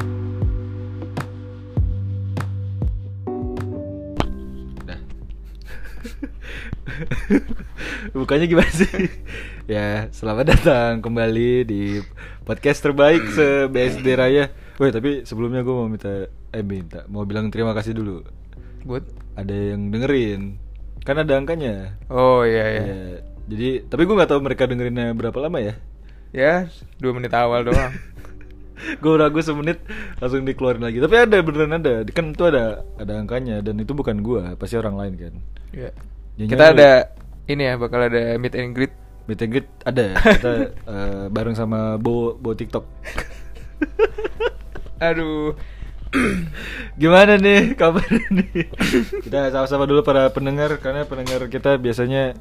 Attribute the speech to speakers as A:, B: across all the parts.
A: Bukannya gimana sih? ya, selamat datang kembali di podcast terbaik se BSD Raya. Woi, tapi sebelumnya gue mau minta eh minta mau bilang terima kasih dulu.
B: Buat?
A: Ada yang dengerin. Kan ada angkanya.
B: Oh iya iya.
A: Ya, jadi tapi gue nggak tahu mereka dengerinnya berapa lama ya.
B: Ya, dua menit awal doang.
A: gue ragu semenit langsung dikeluarin lagi. Tapi ada beneran ada. Kan itu ada ada angkanya dan itu bukan gua, pasti orang lain kan.
B: Iya.
A: Jangan
B: Kita
A: nyari.
B: ada ini ya bakal ada meet and greet.
A: Meet and greet ada kita eh, bareng sama Bo Bo TikTok.
B: Aduh.
A: Gimana nih kabar nih? kita sama-sama dulu para pendengar karena pendengar kita biasanya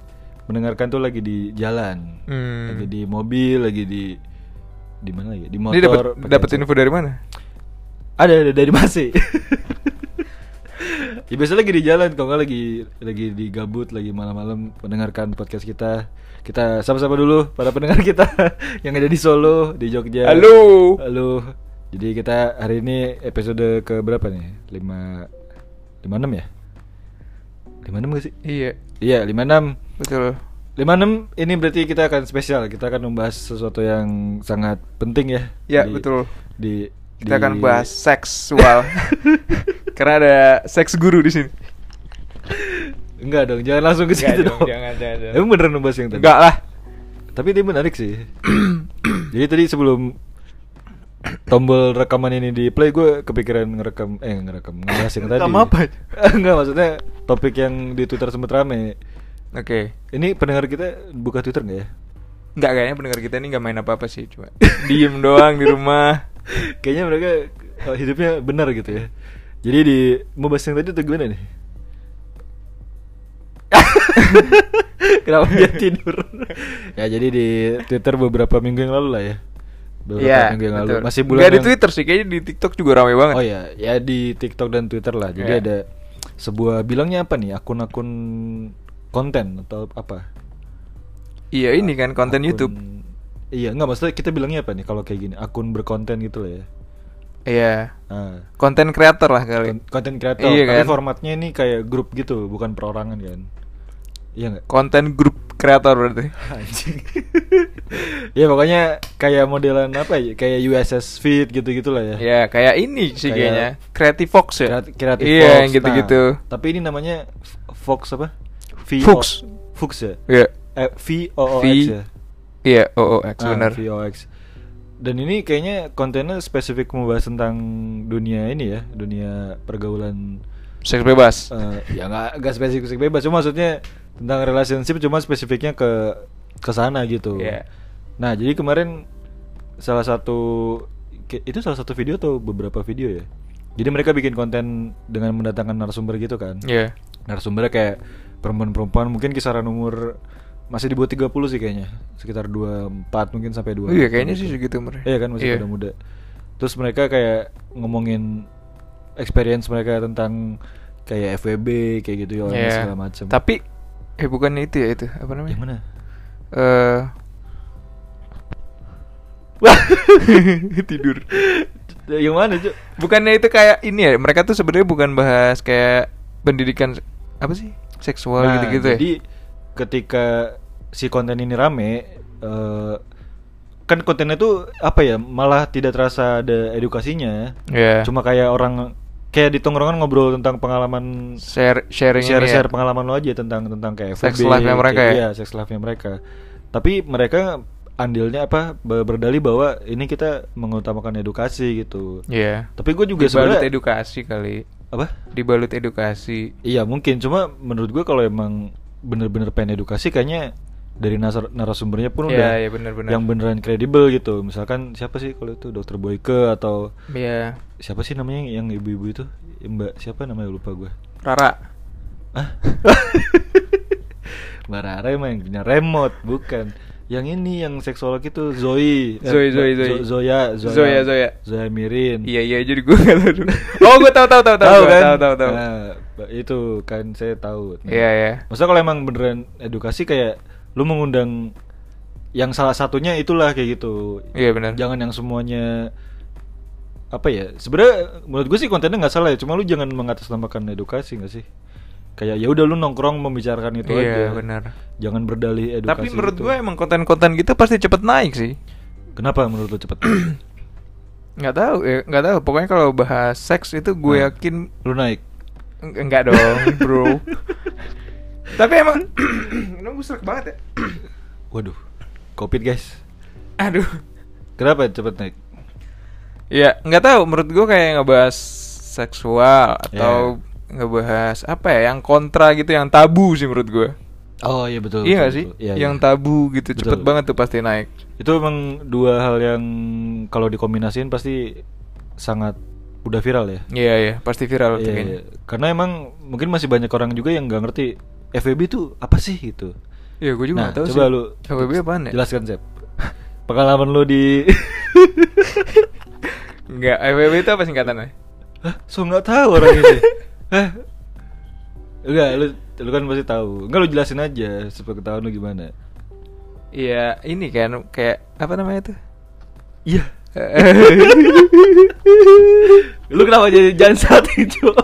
A: mendengarkan tuh lagi di jalan,
B: Hmm.
A: lagi di mobil, lagi di di mana lagi? Di motor.
B: ini dapat
A: pakai
B: dapat
A: headset.
B: info dari mana?
A: Ada ada dari Masih. ya biasa lagi di jalan kalau nggak lagi lagi di gabut lagi malam-malam mendengarkan podcast kita kita sama-sama dulu para pendengar kita yang ada di Solo di Jogja
B: Halo.
A: halo jadi kita hari ini episode ke berapa nih lima lima enam ya lima enam gak sih
B: Iya,
A: iya lima enam
B: betul.
A: 56 ini berarti kita akan spesial. Kita akan membahas sesuatu yang sangat penting ya.
B: Ya, betul.
A: Di
B: Kita
A: di-
B: akan bahas seksual. Karena ada seks guru di sini.
A: Enggak dong, jangan langsung ke
B: Enggak
A: situ
B: dong,
A: dong.
B: jangan, jangan, jangan.
A: Emang beneran membahas yang tadi.
B: Enggak lah.
A: Tapi ini menarik sih. Jadi tadi sebelum tombol rekaman ini di play gue kepikiran ngerekam eh ngerekam ngebahas yang tadi.
B: Rekam apa?
A: Enggak maksudnya topik yang di Twitter sempet rame.
B: Oke.
A: Ini pendengar kita buka Twitter nggak ya?
B: Enggak kayaknya pendengar kita ini enggak main apa-apa sih, cuma diem doang di rumah.
A: Kayaknya mereka eh, hidupnya benar gitu ya. Jadi di mau bahas yang tadi tuh gimana nih? Kenapa dia tidur? ya jadi di Twitter beberapa minggu yang lalu lah ya. Beberapa
B: Iya,
A: minggu yang lalu.
B: betul.
A: Masih bulan
B: Nggak di
A: yang-
B: Twitter sih, kayaknya di TikTok juga ramai banget.
A: Oh ya, ya di TikTok dan Twitter lah. Jadi
B: Iya.
A: ada sebuah bilangnya apa nih? Akun-akun konten atau apa?
B: Iya, ini kan konten
A: Akun-
B: YouTube.
A: Iya, nggak maksudnya kita bilangnya apa nih kalau kayak gini? Akun berkonten gitu lah ya.
B: Iya.
A: Nah,
B: Konten kreator lah kali.
A: Kon- konten kreator
B: Iya
A: tapi
B: kan?
A: formatnya ini kayak grup gitu bukan perorangan kan iya nggak
B: Konten grup kreator berarti.
A: anjing ya pokoknya kayak modelan apa ya kayak USS Fit gitu gitulah ya
B: Ya, kayak ini sih
A: Kayak
B: kayaknya. Creative Fox ya.
A: Kreat- kreatif
B: Iya,
A: Fox.
B: yang gitu-gitu.
A: Nah, tapi ini namanya F- Fox apa V
B: Fox.
A: Fox ya
B: Iya.
A: eh, V O O X
B: V-
A: ya
B: Iya, OOX
A: Ah,
B: benar.
A: VOX. Dan ini kayaknya kontennya spesifik membahas tentang dunia ini ya, dunia pergaulan
B: Seks bebas.
A: Eh, ya nggak nggak spesifik spesifik bebas cuma maksudnya tentang relationship cuma spesifiknya ke ke sana gitu
B: Iya.
A: nah jadi kemarin salah satu ke- itu salah satu video atau beberapa video ya jadi mereka bikin konten dengan mendatangkan narasumber gitu kan
B: Iya.
A: narasumbernya kayak perempuan-perempuan mungkin kisaran umur masih di bawah 30 sih kayaknya sekitar 24 mungkin sampai 2
B: Iya, kayaknya sih segitu umurnya.
A: Iya kan masih
B: Iya.
A: muda-muda. Terus mereka kayak ngomongin experience mereka tentang kayak FWB kayak gitu ya orang
B: Iya.
A: segala macam.
B: Tapi eh bukan itu ya itu, apa namanya?
A: yang mana?
B: Eh tidur.
A: yang mana, Cuk?
B: Bukannya itu kayak ini ya? Mereka tuh sebenarnya bukan bahas kayak pendidikan apa sih? Seksual
A: Nah,
B: gitu-gitu ya.
A: Jadi ketika si konten ini rame eh, kan kontennya tuh apa ya malah tidak terasa ada edukasinya.
B: Iya.
A: Cuma kayak orang kayak di tongkrongan ngobrol tentang pengalaman
B: share sharing ini
A: share
B: ya.
A: share pengalaman lo aja tentang tentang kayak
B: Sex
A: FWB,
B: life-nya mereka
A: kayak-
B: ya?
A: iya, sex life-nya mereka tapi mereka andilnya apa ber- berdalih bahwa ini kita mengutamakan edukasi gitu
B: Iya.
A: tapi gue juga
B: dibalut
A: sebenarnya
B: edukasi kali.
A: apa
B: Dibalut edukasi.
A: iya mungkin cuma menurut gue kalau emang bener-bener pengen edukasi kayaknya dari nasar- narasumbernya pun
B: Iya,
A: udah
B: iya, benar-benar.
A: yang beneran kredibel gitu misalkan siapa sih kalau itu dokter Boyke atau
B: Iya.
A: siapa sih namanya yang ibu-ibu itu mbak siapa namanya lupa gue
B: Rara.
A: Ah. Mbak Rara emang yang punya remote, bukan. Yang ini yang seksolog itu Zoe. Eh,
B: Zoe, Zoe, Zoe.
A: Zo- Zoya, Zoya.
B: Zoya, Zoya.
A: Zoya Mirin.
B: Iya iya jadi gue nggak tahu dulu. Oh gue tahu tahu tahu tahu
A: Tahu
B: gua
A: kan?
B: tahu tahu tahu.
A: Nah, ba- itu kan saya tahu. Nah,
B: Iya iya.
A: Maksudnya kalau emang beneran edukasi kayak lu mengundang yang salah satunya itulah kayak gitu.
B: Iya benar.
A: Jangan yang semuanya apa ya? Sebenarnya menurut gue sih kontennya nggak salah ya, cuma lu jangan mengatasnamakan edukasi nggak sih? kayak ya udah lu nongkrong membicarakan itu aja.
B: Iya, benar.
A: Jangan berdalih edukasi.
B: Tapi menurut
A: gitu.
B: gue emang konten-konten gitu pasti cepet naik sih.
A: kenapa menurut lu cepet?
B: Nggak tahu, ya, nggak tahu. Pokoknya kalau bahas seks itu gue
A: Hmm.
B: yakin
A: lu naik.
B: Eng- enggak dong, bro. Tapi emang nunggu serak banget ya.
A: Waduh. Covid guys.
B: Aduh.
A: Kenapa cepet naik?
B: Ya, nggak tahu. Menurut gue kayak ngebahas
A: Iya.
B: seksual atau ngebahas apa ya yang kontra gitu, yang tabu sih menurut gue.
A: Oh iya betul. betul,
B: iya nggak sih?
A: betul. Iya,
B: yang
A: iya.
B: tabu gitu
A: Betul.
B: cepet banget tuh pasti naik.
A: Itu emang dua hal yang kalau dikombinasiin pasti sangat udah viral ya.
B: Iya iya, pasti viral tuh
A: Iya,
B: kayaknya.
A: iya. Karena emang mungkin masih banyak orang juga yang nggak ngerti FWB itu apa sih gitu.
B: Iya, gue juga
A: nah,
B: nggak tahu
A: coba
B: sih.
A: lu
B: KBB apaan ya?
A: jelaskan Zep. Pengalaman lu di
B: Enggak, FWB itu apa singkatannya?
A: Hah, so nggak tahu orang ini. Hah? Enggak, lu lu kan pasti tahu. Enggak lu jelasin aja sepengetahuan lu gimana.
B: Iya, ini kan kayak apa namanya tuh?
A: Iya. lu kenapa jadi jangan salting, Cok?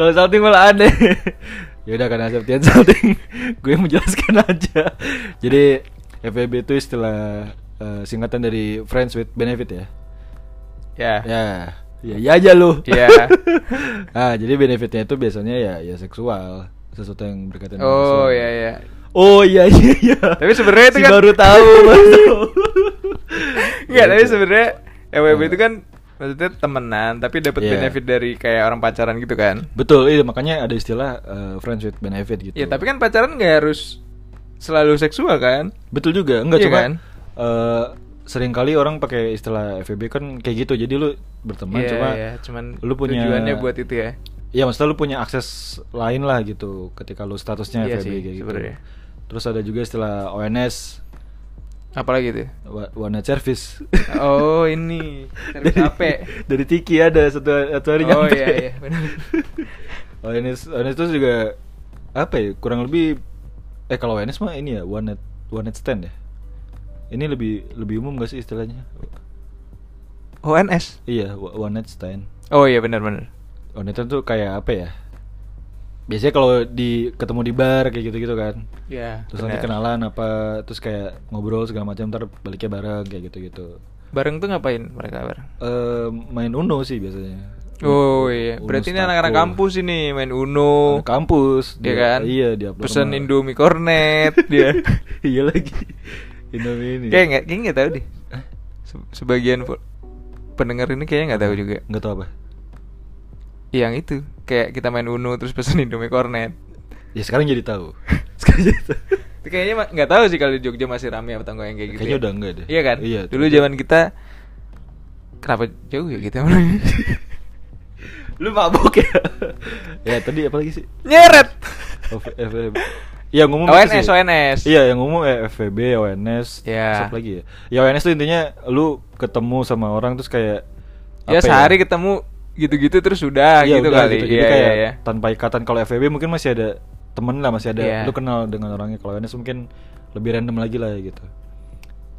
A: Kalau salting malah aneh. ya udah karena Septian salting, gue menjelaskan aja. Jadi FWB itu istilah eh, singkatan dari Friends with Benefit ya.
B: ya.
A: Ya, ya, ya aja lu.
B: Iya.
A: ah, jadi benefitnya itu biasanya ya, ya seksual, sesuatu yang berkaitan dengan seksual.
B: Oh, iya iya.
A: Oh iya iya iya.
B: Tapi sebenarnya itu
A: Si
B: kan-
A: baru tahu, baru tahu.
B: Enggak, tapi
A: Gitu.
B: sebenarnya FWB
A: Nah.
B: itu kan maksudnya temenan, tapi dapat
A: Iya.
B: benefit dari kayak orang pacaran gitu kan.
A: Betul, iya makanya ada istilah eh, friends with benefit gitu.
B: Iya, tapi kan pacaran nggak harus selalu seksual kan?
A: betul juga, enggak
B: Iya
A: cuma
B: kan?
A: eh, seringkali orang pakai istilah FVB kan kayak gitu. Jadi lu berteman
B: Iya,
A: cuma
B: iya, cuman
A: lu punya
B: tujuannya buat itu ya.
A: Iya maksudnya lu punya akses lain lah gitu ketika lu statusnya FVB
B: Iya sih,
A: kayak gitu.
B: sebenarnya.
A: Terus ada juga istilah ONS,
B: Apalagi itu?
A: wa- One Night Service.
B: Oh, ini. Service
A: Dari-
B: HP.
A: Dari Tiki ada satu, satu hari
B: Oh,
A: nyampe.
B: iya, iya, benar.
A: ONS, ONS itu juga apa ya? Kurang lebih eh kalau ONS mah ini ya One Night One Night Stand ya. Ini lebih lebih umum gak sih istilahnya?
B: ONS.
A: Iya, wa- One Night Stand.
B: Oh iya benar benar.
A: One Night Stand tuh kayak apa ya? Biasanya kalau di ketemu di bar kayak gitu-gitu kan.
B: Iya.
A: terus nanti
B: benar.
A: kenalan apa terus kayak ngobrol segala macam ntar baliknya bareng kayak gitu gitu
B: Bareng tuh ngapain mereka bareng?
A: eh main uno sih biasanya
B: Oh iya,
A: Hmm, Uno
B: berarti ini
A: Stako.
B: anak-anak kampus ini main Uno.
A: Anak kampus
B: Iya
A: dia-
B: kan?
A: iya dia upload
B: Pesan
A: sama-
B: Indomie Cornet dia.
A: iya lagi Indomie ini
B: Kayak nggak, kayak nggak tahu deh.
A: Hah?
B: Se- Sebagian fu- pendengar ini kayaknya nggak tahu juga.
A: nggak tahu apa
B: Yang itu kayak kita main Uno terus pesan Indomie Cornet.
A: ya sekarang jadi tahu sekarang jadi tahu
B: Itu kayaknya ma- nggak tahu sih kalau di Jogja masih rame apa enggak yang kayak gitu.
A: Kayaknya
B: ya.
A: udah nggak deh.
B: Iya kan?
A: Iya,
B: Dulu
A: udah.
B: zaman kita kenapa jauh ya kita
A: lu mabok ya ya tadi apa lagi sih
B: Nyeret.
A: Oh, F- FVB. Iya ngomong
B: ONS,
A: gitu sih.
B: ONS.
A: Iya yang ngomong eh, FVB, ONS,
B: Iya.
A: siapa lagi ya? Ya ONS tuh intinya lu ketemu sama orang terus kayak
B: Ya
A: apa
B: sehari ketemu gitu-gitu terus udah
A: Iya,
B: gitu
A: udah
B: kali.
A: gitu. Jadi
B: Iya
A: kayak
B: iya iya.
A: tanpa ikatan kalau FVB mungkin masih ada temen lah, masih ada
B: Iya.
A: lu kenal dengan orangnya. Kalau ONS mungkin lebih random lagi lah ya gitu.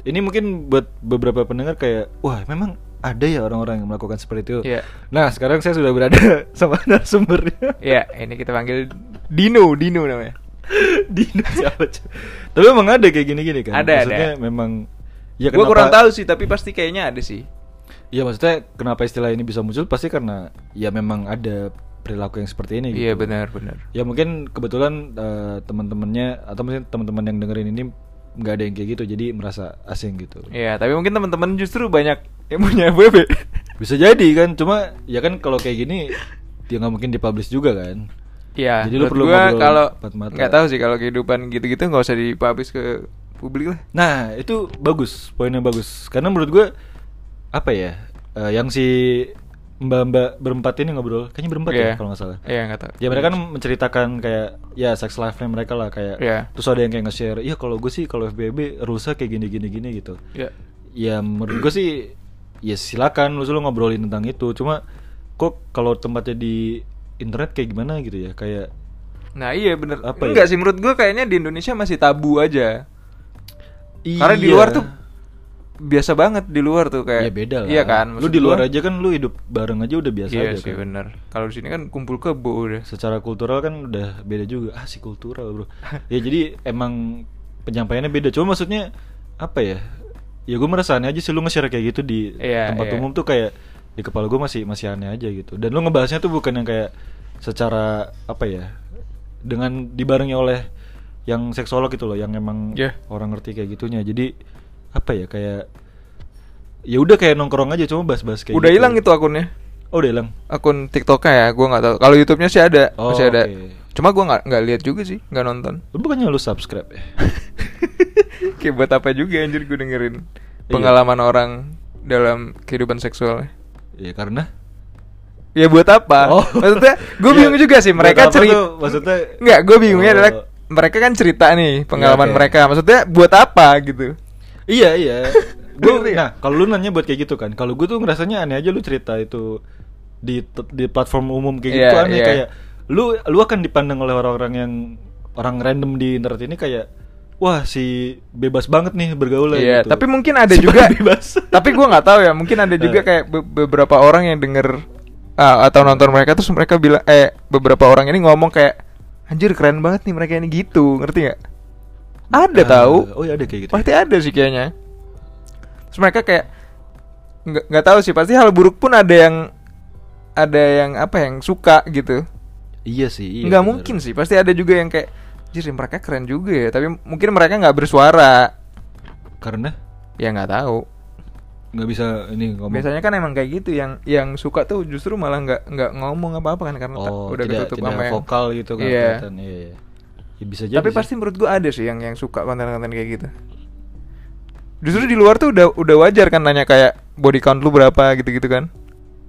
A: Ini mungkin buat beberapa pendengar kayak wah memang ada ya orang-orang yang melakukan seperti itu.
B: Iya.
A: Nah, sekarang saya sudah berada sama narasumbernya.
B: Ya, ini kita panggil Dino, Dino namanya.
A: Dino siapa cuy? Tapi emang ada kayak gini-gini kan?
B: Ada,
A: maksudnya
B: ada.
A: memang ya
B: Gua
A: kenapa-
B: kurang tahu sih, tapi pasti kayaknya ada sih.
A: Iya maksudnya kenapa istilah ini bisa muncul pasti karena ya memang ada perilaku yang seperti ini.
B: Iya,
A: gitu.
B: benar, benar.
A: Ya mungkin kebetulan eh, teman-temannya atau mungkin teman-teman yang dengerin ini nggak ada yang kayak gitu jadi merasa asing gitu.
B: Iya, tapi mungkin teman-teman justru banyak yang punya FWB.
A: Bisa jadi kan cuma ya kan kalau kayak gini dia nggak mungkin dipublish juga kan.
B: Iya,
A: Jadi lu
B: menurut
A: perlu
B: gua
A: ngobrol
B: kalau
A: empat mata.
B: nggak tahu sih kalau kehidupan gitu-gitu nggak usah dipublish ke publik lah.
A: Nah itu bagus poinnya bagus karena menurut gue apa ya eh, yang si mbak-mbak berempat ini ngobrol kayaknya berempat
B: Iya.
A: ya kalau nggak salah.
B: Iya, nggak tahu.
A: Ya mereka kan menceritakan kayak ya sex life-nya mereka lah kayak
B: Iya.
A: terus ada yang kayak nge-share, "Iya kalau gue sih kalau FBB rusak kayak gini gini gini gitu."
B: Iya.
A: Ya menurut gue sih ya silakan lu lu ngobrolin tentang itu. Cuma kok kalau tempatnya di internet kayak gimana gitu ya? Kayak
B: Nah, iya bener
A: Apa ya?
B: Enggak sih menurut gua kayaknya di Indonesia masih tabu aja.
A: Iya.
B: Karena di luar tuh biasa banget di luar tuh kayak
A: ya beda lah
B: iya kan
A: lu
B: maksud
A: di luar
B: gua-
A: aja kan lu hidup bareng aja udah biasa aja
B: iya sih
A: kan.
B: bener kalau di sini kan kumpul kebo udah
A: secara kultural kan udah beda juga ah si kultural bro ya jadi emang penyampaiannya beda cuma maksudnya apa ya ya gue merasa aneh aja sih lu nge-share kayak gitu di
B: Iya,
A: tempat
B: iya.
A: umum tuh kayak di kepala gue masih masih aneh aja gitu dan lu ngebahasnya tuh bukan yang kayak secara apa ya dengan dibarengi oleh yang seksolog gitu loh yang emang
B: Iya.
A: orang ngerti kayak gitunya jadi apa ya kayak ya udah kayak nongkrong aja cuma bahas-bahas kayak
B: udah
A: gitu.
B: hilang itu akunnya
A: oh udah hilang
B: akun TikToknya ya gue nggak tahu kalau YouTube-nya sih ada
A: Oh,
B: masih ada
A: oke.
B: cuma gue nggak nggak lihat juga sih nggak nonton
A: lu bukannya lu subscribe ya
B: kayak buat apa juga anjir gue dengerin
A: Iya.
B: pengalaman orang dalam kehidupan seksualnya
A: ya karena
B: ya buat apa
A: Oh.
B: maksudnya gue
A: Iya.
B: bingung juga sih
A: Buat
B: mereka
A: apa tuh?
B: cerita
A: Maksudnya-
B: nggak gue bingungnya
A: Oh.
B: adalah mereka kan cerita nih pengalaman
A: Iya, oke.
B: mereka maksudnya buat apa gitu
A: Iya iya. Gua,
B: Ngerti ya? nggak?
A: nah kalau lu nanya buat kayak gitu kan, kalau gue tuh ngerasanya aneh aja lu cerita itu di te- di platform umum kayak gitu
B: Iya,
A: tuh aneh
B: iya.
A: kayak lu lu akan dipandang oleh orang-orang yang orang random di internet ini kayak wah si bebas banget nih bergaul
B: Iya,
A: gitu.
B: tapi mungkin ada
A: Si
B: juga.
A: bebas.
B: tapi gua nggak tahu ya, mungkin ada juga
A: Eh.
B: kayak be- beberapa orang yang denger ah, atau nonton mereka terus mereka bilang eh beberapa orang ini ngomong kayak anjir keren banget nih mereka ini gitu, ngerti nggak? Ada
A: Ah,
B: tahu.
A: Oh iya ada kayak gitu.
B: Pasti ada sih kayaknya. Terus mereka kayak nggak nggak tahu sih, pasti hal buruk pun ada yang ada yang apa yang suka gitu.
A: Iya sih. Iya,
B: nggak
A: bener.
B: mungkin sih, pasti ada juga yang kayak anjir mereka keren juga ya, tapi mungkin mereka nggak bersuara.
A: Karena
B: Ya nggak tahu.
A: nggak bisa ini ngomong.
B: Biasanya kan emang kayak gitu yang yang suka tuh justru malah nggak nggak ngomong apa-apa kan karena ta-
A: oh,
B: udah
A: tidak,
B: ketutup
A: tidak
B: sama yang-
A: vokal gitu kan
B: Iya.
A: kelihatan. Iya. iya. Ya, bisa jadi.
B: Tapi
A: sih.
B: pasti menurut gua ada sih yang yang suka konten-konten kayak gitu. Justru di luar tuh udah udah wajar kan nanya kayak body count lu berapa gitu-gitu kan.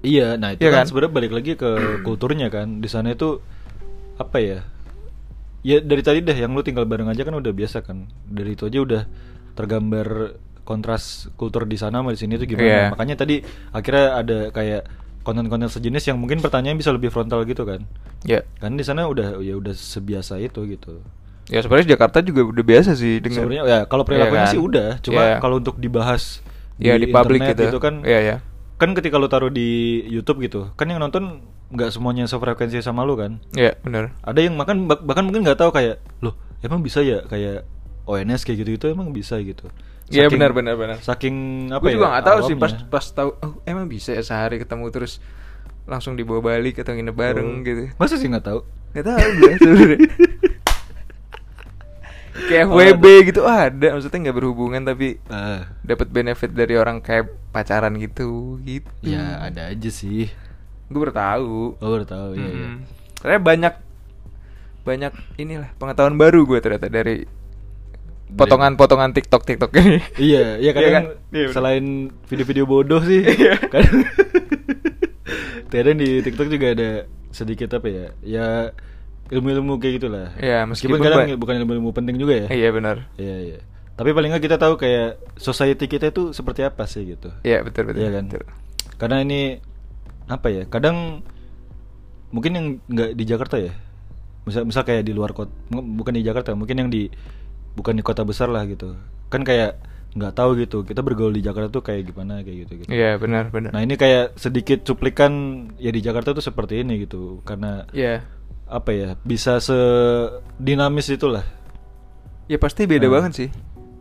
A: Iya, nah itu
B: Iya
A: kan,
B: kan?
A: sebenarnya balik lagi ke kulturnya kan. Di sana itu apa ya? Ya dari tadi deh yang lu tinggal bareng aja kan udah biasa kan. Dari itu aja udah tergambar kontras kultur di sana sama di sini itu
B: Iya.
A: gimana. Makanya tadi akhirnya ada kayak konten-konten sejenis yang mungkin pertanyaan bisa lebih frontal gitu kan.
B: Ya.
A: Kan di sana udah ya udah sebiasa itu gitu.
B: Ya sebenarnya di Jakarta juga udah biasa sih dengan
A: Sebenarnya ya kalau perilakunya
B: Iya kan?
A: sih udah, cuma
B: Iya.
A: kalau untuk dibahas
B: ya di, publik
A: internet
B: gitu.
A: kan
B: Iya ya.
A: kan ketika lu taruh di YouTube gitu kan yang nonton nggak semuanya sefrekuensi sama lu kan
B: Iya, benar.
A: ada yang bahkan bah- bahkan mungkin nggak tahu kayak loh emang bisa ya kayak ONS kayak gitu gitu emang bisa gitu
B: Iya,
A: Saking-
B: benar, benar, benar.
A: saking apa
B: Gue
A: ya
B: juga nggak tahu sih
A: awamnya.
B: pas pas tahu oh, emang bisa ya sehari ketemu terus langsung dibawa balik atau nginep bareng
A: Oh.
B: gitu.
A: masa sih nggak tahu
B: Gak tau gue sebenernya. Kayak
A: Oh,
B: FWB
A: ada.
B: gitu ada Maksudnya gak berhubungan tapi
A: Ah,
B: dapat benefit dari orang kayak pacaran gitu gitu
A: ya ada aja sih
B: Gue baru tahu
A: oh baru tahu iya, iya.
B: Mm-mm. Ternyata banyak Banyak inilah pengetahuan baru gue ternyata dari Potongan-potongan TikTok-Tiktok ini
A: iya iya kadang
B: kan? Iya, bener.
A: selain video-video bodoh sih kadang kadang di TikTok juga ada sedikit apa ya ya ilmu-ilmu kayak gitulah
B: Iya,
A: meskipun
B: meskipun
A: kadang
B: ba-
A: bukan ilmu-ilmu penting juga ya
B: Iya benar
A: Iya iya. Tapi paling nggak kita tahu kayak society kita itu seperti apa sih gitu.
B: Iya betul-betul
A: Iya kan. Karena ini apa ya? Kadang mungkin yang nggak di Jakarta ya. Misal misal kayak di luar kota, bukan di Jakarta, mungkin yang di bukan di kota besar lah gitu. Kan kayak nggak tahu gitu. Kita bergaul di Jakarta tuh kayak gimana kayak gitu gitu.
B: Iya benar-benar
A: Nah ini kayak sedikit cuplikan ya di Jakarta tuh seperti ini gitu karena
B: Iya
A: apa ya bisa sedinamis itulah
B: Ya pasti beda
A: Nah.
B: banget sih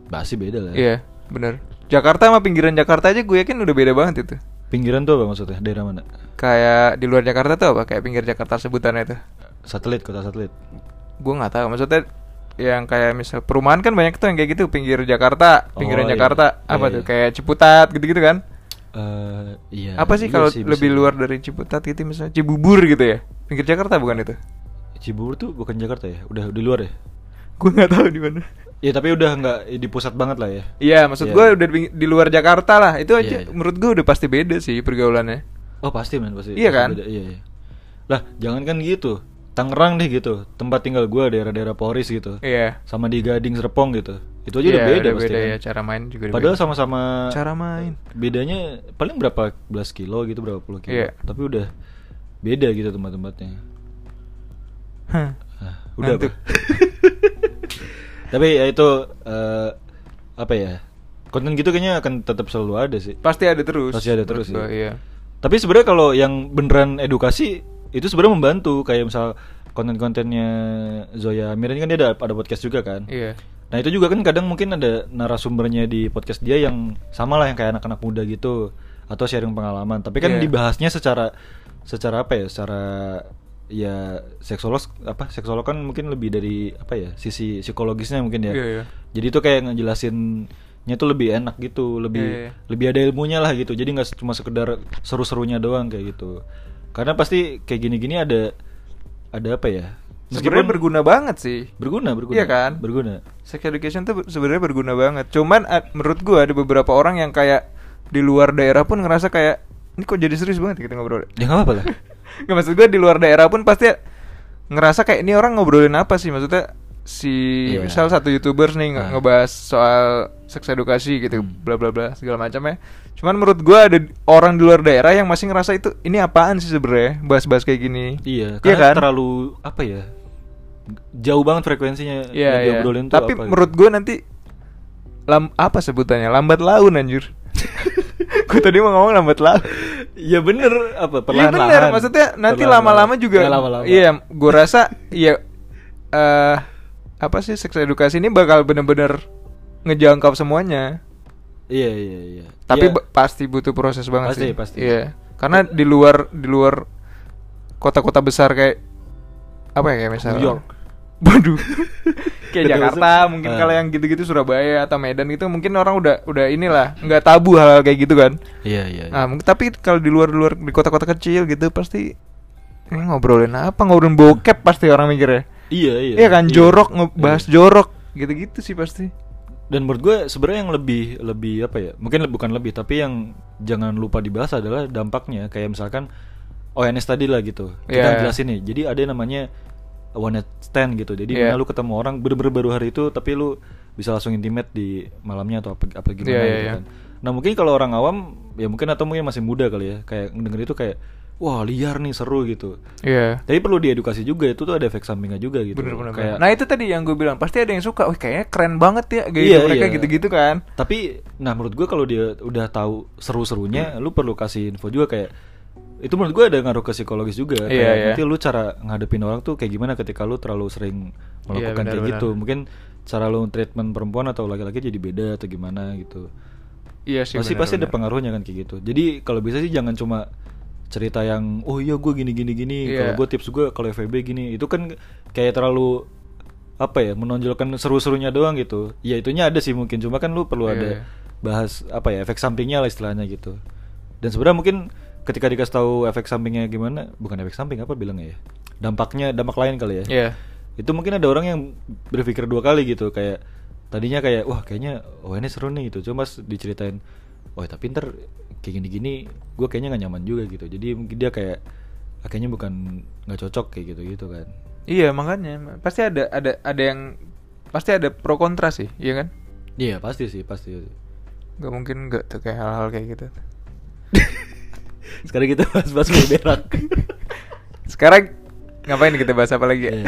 A: pasti beda lah
B: Iya benar Jakarta sama pinggiran Jakarta aja gue yakin udah beda banget itu
A: Pinggiran tuh apa maksudnya? Daerah mana?
B: kayak di luar Jakarta tuh apa kayak pinggir Jakarta sebutannya itu
A: Satelit, kota satelit.
B: gue nggak tahu maksudnya yang kayak misal perumahan kan banyak tuh yang kayak gitu pinggir Jakarta
A: Oh,
B: pinggiran
A: iya.
B: Jakarta
A: Iya,
B: apa
A: iya.
B: tuh kayak Ciputat gitu-gitu kan
A: Eh iya.
B: apa
A: iya
B: sih kalau
A: bisa.
B: lebih luar dari Ciputat gitu misalnya Cibubur gitu ya pinggir Jakarta bukan itu
A: Cibubur tuh bukan Jakarta ya? Udah di luar ya?
B: gue nggak tahu di mana
A: Ya tapi udah nggak di pusat banget lah ya.
B: Iya,
A: Iya.
B: maksud gue udah di, ping- di luar Jakarta lah. Itu aja,
A: Iya, iya.
B: menurut gue udah pasti beda sih pergaulannya.
A: Oh pasti men pasti.
B: Iya
A: pasti
B: kan?
A: beda. Iya, iya. Lah jangan kan gitu. Tangerang deh gitu. Tempat tinggal gua daerah-daerah Poris gitu.
B: Iya.
A: Sama di Gading Serpong gitu. Itu aja
B: Iya,
A: udah beda pasti.
B: beda
A: kan?
B: ya cara main juga. udah
A: Padahal
B: beda.
A: sama-sama
B: cara main.
A: bedanya paling berapa belas kilo gitu berapa puluh kilo.
B: Iya.
A: Tapi udah beda gitu tempat-tempatnya.
B: Hah.
A: Ah, udah
B: Ngantuk.
A: apa? Tapi ya itu eh, apa ya? konten gitu kayaknya akan tetap selalu ada sih
B: Pasti ada terus.
A: Pasti ada terus ya.
B: menurut gua, Iya.
A: tapi sebenarnya kalau yang beneran edukasi itu sebenarnya membantu kayak misal konten-kontennya Zoya Miran kan dia ada ada podcast juga kan
B: Iya.
A: Nah itu juga kan kadang mungkin ada narasumbernya di podcast dia yang sama lah yang kayak anak-anak muda gitu atau sharing pengalaman. Tapi kan
B: Iya.
A: dibahasnya secara secara apa ya? Secara ya seksolog apa seksolog kan mungkin lebih dari apa ya sisi psikologisnya mungkin ya.
B: Iya, iya.
A: Jadi itu kayak ngejelasinnya tuh lebih enak gitu, lebih
B: Iya, iya.
A: lebih ada ilmunya lah gitu. Jadi nggak cuma sekedar seru-serunya doang kayak gitu. Karena pasti kayak gini-gini ada ada apa ya?
B: Sebenarnya berguna banget sih.
A: berguna berguna
B: Iya kan?
A: berguna
B: Sex education tuh sebenarnya berguna banget. Cuman a- menurut gua ada beberapa orang yang kayak di luar daerah pun ngerasa kayak ini kok jadi serius banget kita ngobrol.
A: Ya nggak apa-apa lah.
B: Gak maksud gue di luar daerah pun pasti ngerasa kayak ini orang ngobrolin apa sih maksudnya si
A: Iya.
B: misal satu youtubers nih nge-
A: Ah.
B: ngebahas soal seks edukasi gitu
A: Hmm.
B: bla bla bla segala macam ya. Cuman menurut gue ada orang di luar daerah yang masih ngerasa itu ini apaan sih sebenarnya bahas-bahas kayak gini.
A: Iya,
B: Iya
A: karena
B: kan?
A: terlalu apa ya? Jauh banget frekuensinya
B: Iya,
A: yang
B: iya.
A: diobrolin tuh apa
B: Tapi
A: gitu.
B: menurut gue nanti lam apa sebutannya lambat laun anjir. gue tadi mau ngomong lambat laun.
A: ya bener apa
B: Iya
A: perlahan-lahan.
B: bener, maksudnya nanti
A: Perlahan-lahan.
B: lama-lama juga.
A: Ya, lama-lama.
B: Iya, gue rasa iya eh apa sih seks edukasi ini bakal bener-bener ngejangkau semuanya.
A: Iya, iya, iya.
B: Tapi
A: Iya.
B: ba- pasti butuh proses banget
A: Pasti,
B: sih.
A: pasti.
B: Iya, karena di luar di luar kota-kota besar kayak apa ya kayak misalnya
A: New York.
B: Waduh. kayak
A: Betul,
B: Jakarta
A: betul.
B: mungkin
A: Ah.
B: kalau yang gitu-gitu Surabaya atau Medan gitu mungkin orang udah udah inilah nggak tabu hal, -hal kayak gitu kan.
A: Iya, iya. iya.
B: Nah, mungkin tapi kalau di luar luar di kota-kota kecil gitu pasti ini ngobrolin apa ngobrolin bokep pasti orang mikirnya.
A: iya, iya.
B: Iya kan
A: Iya.
B: jorok ngebahas
A: Iya.
B: jorok gitu-gitu sih pasti.
A: Dan menurut gue sebenarnya yang lebih lebih apa ya? Mungkin le- bukan lebih, tapi yang jangan lupa dibahas adalah dampaknya. Kayak misalkan ONS tadi lah gitu. Kita
B: Iya.
A: jelasin nih. Jadi ada yang namanya one night stand gitu. Jadi
B: Iya.
A: dimana lu ketemu orang bener-bener baru hari itu, tapi lu bisa langsung intimate di malamnya atau apa, apa gimana
B: Iya, iya,
A: gitu
B: iya.
A: kan. Nah mungkin kalau orang awam ya mungkin atau mungkin masih muda kali ya. Kayak denger itu kayak wah liar nih seru gitu.
B: Iya.
A: Tapi perlu diedukasi juga itu tuh ada efek sampingnya juga gitu.
B: Bener-bener.
A: Kayak-
B: Nah itu tadi yang gue bilang pasti ada yang suka. Wah kayaknya keren banget ya gaya
A: Iya,
B: hidup mereka
A: iya.
B: gitu-gitu kan.
A: Tapi nah menurut gua kalau dia udah tahu seru-serunya,
B: Hmm.
A: lu perlu kasih info juga kayak itu menurut gua ada ngaruh ke psikologis juga.
B: Iya,
A: kayak
B: iya.
A: nanti lu cara ngadepin orang tuh kayak gimana ketika lu terlalu sering
B: Iya,
A: melakukan kayak
B: benar-benar.
A: gitu. Mungkin cara lu treatment perempuan atau laki-laki jadi beda atau gimana gitu.
B: Iya sih.
A: pasti pasti ada pengaruhnya kan kayak gitu. Jadi kalau bisa sih jangan cuma cerita yang oh iya gue gini gini gini
B: Iya.
A: kalau gue tips gue kalau FVB gini itu kan kayak terlalu apa ya menonjolkan seru-serunya doang gitu ya itunya ada sih mungkin cuma kan lu perlu
B: Iya,
A: ada
B: iya.
A: bahas apa ya efek sampingnya lah istilahnya gitu dan sebenarnya mungkin ketika dikasih tahu efek sampingnya gimana bukan efek samping apa bilangnya ya dampaknya dampak lain kali ya
B: Iya.
A: itu mungkin ada orang yang berpikir dua kali gitu kayak tadinya kayak wah kayaknya oh ini seru nih gitu cuma pas diceritain oh tapi ntar kayak gini-gini gue kayaknya nggak nyaman juga gitu jadi mungkin dia kayak "Ah, kayaknya bukan nggak cocok kayak gitu gitu kan
B: Iya makanya pasti ada ada ada yang pasti ada pro kontra sih, iya kan?
A: iya pasti sih pasti
B: Gak mungkin gak tuh kayak hal-hal kayak gitu.
A: sekarang kita bahas-bahas mau berak
B: Sekarang ngapain kita bahas apa lagi?
A: Iya.
B: ya?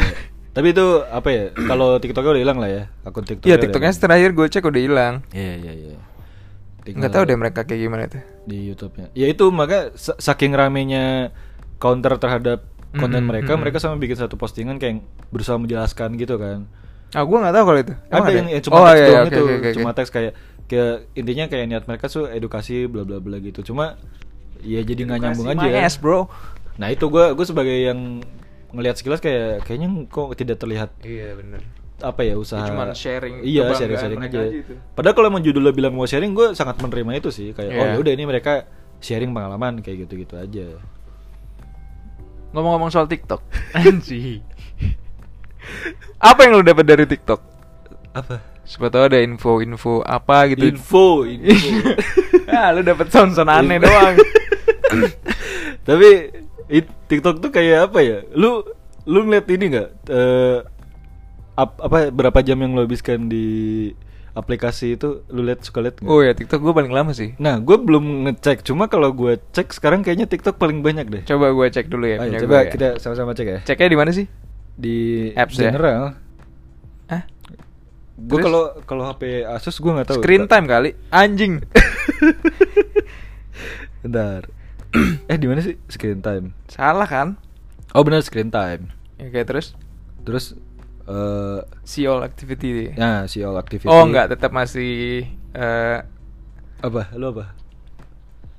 A: tapi itu apa ya kalau tiktoknya udah hilang lah ya akun tiktoknya
B: Iya
A: udah
B: TikToknya
A: hilang.
B: terakhir gue cek udah hilang.
A: iya iya iya Tinggal-
B: Nggak tahu deh mereka kayak gimana tuh.
A: di YouTube-nya. Ya itu maka sa- saking ramenya counter terhadap konten
B: Mhm,
A: mereka,
B: mhm.
A: mereka sama bikin satu postingan kayak yang berusaha menjelaskan gitu kan.
B: Ah gue nggak tahu kalau itu. Emang
A: ada yang, yang cuma
B: oh,
A: teks
B: iya,
A: doang
B: oke,
A: itu,
B: oke, oke,
A: cuma
B: oke.
A: teks kayak kayak intinya kayak niat mereka tuh edukasi bla bla bla gitu. Cuma ya jadi nggak
B: Edukasi
A: nyambung
B: my
A: aja.
B: ass, bro.
A: Nah itu gua gue sebagai yang ngelihat sekilas kayak kayaknya kok tidak terlihat
B: Iya benar.
A: apa ya usaha
B: cuman sharing
A: iya
B: kebanggaan
A: sharing sharing
B: mereka
A: aja,
B: aja itu.
A: padahal kalau emang judulnya bilang mau sharing gue sangat menerima itu sih kayak oh
B: Iya.
A: ya udah ini mereka sharing pengalaman kayak gitu gitu aja
B: Ngomong-ngomong soal TikTok. Anji. apa yang lo dapat dari TikTok?
A: apa
B: Siapa tahu ada info-info apa gitu.
A: info info
B: ah, lu dapat sound-sound aneh doang.
A: tapi it- TikTok tuh kayak apa ya lu lu ngeliat ini nggak Eh, ap- apa berapa jam yang lo habiskan di aplikasi itu lu lihat suka lihat nggak
B: Oh ya, TikTok gue paling lama sih.
A: nah gue belum ngecek cuma kalau gue cek sekarang kayaknya TikTok paling banyak deh
B: Coba gue cek dulu ya.
A: Ayo,
B: punya
A: Oh iya, coba
B: gua ya.
A: kita sama-sama cek ya
B: Ceknya di mana sih?
A: di
B: Apps ya?
A: general
B: Hah?
A: Gue
B: Terus?
A: kalau kalau HP Asus gue nggak tahu.
B: Screen time kali. Anjing.
A: Bentar. eh di mana sih screen time?
B: Salah kan?
A: Oh benar screen time.
B: Oke, terus
A: Terus eh
B: see all activity.
A: nah si all activity.
B: Oh, enggak, tetap masih eh,
A: Apa? Lu apa?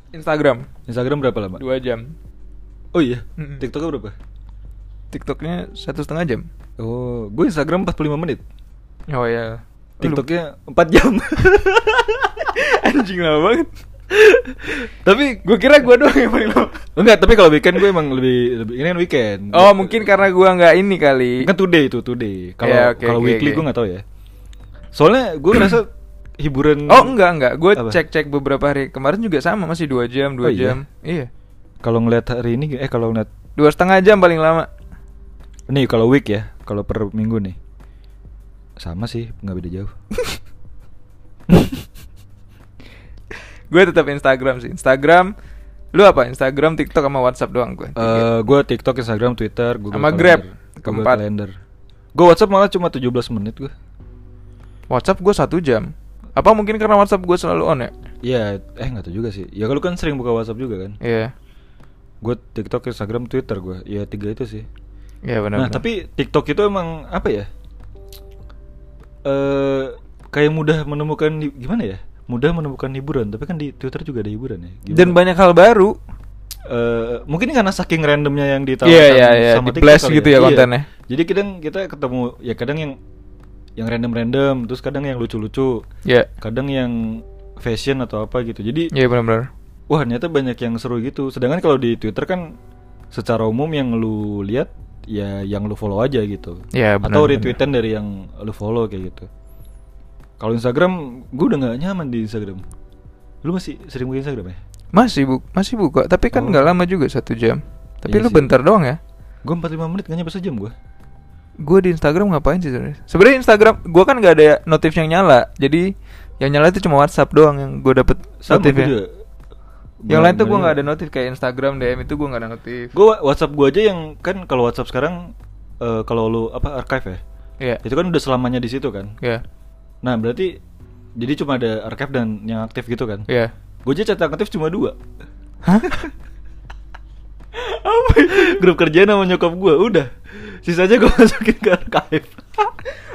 B: Instagram
A: Instagram berapa lama?
B: dua jam.
A: Oh iya.
B: Mm-mm.
A: TikToknya berapa?
B: TikToknya satu setengah jam.
A: Oh, gue Instagram 45 menit.
B: Oh ya.
A: TikToknya 4 jam.
B: anjing lama banget.
A: tapi
B: Gue kira gue doang yang paling lama.
A: enggak, tapi kalau weekend gue emang lebih lebih ini kan weekend.
B: Oh mungkin karena gue nggak ini kali.
A: kan today itu today. Kalau
B: Ya, oke,
A: kalau
B: oke,
A: weekly
B: oke.
A: gue nggak tahu ya. Soalnya gue ngerasa hiburan
B: Oh enggak enggak, gue
A: Apa?
B: cek-cek beberapa hari kemarin juga sama masih dua jam dua
A: Oh, iya?
B: jam. Iya.
A: Kalau ngeliat hari ini eh kalau ngeliat
B: Dua setengah jam paling lama.
A: Nih kalau week ya, kalau per minggu nih sama sih, nggak beda jauh.
B: Gue tetap Instagram sih. Instagram. Lu apa? Instagram, TikTok sama WhatsApp doang gue.
A: Eh, gue TikTok, Instagram, Twitter, Google
B: Sama
A: Calendar,
B: Grab,
A: Google
B: keempat.
A: Calendar. Gue WhatsApp malah cuma 17 menit gue.
B: WhatsApp gue satu jam. Apa mungkin karena WhatsApp gue selalu on ya?
A: Iya, eh nggak tahu juga sih. Ya kalau kan sering buka WhatsApp juga kan.
B: Iya.
A: Gue TikTok, Instagram, Twitter gue. Ya tiga itu sih.
B: Iya benar.
A: nah tapi TikTok itu emang apa ya? Eh kayak mudah menemukan hi- gimana ya? Mudah menemukan hiburan. Tapi kan di Twitter juga ada hiburan ya. Gimana?
B: dan banyak hal baru.
A: eh mungkin karena saking randomnya yang ditawarkan
B: Iya, iya, iya.
A: sama TikTok
B: Di-blast
A: kali
B: gitu ya
A: Iya.
B: kontennya.
A: Jadi kadang kita ketemu ya kadang yang yang random-random, terus kadang yang lucu-lucu,
B: Iya.
A: kadang yang fashion atau apa gitu. Jadi
B: Iya benar-benar.
A: wah ternyata banyak yang seru gitu. Sedangkan kalau di Twitter kan secara umum yang lu lihat ya yang lu follow aja gitu.
B: Iya, benar,
A: Atau
B: benar.
A: retweetan dari yang lu follow kayak gitu. Kalau Instagram, gue udah nggak nyaman di Instagram. Lu masih sering buka Instagram ya?
B: Masih bu masih buka, tapi kan
A: Oh.
B: nggak lama juga satu jam. Tapi
A: Iya
B: lu
A: sih.
B: bentar doang ya.
A: Gue 45 menit nggak nyampe sejam gue.
B: Gue di Instagram ngapain sih sebenarnya? Sebenarnya Instagram gue kan nggak ada notif yang nyala. Jadi yang nyala itu cuma WhatsApp doang yang gue dapet
A: Sama
B: notifnya.
A: juga.
B: ya? Yang lain tuh gue nggak ada notif kayak Instagram DM itu gue nggak ada notif.
A: Gue WhatsApp gue aja yang kan kalau WhatsApp sekarang eh, kalau lu apa archive ya,
B: Iya.
A: itu kan udah selamanya di situ kan.
B: Iya.
A: Nah berarti jadi cuma ada archive dan yang aktif gitu kan.
B: Iya.
A: Gue aja cetak aktif cuma dua.
B: Hah?
A: Apa? Grup kerja nama nyokap gue udah. Sisanya gue masukin ke archive.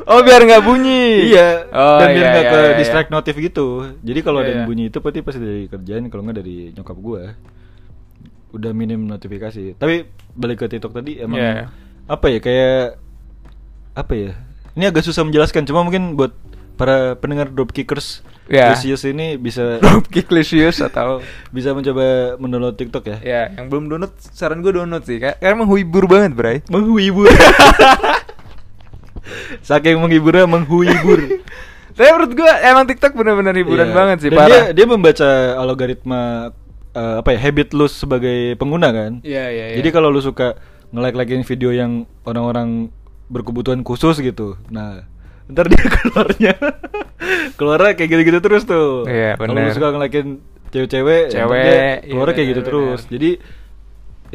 B: Oh biar nggak bunyi.
A: iya.
B: Oh,
A: dan biar
B: iya,
A: nggak
B: iya,
A: ke
B: iya, iya.
A: distract notif gitu. Jadi kalau ada
B: Iya,
A: yang
B: iya.
A: bunyi itu pasti pasti dari kerjaan kalau nggak dari nyokap gue. Udah minim notifikasi. Tapi balik ke TikTok tadi emang
B: Iya, iya.
A: apa ya kayak apa ya? Ini agak susah menjelaskan. Cuma mungkin buat para pendengar dropkickers
B: Iya.
A: Lucius ini bisa
B: Dropkick Lucius atau
A: bisa mencoba mendownload TikTok ya.
B: ya yang belum download saran gue download sih Kak. karena emang menghibur banget bray
A: Menghibur. Saking menghiburnya menghibur.
B: tapi menurut gue emang TikTok bener-bener hiburan
A: Iya.
B: banget sih
A: Dan
B: parah
A: Dia, dia membaca algoritma eh, apa ya habit lu sebagai pengguna kan.
B: Iya, iya, iya.
A: Jadi kalau lu suka nge-like-likein video yang orang-orang berkebutuhan khusus gitu. Nah, ntar dia keluarnya keluarnya kayak gitu-gitu terus tuh.
B: Iya,
A: Kalau lu
B: bener.
A: suka nge-likein cewek-cewek, ntar
B: Cewek,
A: dia
B: iya,
A: keluarnya kayak gitu
B: bener,
A: terus.
B: bener.
A: Jadi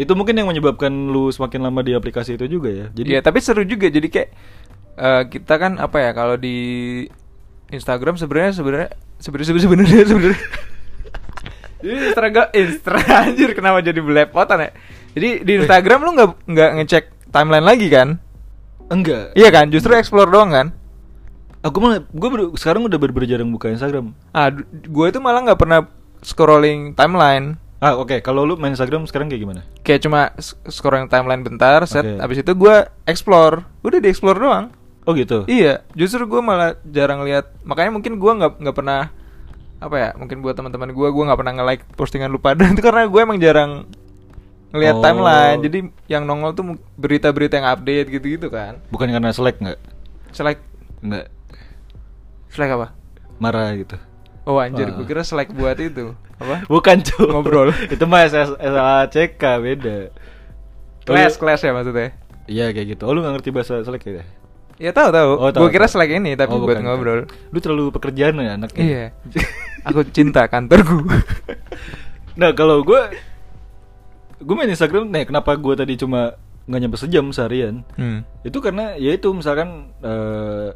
A: itu mungkin yang menyebabkan lu semakin lama di aplikasi itu juga ya. Jadi
B: Iya, tapi seru juga. Jadi kayak eh, kita kan apa ya kalau di Instagram sebenarnya sebenarnya sebenarnya sebenarnya sebenarnya sebenarnya. Jadi Instagram Instra anjir kenapa jadi belepotan ya? Jadi di Instagram lu nggak nggak ngecek timeline lagi kan?
A: enggak.
B: Iya kan? Justru
A: Hmm.
B: explore doang kan?
A: Aku malah gue baru- sekarang udah bener-bener jarang buka Instagram.
B: Ah, gue itu malah nggak pernah scrolling timeline.
A: Ah oke, kalau lu main Instagram sekarang kayak gimana?
B: Kayak cuma s- scrolling timeline bentar, set.
A: Oke.
B: Abis itu gue explore. Udah di explore doang.
A: Oh gitu.
B: Iya, justru gue malah jarang lihat. Makanya mungkin gue nggak nggak pernah apa ya? Mungkin buat teman-teman gue, gue nggak pernah nge-like postingan lu pada itu karena gue emang jarang ngelihat
A: Oh.
B: timeline. Jadi yang nongol tuh mu- berita-berita yang update gitu-gitu kan.
A: Bukan karena selek nggak?
B: Selek,
A: Nggak
B: selek apa?
A: marah gitu.
B: Oh anjir,
A: Wah.
B: gue kira selek buat itu apa?
A: Bukan cuy.
B: Ngobrol.
A: Itu mah SS SACK beda. Kalau-
B: Clash, clash ya maksudnya.
A: Iya kayak gitu. Oh lu nggak ngerti bahasa selek ya?
B: Ya tahu tahu.
A: Oh, tahu,
B: gue kira
A: tahu.
B: selek ini tapi
A: Oh,
B: buat
A: bukan,
B: ngobrol.
A: bukan. Lu terlalu pekerjaan ya anaknya.
B: Iya. Aku cinta kantorku.
A: nah kalau gue, gue main Instagram. Nah kenapa gue tadi cuma nggak nyampe sejam seharian?
B: hmm.
A: itu karena ya itu misalkan eh,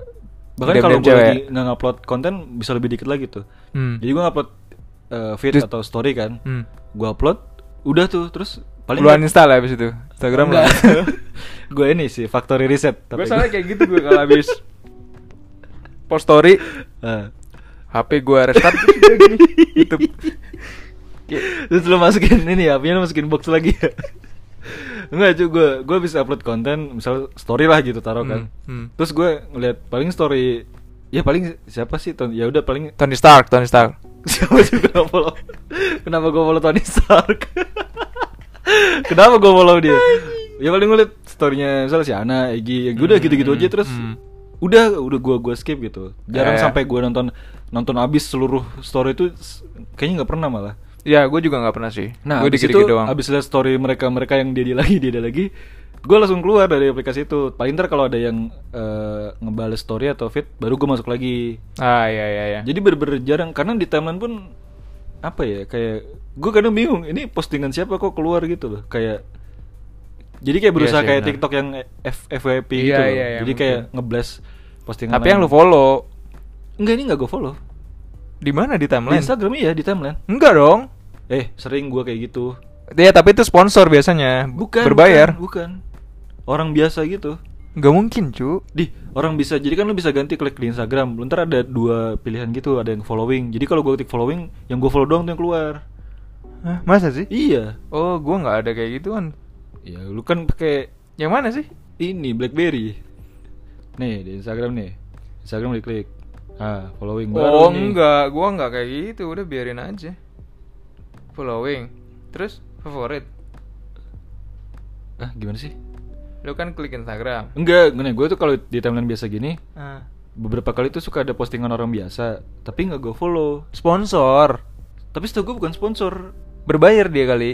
A: bahkan
B: Ngedem-dem
A: kalau gue
B: cewek.
A: lagi nggak upload konten bisa lebih dikit lagi tuh
B: Hmm.
A: jadi gue upload eh, feed
B: Terus-
A: atau story kan
B: Hmm.
A: gue upload udah tuh terus paling
B: lu uninstall ya abis itu Instagram lu
A: gue ini sih factory reset
B: gue
A: tapi
B: soalnya kayak gitu gue kalau habis post story
A: Ah.
B: HP gue restart terus dia gini YouTube
A: Terus lu masukin ini ya, punya lu masukin box lagi ya. Enggak cuy, gue gue bisa upload konten misal story lah gitu taruh kan.
B: Hmm, hmm.
A: Terus gue ngeliat paling story ya paling siapa sih Ton? Ya udah paling
B: Tony Stark Tony Stark
A: siapa juga gak follow. Kenapa gue follow Tony Stark? Kenapa gue follow dia? Ya paling ngeliat storynya misalnya si Ana, Egi, ya udah
B: Hmm,
A: gitu-gitu aja terus
B: hmm.
A: udah udah gue gue skip gitu. Jarang
B: Ya, ya.
A: sampai gue nonton nonton abis seluruh story itu s- kayaknya nggak pernah malah.
B: ya gue juga nggak pernah sih
A: Nah,
B: gue
A: abis
B: dikit-dikit
A: itu
B: doang
A: abis lihat story mereka mereka yang dia dia lagi dia dia lagi, gue langsung keluar dari aplikasi itu. Paling ntar kalau ada yang eh, ngebales story atau feed, baru gue masuk lagi.
B: ah ya ya ya
A: Jadi bener-bener jarang karena di timeline pun apa ya kayak gue kadang bingung ini postingan siapa kok keluar gitu loh kayak jadi kayak
B: Iya
A: berusaha
B: sih,
A: kayak
B: benar.
A: TikTok yang F- FYP
B: Iya,
A: gitu loh.
B: iya, iya,
A: jadi kayak
B: mungkin.
A: ngeblast postingan
B: tapi yang lu
A: lain.
B: follow
A: enggak ini enggak gue follow
B: di mana di
A: di
B: timeline
A: Instagram iya di timeline
B: enggak dong
A: eh sering gue kayak gitu
B: ya tapi itu sponsor biasanya
A: bukan
B: berbayar
A: bukan, bukan. orang biasa gitu
B: nggak mungkin cu
A: Di, orang bisa jadi kan lu bisa ganti klik di Instagram. Lu Ntar ada dua pilihan gitu, ada yang following. Jadi kalau gue klik following, yang gue follow doang tuh yang keluar.
B: Hah, masa sih
A: Iya.
B: oh gue nggak ada kayak gituan
A: Ya, lu kan pakai
B: yang mana sih
A: ini BlackBerry. Nih, di Instagram nih. Instagram diklik. Ah, following
B: oh
A: baru nih.
B: enggak, gua enggak kayak gitu, udah biarin aja. Following. Terus favorit.
A: Ah, gimana sih?
B: Lu kan klik Instagram.
A: Enggak, gini, gue tuh kalau di timeline biasa gini,
B: Ah.
A: beberapa kali tuh suka ada postingan orang biasa, tapi nggak gue follow.
B: Sponsor.
A: Tapi setahu gue bukan sponsor.
B: Berbayar dia kali.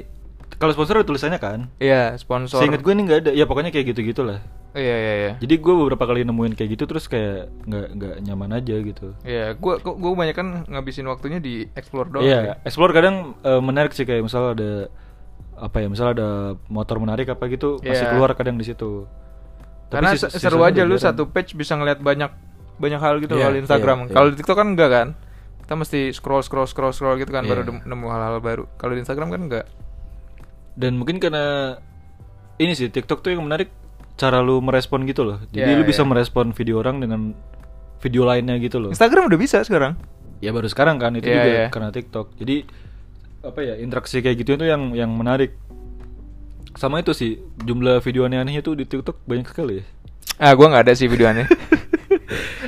A: Kalau sponsor ada tulisannya kan?
B: Iya, sponsor.
A: Seingat gue nih nggak ada. Ya pokoknya kayak gitu-gitu lah.
B: Iya, iya, iya.
A: Jadi gue beberapa kali nemuin kayak gitu terus kayak nggak nggak nyaman aja gitu.
B: Iya, gua gua, gua banyak kan ngabisin waktunya di explore doang.
A: Iya, explore kadang eh, menarik sih kayak misal ada apa ya, misal ada motor menarik apa gitu masih
B: Iya.
A: keluar kadang di situ. Tapi
B: Karena
A: sis-
B: se- seru
A: sisanya
B: aja
A: udah
B: lu
A: jarang.
B: satu page bisa ngeliat banyak banyak hal gitu
A: Iya,
B: loh di Instagram.
A: iya, iya.
B: Kalau di TikTok kan enggak kan? Kita mesti scroll scroll scroll scroll gitu kan baru
A: Iya.
B: dem- nemu hal-hal baru. Kalau di Instagram kan enggak.
A: Dan mungkin karena ini sih TikTok tuh yang menarik cara lu merespon gitu loh. Jadi
B: Iya,
A: lu bisa
B: iya.
A: merespon video orang dengan video lainnya gitu loh.
B: Instagram udah bisa sekarang.
A: ya baru sekarang kan itu
B: Iya,
A: juga
B: iya.
A: karena TikTok jadi apa ya interaksi kayak gitu itu yang yang menarik sama itu sih jumlah video aneh-anehnya tuh di TikTok banyak sekali ya.
B: Ah, gua nggak ada sih videoannya.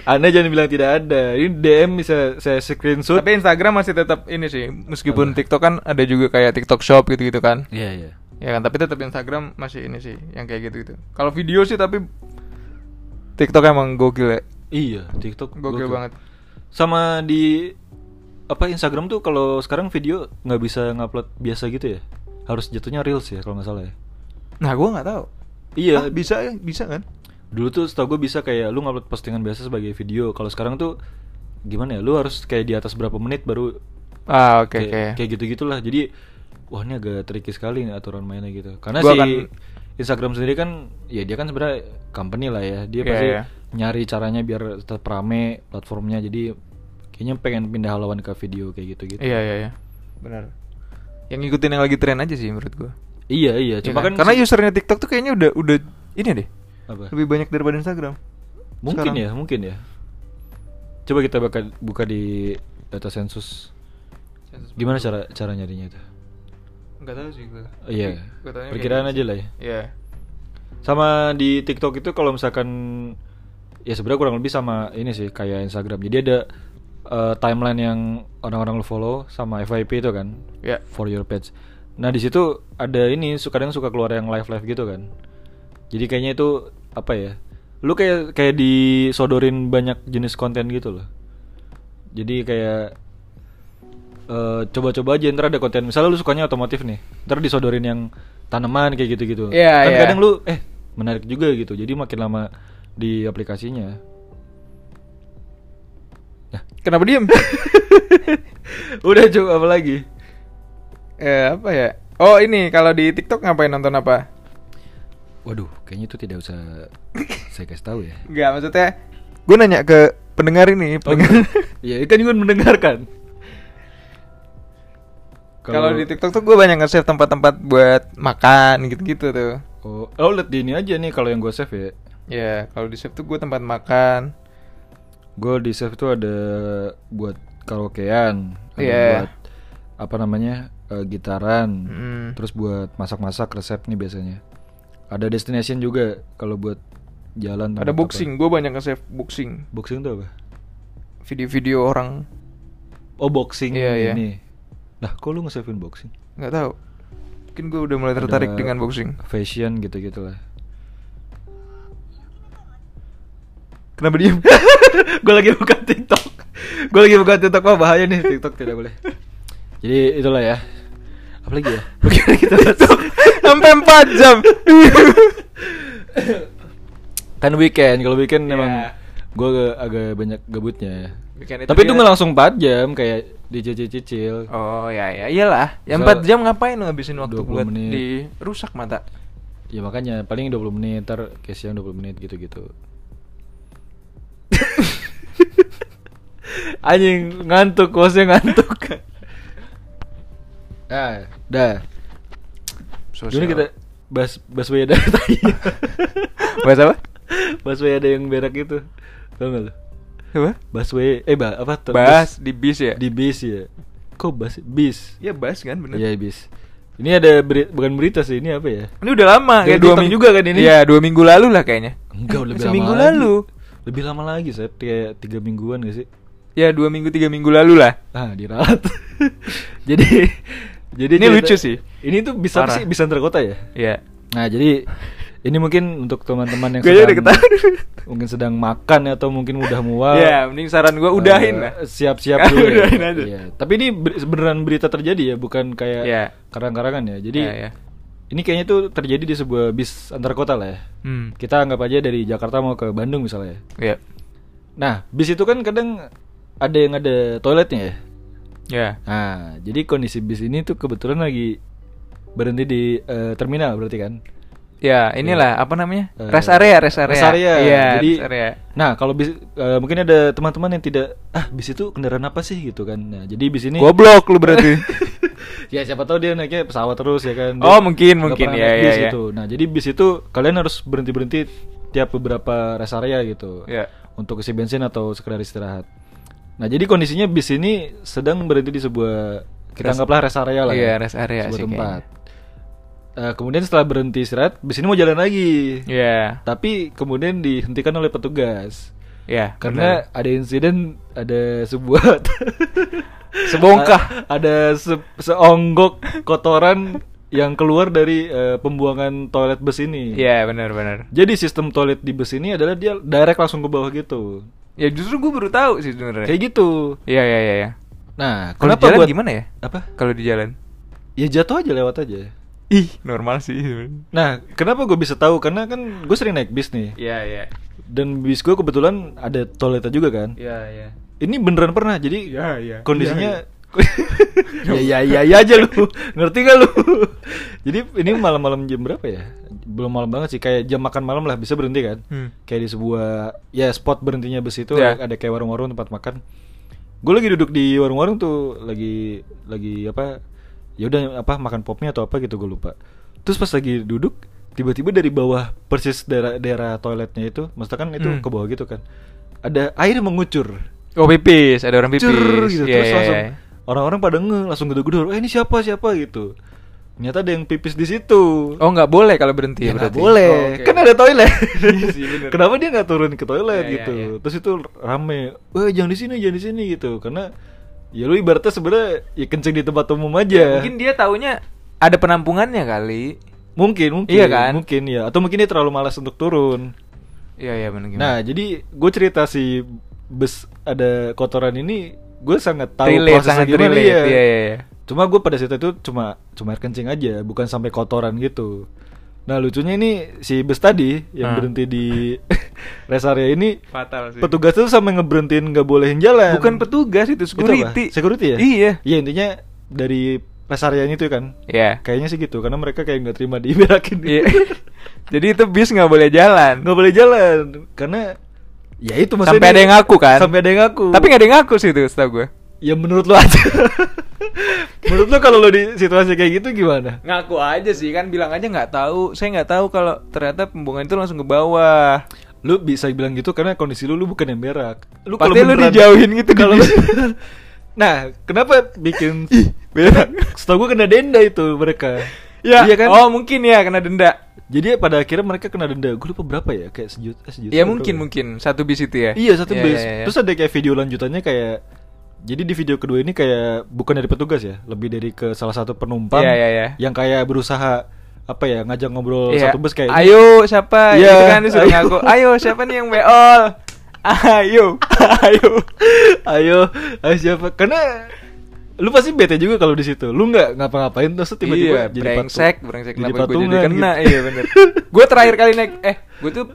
A: Anda jangan bilang tidak ada ini DM bisa saya screenshot
B: Tapi Instagram masih tetap ini sih, meskipun
A: Apa?
B: TikTok kan ada juga kayak TikTok Shop gitu-gitu kan.
A: iya iya
B: Ya kan, tapi tetap Instagram masih ini sih, yang kayak gitu-gitu. Kalau video sih tapi TikTok emang gokil ya.
A: iya TikTok
B: Gokil banget.
A: sama di apa Instagram tuh kalau sekarang video nggak bisa ngupload biasa gitu ya harus jatuhnya reels ya kalau nggak salah ya
B: Nah, gua nggak tahu.
A: iya
B: Ah, bisa ya, bisa kan?
A: Dulu tuh setahu gue bisa kayak lu ngupload postingan biasa sebagai video. Kalau sekarang tuh gimana ya? Lu harus kayak di atas berapa menit baru
B: Ah, oke
A: kayak
B: oke.
A: kayak gitu. gitu-gitulah. Jadi wah ini agak tricky sekali nih aturan mainnya gitu. Karena
B: Gua
A: si
B: akan-
A: Instagram sendiri kan ya dia kan sebenarnya company lah ya. Dia
B: Iya,
A: pasti
B: iya.
A: nyari caranya biar tetap rame platformnya. Jadi kayaknya pengen pindah lawan ke video kayak gitu-gitu.
B: Iya, iya, iya. Benar. Yang ngikutin yang lagi tren aja sih menurut gua.
A: Iya iya,
B: Iya
A: cuma kan
B: kan? karena
A: se-
B: usernya TikTok tuh kayaknya udah udah ini deh.
A: apa?
B: Lebih banyak daripada Instagram.
A: Mungkin
B: Sekarang.
A: ya, mungkin ya. Coba kita buka, buka di data sensus. Gimana cara cara nyarinya itu?
B: Enggak tahu sih gua.
A: Oh, Iya.
B: Gua taunya kayak
A: Perkiraan
B: gitu
A: aja
B: sih.
A: lah ya.
B: Iya.
A: Sama di TikTok itu kalau misalkan ya sebenarnya kurang lebih sama ini sih kayak Instagram. Jadi ada eh, timeline yang orang-orang lo follow sama FYP itu kan.
B: Ya.
A: For your page. Nah, di situ ada ini suka kadang suka keluar yang live-live gitu kan. Jadi kayaknya itu apa ya? Lu kayak kayak disodorin banyak jenis konten gitu loh. Jadi kayak eh, coba-coba aja ntar ada konten misalnya lu sukanya otomotif nih ntar disodorin yang tanaman kayak gitu-gitu
B: Iya,
A: kan
B: iya.
A: kadang lu eh menarik juga gitu jadi makin lama di aplikasinya nah
B: Kenapa diem?
A: udah coba apa lagi
B: eh apa ya? Oh ini kalau di TikTok ngapain nonton apa?
A: waduh kayaknya itu tidak usah saya kasih tahu ya
B: Enggak maksudnya gue nanya ke
A: Oh,
B: pendengar ini pendengar
A: ya kan juga mendengarkan
B: kalau di TikTok tuh gue banyak nge-save tempat-tempat buat makan gitu-gitu tuh
A: oh, oh liat di ini aja nih kalau yang gue save ya
B: ya kalau di save tuh gue tempat makan
A: gue di save tuh ada buat karaokean ada
B: Iya.
A: buat apa namanya eh, gitaran
B: Mm.
A: terus buat masak-masak resep nih biasanya ada destination juga kalau buat jalan tempat
B: ada
A: apa.
B: boxing gue banyak nge-save boxing
A: boxing tuh apa
B: video-video orang
A: oh boxing
B: Iya, iya.
A: ini lah kok lu nge-savein boxing
B: nggak tahu mungkin gue udah mulai tertarik
A: Ada
B: dengan boxing
A: fashion gitu gitulah
B: kenapa diem
A: gue lagi buka TikTok gue lagi buka TikTok wah bahaya nih TikTok tidak boleh jadi itulah ya apa lagi ya Bagaimana kita
B: sampai 4 jam
A: kan weekend kalau weekend
B: Iya.
A: memang gue agak banyak gabutnya ya.
B: Weekend itu
A: tapi itu
B: dia-
A: nggak langsung 4 jam kayak dicicil-cicil
B: oh ya ya iyalah yang
A: Misal-
B: 4 jam ngapain lu ngabisin waktu
A: 20
B: buat
A: menit.
B: di rusak mata
A: ya makanya paling 20 menit ntar kayak siang 20 menit gitu-gitu anjing ngantuk bosnya ngantuk ah dah
B: Sosial.
A: Gimana kita bahas Basweda tadi.
B: bahas apa
A: Basweda yang berak itu. Tahu enggak lu?
B: apa
A: Baswe eh ba, apa tuh?
B: bahas di bis ya
A: di bis ya. Kok bas bis?
B: ya bahas kan bener
A: Iya, bis. Ini ada beri- bukan berita sih, ini apa ya?
B: ini udah lama
A: Dari
B: dua
A: TikTok
B: minggu
A: juga kan ini?
B: ya dua minggu lalu lah kayaknya
A: Enggak,
B: Eh,
A: lebih
B: seminggu
A: lama lagi.
B: lalu
A: Lebih lama lagi, saya kayak tiga mingguan gak sih?
B: ya dua minggu tiga minggu lalu lah
A: Ah, diralat. jadi jadi
B: Ini lucu sih.
A: Ini tuh bisa apa
B: Parah.
A: sih bisa antar kota ya?
B: ya
A: Nah, jadi ini mungkin untuk teman-teman yang
B: Kayaknya udah ketahuan.
A: mungkin sedang makan atau mungkin udah mual.
B: ya mending saran gue udahin lah
A: Eh, Siap-siap
B: Ah,
A: dulu. ya.
B: udahin aja.
A: Iya. Tapi ini ber- beneran berita terjadi ya, bukan kayak
B: Iya.
A: karang-karangan ya. Jadi
B: Ya, ya.
A: ini kayaknya tuh terjadi di sebuah bis antar kota lah ya.
B: hmm
A: Kita anggap aja dari Jakarta mau ke Bandung misalnya.
B: ya
A: Nah, bis itu kan kadang ada yang ada toiletnya ya.
B: ya
A: Nah, jadi kondisi bis ini tuh kebetulan lagi berhenti di eh, terminal berarti kan.
B: Ya, inilah apa namanya?
A: Eh,
B: rest area, rest area.
A: Rest area.
B: Iya,
A: Jadi,
B: rest area.
A: Nah, kalau bis eh, mungkin ada teman-teman yang tidak ah bis itu kendaraan apa sih gitu kan. Nah, jadi bis ini
B: Goblok lu berarti.
A: ya siapa tahu dia naiknya pesawat terus ya kan. Dia
B: Oh, mungkin,
A: nggak
B: mungkin.
A: pernah
B: Ya,
A: naik
B: ya,
A: bis
B: ya.
A: gitu. Nah, jadi bis itu kalian harus berhenti-berhenti tiap beberapa rest area gitu.
B: ya.
A: Untuk isi bensin atau sekedar istirahat. Nah, jadi kondisinya bis ini sedang berhenti di sebuah kita
B: Rest-
A: anggaplah rest area lah ya.
B: iya, rest area
A: sebuah
B: sih
A: tempat. Eh, kemudian setelah berhenti istirahat, bis ini mau jalan lagi.
B: Ya.
A: Tapi kemudian dihentikan oleh petugas.
B: Ya,
A: Karena ada insiden ada sebuah
B: Sebongkah.
A: A- ada se- seonggok kotoran yang keluar dari eh, pembuangan toilet bus
B: bener.
A: ini.
B: Iya, benar benar.
A: Jadi sistem toilet di bus ini adalah dia direct langsung ke bawah gitu.
B: Ya justru gue baru tahu sih sebenarnya.
A: Kayak gitu.
B: Iya, iya, iya, iya.
A: Nah,
B: Kalau di
A: kenapa
B: jalan
A: buat
B: gimana ya?
A: Apa?
B: Kalau di jalan.
A: Ya jatuh aja lewat aja.
B: Ih, normal sih. sebenarnya.
A: Nah, kenapa gue bisa tahu? Karena kan gue sering naik bis nih.
B: Iya, iya.
A: Dan bis gue kebetulan ada toiletnya juga kan.
B: Iya, iya.
A: Ini beneran pernah. Jadi
B: Iya, iya.
A: kondisinya ya ya ya ya aja lu ngerti gak lu jadi ini malam-malam jam berapa ya belum malam banget sih kayak jam makan malam lah bisa berhenti kan
B: Hmm.
A: kayak di sebuah ya spot berhentinya bus itu
B: Ya.
A: ada kayak warung-warung tempat makan gue lagi duduk di warung-warung tuh lagi lagi apa ya udah apa makan popnya atau apa gitu gue lupa terus pas lagi duduk tiba-tiba dari bawah persis daerah daerah toiletnya itu maksudnya kan itu
B: Hmm.
A: ke bawah gitu kan ada air mengucur
B: Oh, pipis, ada orang pipis.
A: Cur, iya. gitu
B: Iya,
A: terus
B: iya,
A: langsung
B: iya.
A: orang-orang pada nge langsung gedor-gedor eh ini siapa siapa gitu ternyata ada yang pipis di situ
B: Oh, nggak boleh kalau berhenti
A: ya,
B: ya,
A: nggak
B: berarti.
A: boleh
B: Oh, oke.
A: kan ada toilet
B: Iya sih, bener.
A: kenapa dia nggak turun ke toilet
B: Iya, iya,
A: gitu
B: iya.
A: terus itu rame eh jangan di sini jangan di sini gitu karena ya lu ibaratnya sebenarnya ya kencing di tempat umum aja
B: Ya, Iya, Mungkin dia taunya ada penampungannya kali.
A: mungkin mungkin
B: Iya kan?
A: mungkin ya atau mungkin dia terlalu malas untuk turun
B: Iya, iya, benar
A: Nah, jadi gue cerita si bus ada kotoran ini, gue sangat tahu
B: Relate,
A: prosesnya
B: sangat
A: gimana,
B: relate. Iya, iya, iya.
A: Cuma gue pada saat itu cuma cuma air kencing aja, bukan sampai kotoran gitu. Nah, lucunya ini si bus tadi yang
B: Hah.
A: berhenti di rest area ini,
B: Fatal Ah, sih.
A: petugas itu sampai ngeberhentiin nggak bolehin jalan.
B: Bukan petugas itu
A: Itu apa?
B: security.
A: Security ya?
B: Iya.
A: Iya, intinya dari rest area itu kan.
B: Iya.
A: Kayaknya sih gitu, karena mereka kayak nggak terima diberakin.
B: Iya. Jadi itu bis nggak boleh jalan.
A: nggak boleh jalan karena ya itu maksudnya
B: Sampai ada yang ngaku kan?
A: sampai ada yang ngaku
B: Tapi nggak ada yang ngaku sih itu setahu gue.
A: ya menurut lo aja menurut lo kalau lo di situasi kayak gitu gimana
B: Ngaku aja sih kan bilang aja nggak tahu. Saya nggak tahu kalau ternyata pembongkaran itu langsung ke bawah.
A: lu bisa bilang gitu karena kondisi lu lu bukan yang berak lu
B: Pasti lu
A: beneran-
B: dijauhin gitu di
A: kalau
B: bis.
A: nah kenapa bikin
B: berak.
A: setahu gue kena denda itu mereka
B: Ya,
A: iya kan
B: Oh, mungkin ya kena denda.
A: jadi pada akhirnya mereka kena denda gue lupa berapa ya kayak sejuta eh, sejuta
B: Ya
A: berapa
B: mungkin mungkin satu bis itu ya.
A: Iya satu
B: Ya,
A: bis.
B: ya, ya.
A: Terus ada kayak video lanjutannya kayak jadi di video kedua ini kayak bukan dari petugas ya, lebih dari ke salah satu penumpang
B: Iya, iya, iya.
A: yang kayak berusaha apa ya ngajak ngobrol
B: Iya.
A: satu bus kayak
B: Ayo siapa?
A: Iya,
B: Iya. kan dia sudah
A: ayo.
B: ngaku. Ayo siapa nih yang beol? Ayo. Ayo.
A: ayo, ayo siapa? Karena lu pasti bete juga kalau di situ. Lu nggak ngapa-ngapain terus tiba-tiba
B: iya, brengsek,
A: patung-
B: brengsek
A: jadi
B: kenapa gue jadi
A: patungan
B: kena?
A: gitu.
B: Iya bener Gue terakhir kali naik eh gue tuh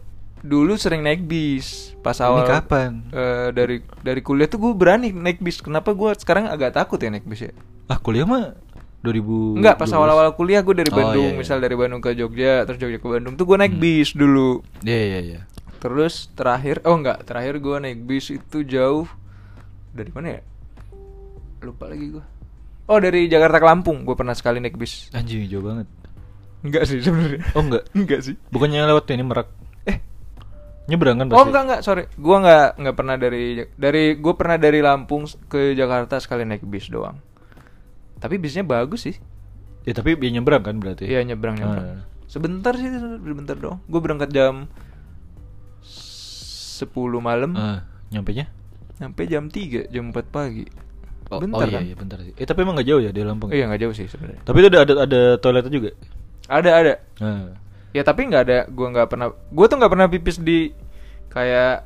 B: dulu sering naik bis pas
A: Ini
B: awal
A: kapan?
B: eh, dari dari kuliah tuh gue berani naik bis. Kenapa gue sekarang agak takut ya naik bis ya?
A: ah kuliah mah 2000
B: Enggak, pas awal-awal kuliah gue dari
A: Oh,
B: Bandung,
A: iya, Hmm. iya.
B: misal dari Bandung ke Jogja, terus Jogja ke Bandung tuh gue naik bis dulu.
A: Iya iya iya.
B: Terus terakhir, oh enggak, terakhir gue naik bis itu jauh dari mana ya? Lupa lagi gue. Oh dari Jakarta ke Lampung, gue pernah sekali naik bis.
A: Anjing jauh banget.
B: Enggak sih sebenarnya.
A: Oh enggak.
B: enggak sih.
A: Bukannya lewat ini Merak.
B: Eh,
A: Nyebrang kan pasti.
B: oh enggak enggak, sorry, gue enggak enggak pernah dari dari gue pernah dari Lampung ke Jakarta sekali naik bis doang. Tapi bisnya bagus sih.
A: Ya tapi ya nyebrang kan berarti.
B: Iya nyebrang
A: Ah.
B: nyebrang. Sebentar sih, sebentar dong. Gue berangkat jam 10 malam,
A: Ah, nyampe nya?
B: sampai jam 3, jam 4 pagi.
A: Oh, oh
B: bentar
A: iya,
B: kan?
A: iya bentar sih. Eh tapi emang gak jauh ya dari Lampung.
B: Iya nggak jauh sih sebenarnya.
A: Tapi itu ada ada, ada toiletnya juga.
B: Ada ada.
A: Nah.
B: Ya tapi nggak ada. Gue nggak pernah. Gue tuh nggak pernah pipis di kayak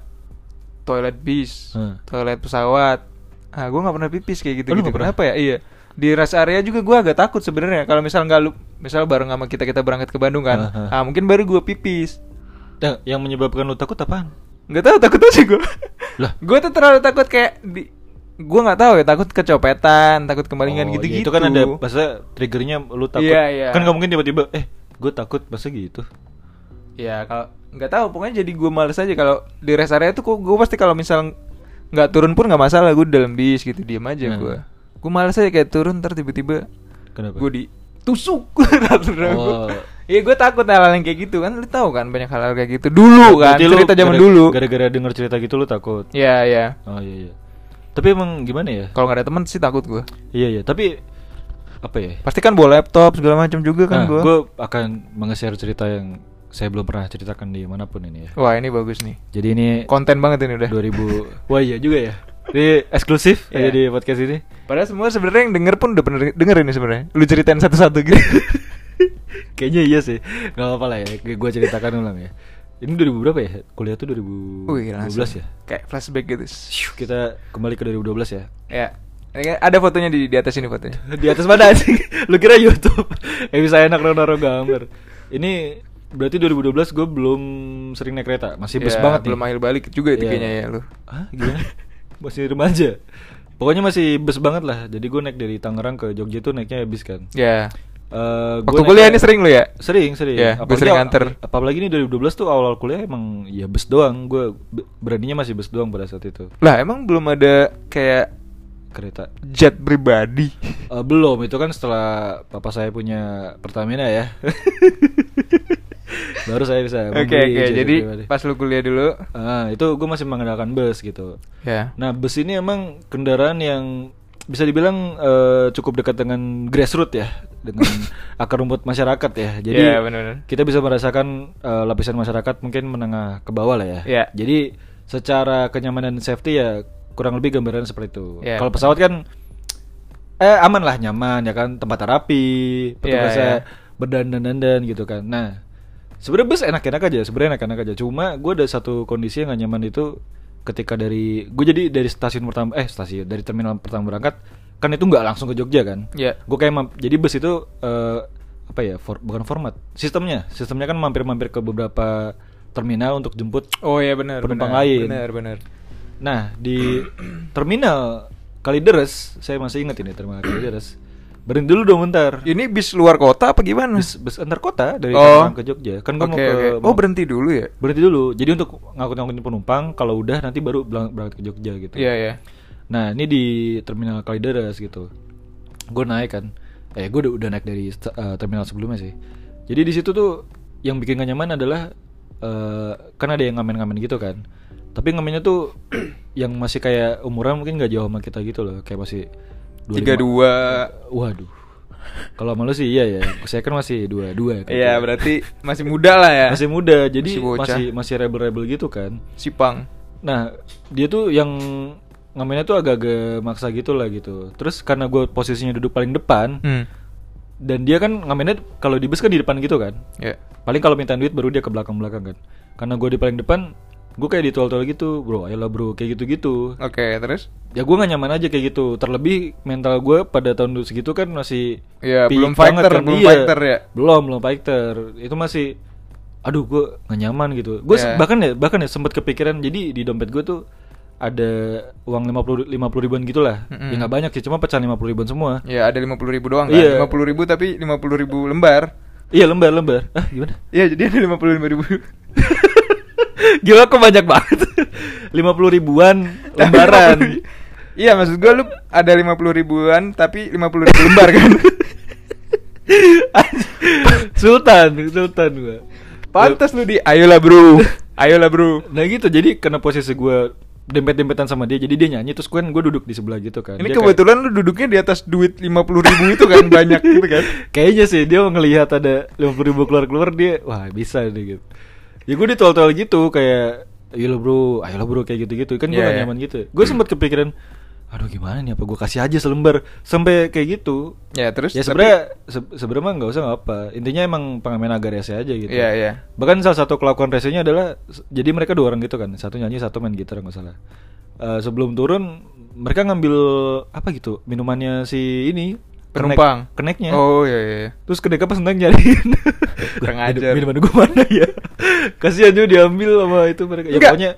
B: toilet bis,
A: Hmm.
B: toilet pesawat. Ah gue nggak pernah pipis kayak gitu.
A: Oh, lu
B: gitu.
A: nggak pernah?
B: Kenapa ya? Iya. Di rest area juga gue agak takut sebenarnya. Kalau misal nggak lu, misal bareng sama kita kita berangkat ke Bandung kan.
A: Ah,
B: Ah mungkin baru gue pipis.
A: Nah, yang menyebabkan lu takut apaan?
B: Nggak tahu takut aja gue.
A: Lah.
B: gue tuh terlalu takut kayak di. Gue nggak tahu ya takut kecopetan, takut kemalingan
A: Oh,
B: gitu-gitu.
A: Itu kan ada masa triggernya lu takut.
B: Iya, iya.
A: Kan gak mungkin tiba-tiba eh gue takut masa gitu.
B: Ya kalau nggak tahu pokoknya jadi gue males aja kalau di rest area tuh gue pasti kalau misal nggak turun pun nggak masalah gue dalam bis gitu diem aja
A: Hmm.
B: gue. Gue males aja kayak turun ntar tiba-tiba
A: Kenapa?
B: gue ditusuk. Rata-rata
A: Oh.
B: gua. Iya gue takut hal-hal yang kayak gitu kan lu tahu kan banyak hal-hal kayak gitu dulu kan
A: Berarti lu
B: cerita zaman
A: gara-
B: dulu.
A: Gara-gara denger cerita gitu lu takut.
B: Ya ya
A: Oh iya iya. Tapi emang gimana ya?
B: kalau nggak ada teman sih takut gue.
A: Iya iya, tapi apa ya?
B: Pasti kan bawa laptop segala macam juga
A: Nah,
B: kan gue.
A: gue akan meng-share cerita yang saya belum pernah ceritakan di manapun ini ya.
B: Wah ini bagus nih
A: Jadi ini
B: konten banget ini udah.
A: 2000 Wah iya juga ya Ini eksklusif aja
B: Iya.
A: di podcast ini
B: Padahal semua sebenarnya yang denger pun udah pernah denger ini sebenarnya. Lu ceritain satu-satu gitu.
A: Kayaknya iya sih Gak apa-apa lah ya Gue ceritakan ulang ya Ini 2000 berapa ya? Kuliah tuh 2012
B: Wih, langsung.
A: ya
B: Kayak flashback gitu. Shoo.
A: Kita kembali ke 2012 ya
B: Ya. Ini kan ada fotonya di di atas ini fotonya.
A: Di atas mana sih? Lu kira Youtube Eh bisa enak naruh-naruh gambar Ini berarti 2012 gue belum sering naik kereta Masih bus
B: Ya,
A: banget nih.
B: Belum akhir balik juga itu
A: Iya.
B: kayaknya ya lu.
A: Hah? Gimana? masih remaja Pokoknya masih bus banget lah Jadi gue naik dari Tangerang ke Jogja tuh naiknya habis kan
B: Ya.
A: Eh, gua
B: Waktu
A: naik-
B: kuliah ini sering lu ya?
A: Sering, sering.
B: Iya, gua sering nganter.
A: Apalagi ini 2012 tuh awal-awal kuliah emang ya bus doang. Gue beraninya masih bus doang pada saat itu.
B: Lah emang belum ada kayak
A: Kereta.
B: jet pribadi.
A: Eh, belum, itu kan setelah papa saya punya Pertamina ya. Baru saya bisa
B: Oke oke,
A: membeli jet
B: jadi
A: pribadi.
B: pas lu kuliah dulu.
A: Ah, itu gue masih mengandalkan bus gitu.
B: Ya.
A: Nah, bus ini emang kendaraan yang bisa dibilang eh, cukup dekat dengan grassroots ya, dengan akar rumput masyarakat ya. Jadi
B: Iya, benar-benar.
A: kita bisa merasakan eh, lapisan masyarakat mungkin menengah ke bawah lah ya.
B: Iya.
A: Jadi secara kenyamanan dan safety ya kurang lebih gambaran seperti itu.
B: Iya.
A: Kalau pesawat kan eh aman lah, nyaman ya kan, tempat rapi, petugasnya
B: iya.
A: berdandan-dandan gitu kan. Nah, sebenarnya bus enak-enak aja, sebenarnya enak-enak aja. Cuma gue ada satu kondisi yang gak nyaman itu ketika dari gue jadi dari stasiun pertama eh stasiun dari terminal pertama berangkat kan itu nggak langsung ke Jogja kan
B: Iya.
A: gue kayak mam- jadi bus itu eh, apa ya for- bukan format sistemnya sistemnya kan mampir-mampir ke beberapa terminal untuk jemput
B: Oh ya benar.
A: Penumpang
B: benar.
A: lain.
B: Benar benar.
A: nah di terminal Kalideres saya masih ingat ini terminal Kalideres Berhenti dulu dong bentar.
B: Ini bis luar kota apa gimana?
A: Bus, bus antar kota dari
B: Oh.
A: Tangerang ke Jogja. Kan gua mau
B: Oke,
A: ke Iya.
B: oke.
A: mau-
B: Oh, berhenti dulu ya?
A: berhenti dulu. Jadi untuk ngangkut-ngangkutin penumpang kalau udah nanti baru berang- berangkat ke Jogja gitu.
B: Iya, iya.
A: Nah, ini di terminal Kalideres gitu. Gue naik kan. Eh, gue udah, udah naik dari st- eh, terminal sebelumnya sih. Jadi di situ tuh yang bikin gak nyaman adalah eh kan ada yang ngamen-ngamen gitu kan. Tapi ngamennya tuh yang masih kayak umuran mungkin gak jauh sama kita gitu loh, kayak masih 25.
B: 32.
A: Waduh. Kalau malu sih iya ya. Saya kan masih 22 kan.
B: Iya, berarti masih muda lah ya.
A: Masih muda, jadi
B: Masih bocah.
A: masih masih rebel-rebel gitu kan.
B: Sipang.
A: Nah, dia tuh yang ngamennya tuh agak-agak maksa gitu lah gitu. Terus karena gue posisinya duduk paling depan
B: Hmm.
A: dan dia kan ngamennya kalau di bus kan di depan gitu kan.
B: Ya.
A: Paling kalau minta duit baru dia ke belakang-belakang kan. Karena gue di paling depan, gue kayak ditol-tol gitu, bro. Ayolah bro, kayak gitu-gitu.
B: Oke, terus?
A: Ya gue gak nyaman aja kayak gitu. Terlebih mental gue pada tahun dulu segitu kan masih
B: Iya,
A: peak
B: belum
A: banget
B: fighter, belum
A: Iya.
B: fighter ya.
A: Belum, belum fighter. Itu masih aduh gue gak nyaman gitu. Gue
B: Iya.
A: bahkan ya bahkan ya sempat kepikiran jadi di dompet gue tuh ada uang 50 50 ribuan gitu lah. Ya
B: Mm-mm.
A: gak banyak sih, cuma pecahan 50 ribuan semua.
B: Ya, ada 50 ribu doang kan?
A: Iya.
B: 50 ribu tapi 50 ribu lembar.
A: Iya, lembar-lembar. Ah, gimana?
B: Iya, jadi ada 55 ribu.
A: Gila kok banyak banget. 50 ribuan lembaran.
B: Iya, maksud gue lu ada 50 ribuan tapi 50 ribu lembar kan?
A: Sultan, Sultan gue.
B: Pantas lu di ayolah bro. Ayolah bro.
A: Nah gitu, jadi karena posisi gue dempet-dempetan sama dia, jadi dia nyanyi terus gue gue duduk di sebelah gitu kan.
B: Ini
A: Dia kayak-
B: kebetulan lu duduknya di atas duit 50 ribu itu kan banyak gitu kan?
A: Kayaknya sih dia ngelihat ada 50 ribu keluar-keluar dia, wah bisa nih gitu. Ya gue ditol-tol gitu kayak, ayolah bro, ayolah bro kayak gitu-gitu. Kan gue
B: Iya,
A: gak
B: iya.
A: nyaman gitu. Gue sempat kepikiran, aduh gimana nih apa gue kasih aja selembar sampai kayak gitu.
B: Ya, terus
A: ya
B: tapi-
A: sebenarnya se- sebenarnya mah nggak usah nggak apa. Intinya emang pengamen agak rese aja gitu.
B: Iya, iya.
A: Bahkan salah satu kelakuan resenya adalah s- jadi mereka dua orang gitu kan, satu nyanyi, satu main gitar nggak salah. Eh, sebelum turun mereka ngambil apa gitu minumannya si ini kenek-
B: Penumpang.
A: keneknya.
B: Oh iya iya.
A: Terus kedek apa senang nyariin.
B: Kurang
A: Minum-
B: ajar.
A: Minuman gue mana ya? Kasihan juga diambil sama itu mereka. Ya
B: Enggak.
A: pokoknya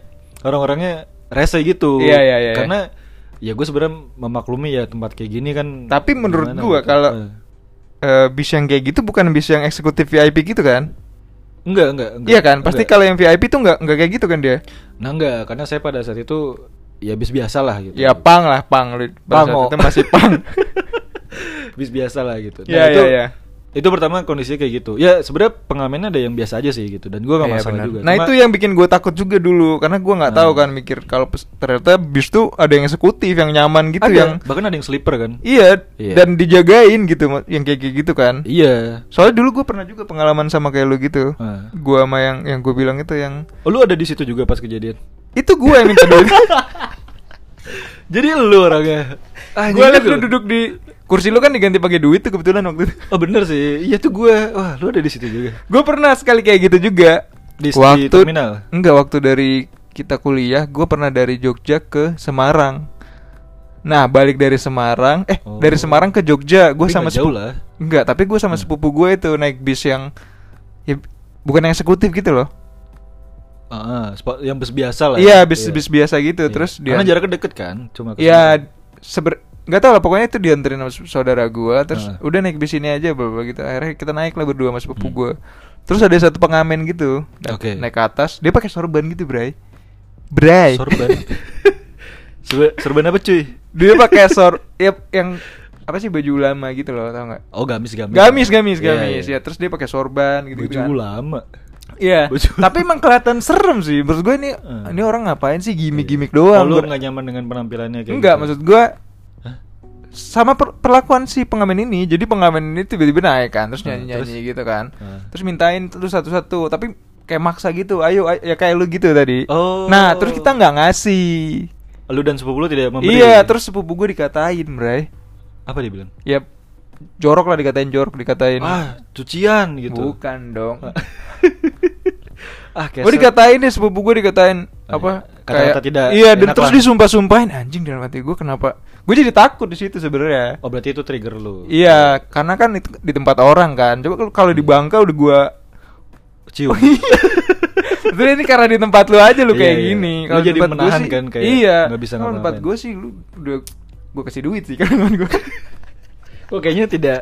A: orang-orangnya rese gitu.
B: Iya, iya, iya.
A: Karena ya gue sebenarnya memaklumi ya tempat kayak gini kan.
B: Tapi menurut
A: gimana
B: gua
A: gitu.
B: kalau
A: Eh.
B: eh, bis yang kayak gitu bukan bis yang eksekutif VIP gitu kan?
A: enggak enggak enggak.
B: Iya kan?
A: Enggak.
B: Pasti kalau yang VIP tuh nggak nggak kayak gitu kan dia?
A: Nah enggak, karena saya pada saat itu ya bis biasa lah gitu.
B: Ya pang lah pang lu.
A: Pang,
B: Pada saat
A: oh.
B: itu masih pang.
A: bis biasa lah gitu. Nah,
B: Iya
A: itu,
B: iya iya.
A: Itu pertama kondisinya kayak gitu. Ya sebenarnya pengamennya ada yang biasa aja sih gitu dan gua nggak
B: Iya,
A: masalah
B: benar.
A: juga.
B: Nah
A: Cuma-
B: itu yang bikin gue takut juga dulu karena gue nggak tahu
A: Nah.
B: kan mikir kalau pes- ternyata bis tuh ada yang eksekutif yang nyaman gitu
A: ada,
B: yang
A: bahkan ada yang sleeper kan.
B: iya
A: Iya.
B: dan dijagain gitu ma- yang kayak kayak gitu kan.
A: Iya.
B: Soalnya dulu gue pernah juga pengalaman sama kayak lu gitu.
A: Ah.
B: Gue sama yang yang gue bilang itu yang
A: Oh, lu ada di situ juga pas kejadian.
B: itu gue yang minta duit.
A: Jadi lu orangnya. Anjing
B: gue liat
A: gitu
B: lu duduk di kursi lu kan diganti pakai duit tuh kebetulan waktu itu.
A: Oh bener sih. Iya tuh gue. Wah lu ada di situ juga.
B: Gue pernah sekali kayak gitu juga
A: Di- di terminal?
B: Enggak waktu dari kita kuliah, gue pernah dari Jogja ke Semarang. Nah balik dari Semarang, eh
A: Oh.
B: dari Semarang ke Jogja, gue
A: Tapi
B: sama
A: nggak jauh
B: sepu-
A: lah.
B: Enggak, tapi gue sama
A: Hmm.
B: sepupu gue itu naik bis yang ya, bukan yang eksekutif gitu loh.
A: Ah, ah, spa- yang bus biasa lah. ya.
B: Iya, bis bis biasa gitu.
A: Iya.
B: Terus dia
A: Karena jaraknya deket kan, cuma ke
B: Iya,
A: sana.
B: seber nggak tahu lah pokoknya itu dianterin sama saudara gua terus
A: Ah.
B: udah naik bis ini aja bla bla gitu akhirnya kita naik lah berdua sama sepupu
A: Hmm.
B: gua terus ada satu pengamen gitu na-
A: Oke.
B: naik ke atas dia pakai sorban gitu bray bray
A: Sorban. Serba- Serban apa cuy?
B: dia pakai sor ya, yang apa sih baju ulama gitu loh tau nggak
A: Oh gamis gamis.
B: gamis gamis gamis,
A: Iya, iya.
B: ya terus dia pakai sorban gitu
A: Baju ulama.
B: Iya,
A: Baju ulama.
B: tapi emang kelihatan serem sih. Menurut gue ini
A: Hmm.
B: ini orang ngapain sih gimmick-gimmick
A: Oh,
B: doang?
A: lu
B: Gua-
A: nggak nyaman dengan penampilannya kayak
B: Enggak,
A: gitu.
B: maksud gua
A: Hah?
B: sama per- perlakuan si pengamen ini jadi pengamen ini tiba-tiba naik kan terus
A: Ah,
B: nyanyi nyanyi
A: terus?
B: gitu kan
A: Ah.
B: terus mintain terus satu-satu tapi kayak maksa gitu ayo, ayo, ya kayak lu gitu tadi
A: Oh.
B: nah terus kita nggak ngasih
A: Lu dan sepupu lu tidak memberi.
B: iya terus sepupu gue dikatain bray
A: apa dia bilang?
B: ya jorok lah dikatain jorok dikatain
A: Ah, cucian gitu.
B: bukan dong
A: ah, keset.
B: Gue dikatain deh sepupu gue dikatain
A: Oh,
B: apa
A: iya. Kata-kata tidak
B: iya dan
A: enak
B: terus
A: lah.
B: disumpah-sumpahin anjing dalam hati gue kenapa gue jadi takut di situ sebenarnya
A: Oh, berarti itu trigger lu.
B: Iya, karena kan itu di tempat orang kan. Coba kalau- kalau di Bangka udah gua Oh,
A: Cium.
B: iya. Sebenernya ini karena di tempat lu aja lu
A: Iya,
B: kayak
A: iya.
B: gini.
A: Lu
B: Kalau di
A: jadi
B: tempat gua
A: menahan
B: sih-
A: kan, kayak
B: Iya.
A: nggak bisa
B: Kalau tempat
A: ngapa-ngapain.
B: kan gue sih lu udah gua kasih duit sih karena gua.
A: Kok kayaknya tidak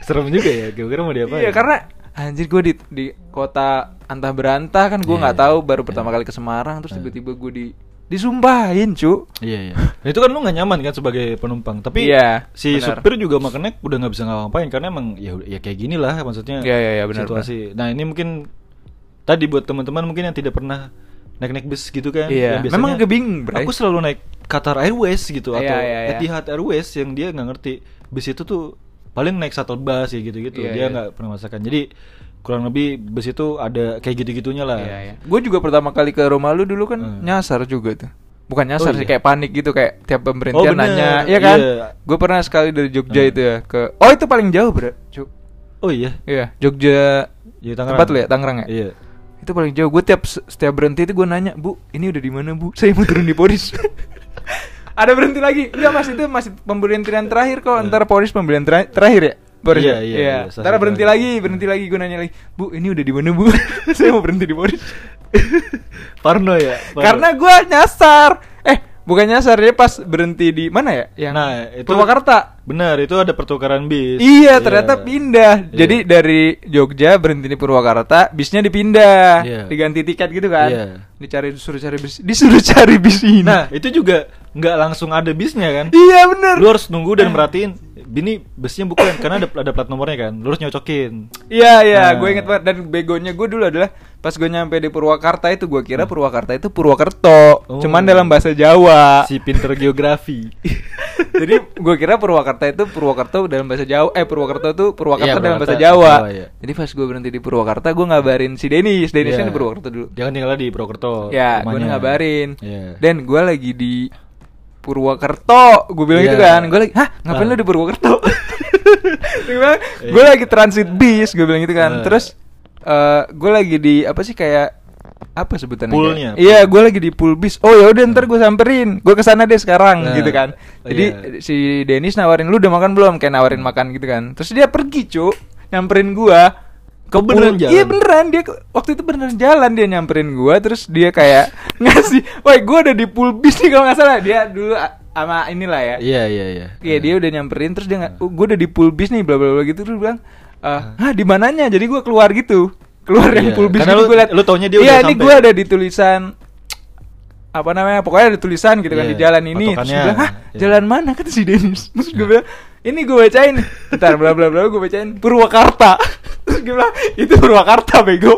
A: serem juga ya. Kira-kira mau diapain?
B: Iya karena anjir gue di di kota antah berantah kan gue
A: Iya,
B: nggak
A: iya.
B: tahu baru
A: Iya.
B: pertama kali ke Semarang terus
A: Iya.
B: tiba-tiba gue di disumpahin cu.
A: Iya iya. Nah, itu kan lu nggak nyaman kan sebagai penumpang. Tapi
B: Iya,
A: si
B: benar.
A: supir juga makanya udah nggak bisa ngapain karena emang ya ya kayak gini lah maksudnya.
B: Iya, iya, iya, benar,
A: Situasi. Nah ini mungkin tadi buat teman-teman mungkin yang tidak pernah naik-naik bus gitu kan.
B: Iya,
A: yang biasanya,
B: memang gue bingung, Bray.
A: Aku selalu naik Qatar Airways gitu
B: Iya,
A: atau
B: iya, iya.
A: Etihad Airways yang dia nggak ngerti bus itu tuh paling naik shuttle bus ya gitu-gitu.
B: Iya,
A: dia
B: iya.
A: nggak pernah merasakan. Jadi kurang lebih bus itu ada kayak gitu-gitunya lah.
B: Iya, iya. Gue juga pertama kali ke rumah lu dulu kan
A: Hmm.
B: nyasar juga tuh. Bukan nyasar
A: Oh,
B: sih
A: iya.
B: kayak panik gitu kayak tiap
A: Oh,
B: pemberhentian
A: bener.
B: nanya, iya kan?
A: Iya.
B: Gue pernah sekali dari Jogja
A: Hmm.
B: itu ya ke Oh, itu paling jauh, Bro. Cu.
A: Oh iya.
B: Iya, Jogja
A: Iya, Tangerang.
B: tempat lu ya, Tangerang ya?
A: Iya.
B: Itu paling jauh. Gue tiap setiap berhenti itu gue nanya, "Bu, ini udah di mana, Bu? Saya mau turun di Polis." Ada berhenti lagi. Enggak, Mas, itu masih pemberhentian terakhir kok
A: Iya.
B: antara Polis pemberhentian tera- terakhir ya? Polis.
A: Iya,
B: ya?
A: iya, iya, stasiun
B: Ntar berhenti
A: terakhir.
B: lagi, berhenti lagi gue nanya lagi, "Bu, ini udah di mana, Bu? Saya mau berhenti di Polis."
A: Parno ya. Parno.
B: Karena gue nyasar. Eh, bukan nyasar dia pas berhenti di mana ya? Yang
A: nah itu
B: Purwakarta.
A: Benar, itu ada pertukaran bis.
B: Iya, ternyata pindah.
A: Iya.
B: Jadi dari Jogja berhenti di Purwakarta, bisnya dipindah,
A: Iya.
B: diganti tiket gitu kan?
A: Iya.
B: Dicari disuruh cari bis, disuruh cari bis ini.
A: Nah, itu juga nggak langsung ada bisnya kan?
B: iya bener.
A: Lu harus nunggu dan merhatiin ini busnya bukan karena ada ada plat nomornya kan. Lu harus nyocokin.
B: Iya iya,
A: Nah.
B: gue inget banget. Dan begonya gue dulu adalah pas gue nyampe di Purwakarta itu gue kira Purwakarta itu Purwakerto,
A: Hmm. Oh.
B: cuman dalam bahasa Jawa.
A: Si pinter geografi.
B: Jadi gue kira Purwakarta itu Purwakarta dalam bahasa Jawa. Eh Purwakarta itu Purwakarta
A: Iya,
B: dalam
A: Purwakarta,
B: bahasa Jawa.
A: Jawa, iya.
B: Jadi pas gue berhenti di Purwakarta, gue ngabarin si Denis. Denis kan di Purwakarta dulu.
A: Dia kan tinggalnya Iya. di Purwokerto.
B: Ya, gue
A: rumahnya.
B: ngabarin.
A: Iya.
B: Dan gue lagi di Purwakarta, gue bilang
A: Iya.
B: gitu kan. Gue lagi, hah ngapain
A: Ah.
B: lu di Purwakarta? gue bilang,
A: Iya.
B: gue lagi transit bis, gue bilang gitu
A: Ah.
B: kan. Terus gue lagi di apa sih kayak apa sebutannya?
A: Poolnya,
B: kayak- Iya, gue lagi di pool bis. Oh ya udah ntar gue samperin. Gue kesana deh sekarang
A: Ah.
B: gitu kan. Jadi
A: Iya.
B: si Denis nawarin lu udah makan belum? Kayak nawarin makan gitu kan. Terus dia pergi cu, nyamperin gue.
A: Kau beneran
B: Pul-
A: jalan?
B: Iya beneran dia ke- waktu itu beneran jalan dia nyamperin gua terus dia kayak ngasih, "Woi, gua ada di pool bis nih kalau nggak salah." Dia dulu a- sama inilah ya. Iya,
A: Iya, iya, iya.
B: dia udah nyamperin terus dia nggak, "Oh, "Gua udah di pool bis nih, bla bla bla" gitu terus bilang, "Ah, hah, di mananya?" Jadi gua keluar gitu. Keluar yang
A: Iya,
B: pool bis
A: karena
B: gitu
A: lu-
B: gua liat.
A: lu taunya dia
B: Iya,
A: udah
B: ini
A: sampai.
B: gua ada di tulisan apa namanya pokoknya ada tulisan gitu kan
A: Iya,
B: di jalan ini terus
A: patokannya.
B: gua bilang, "Hah,
A: Iya.
B: jalan mana?" kata si Denis terus gue bilang ini gue bacain ntar bla bla bla gue bacain Purwakarta terus gue bilang itu Purwakarta bego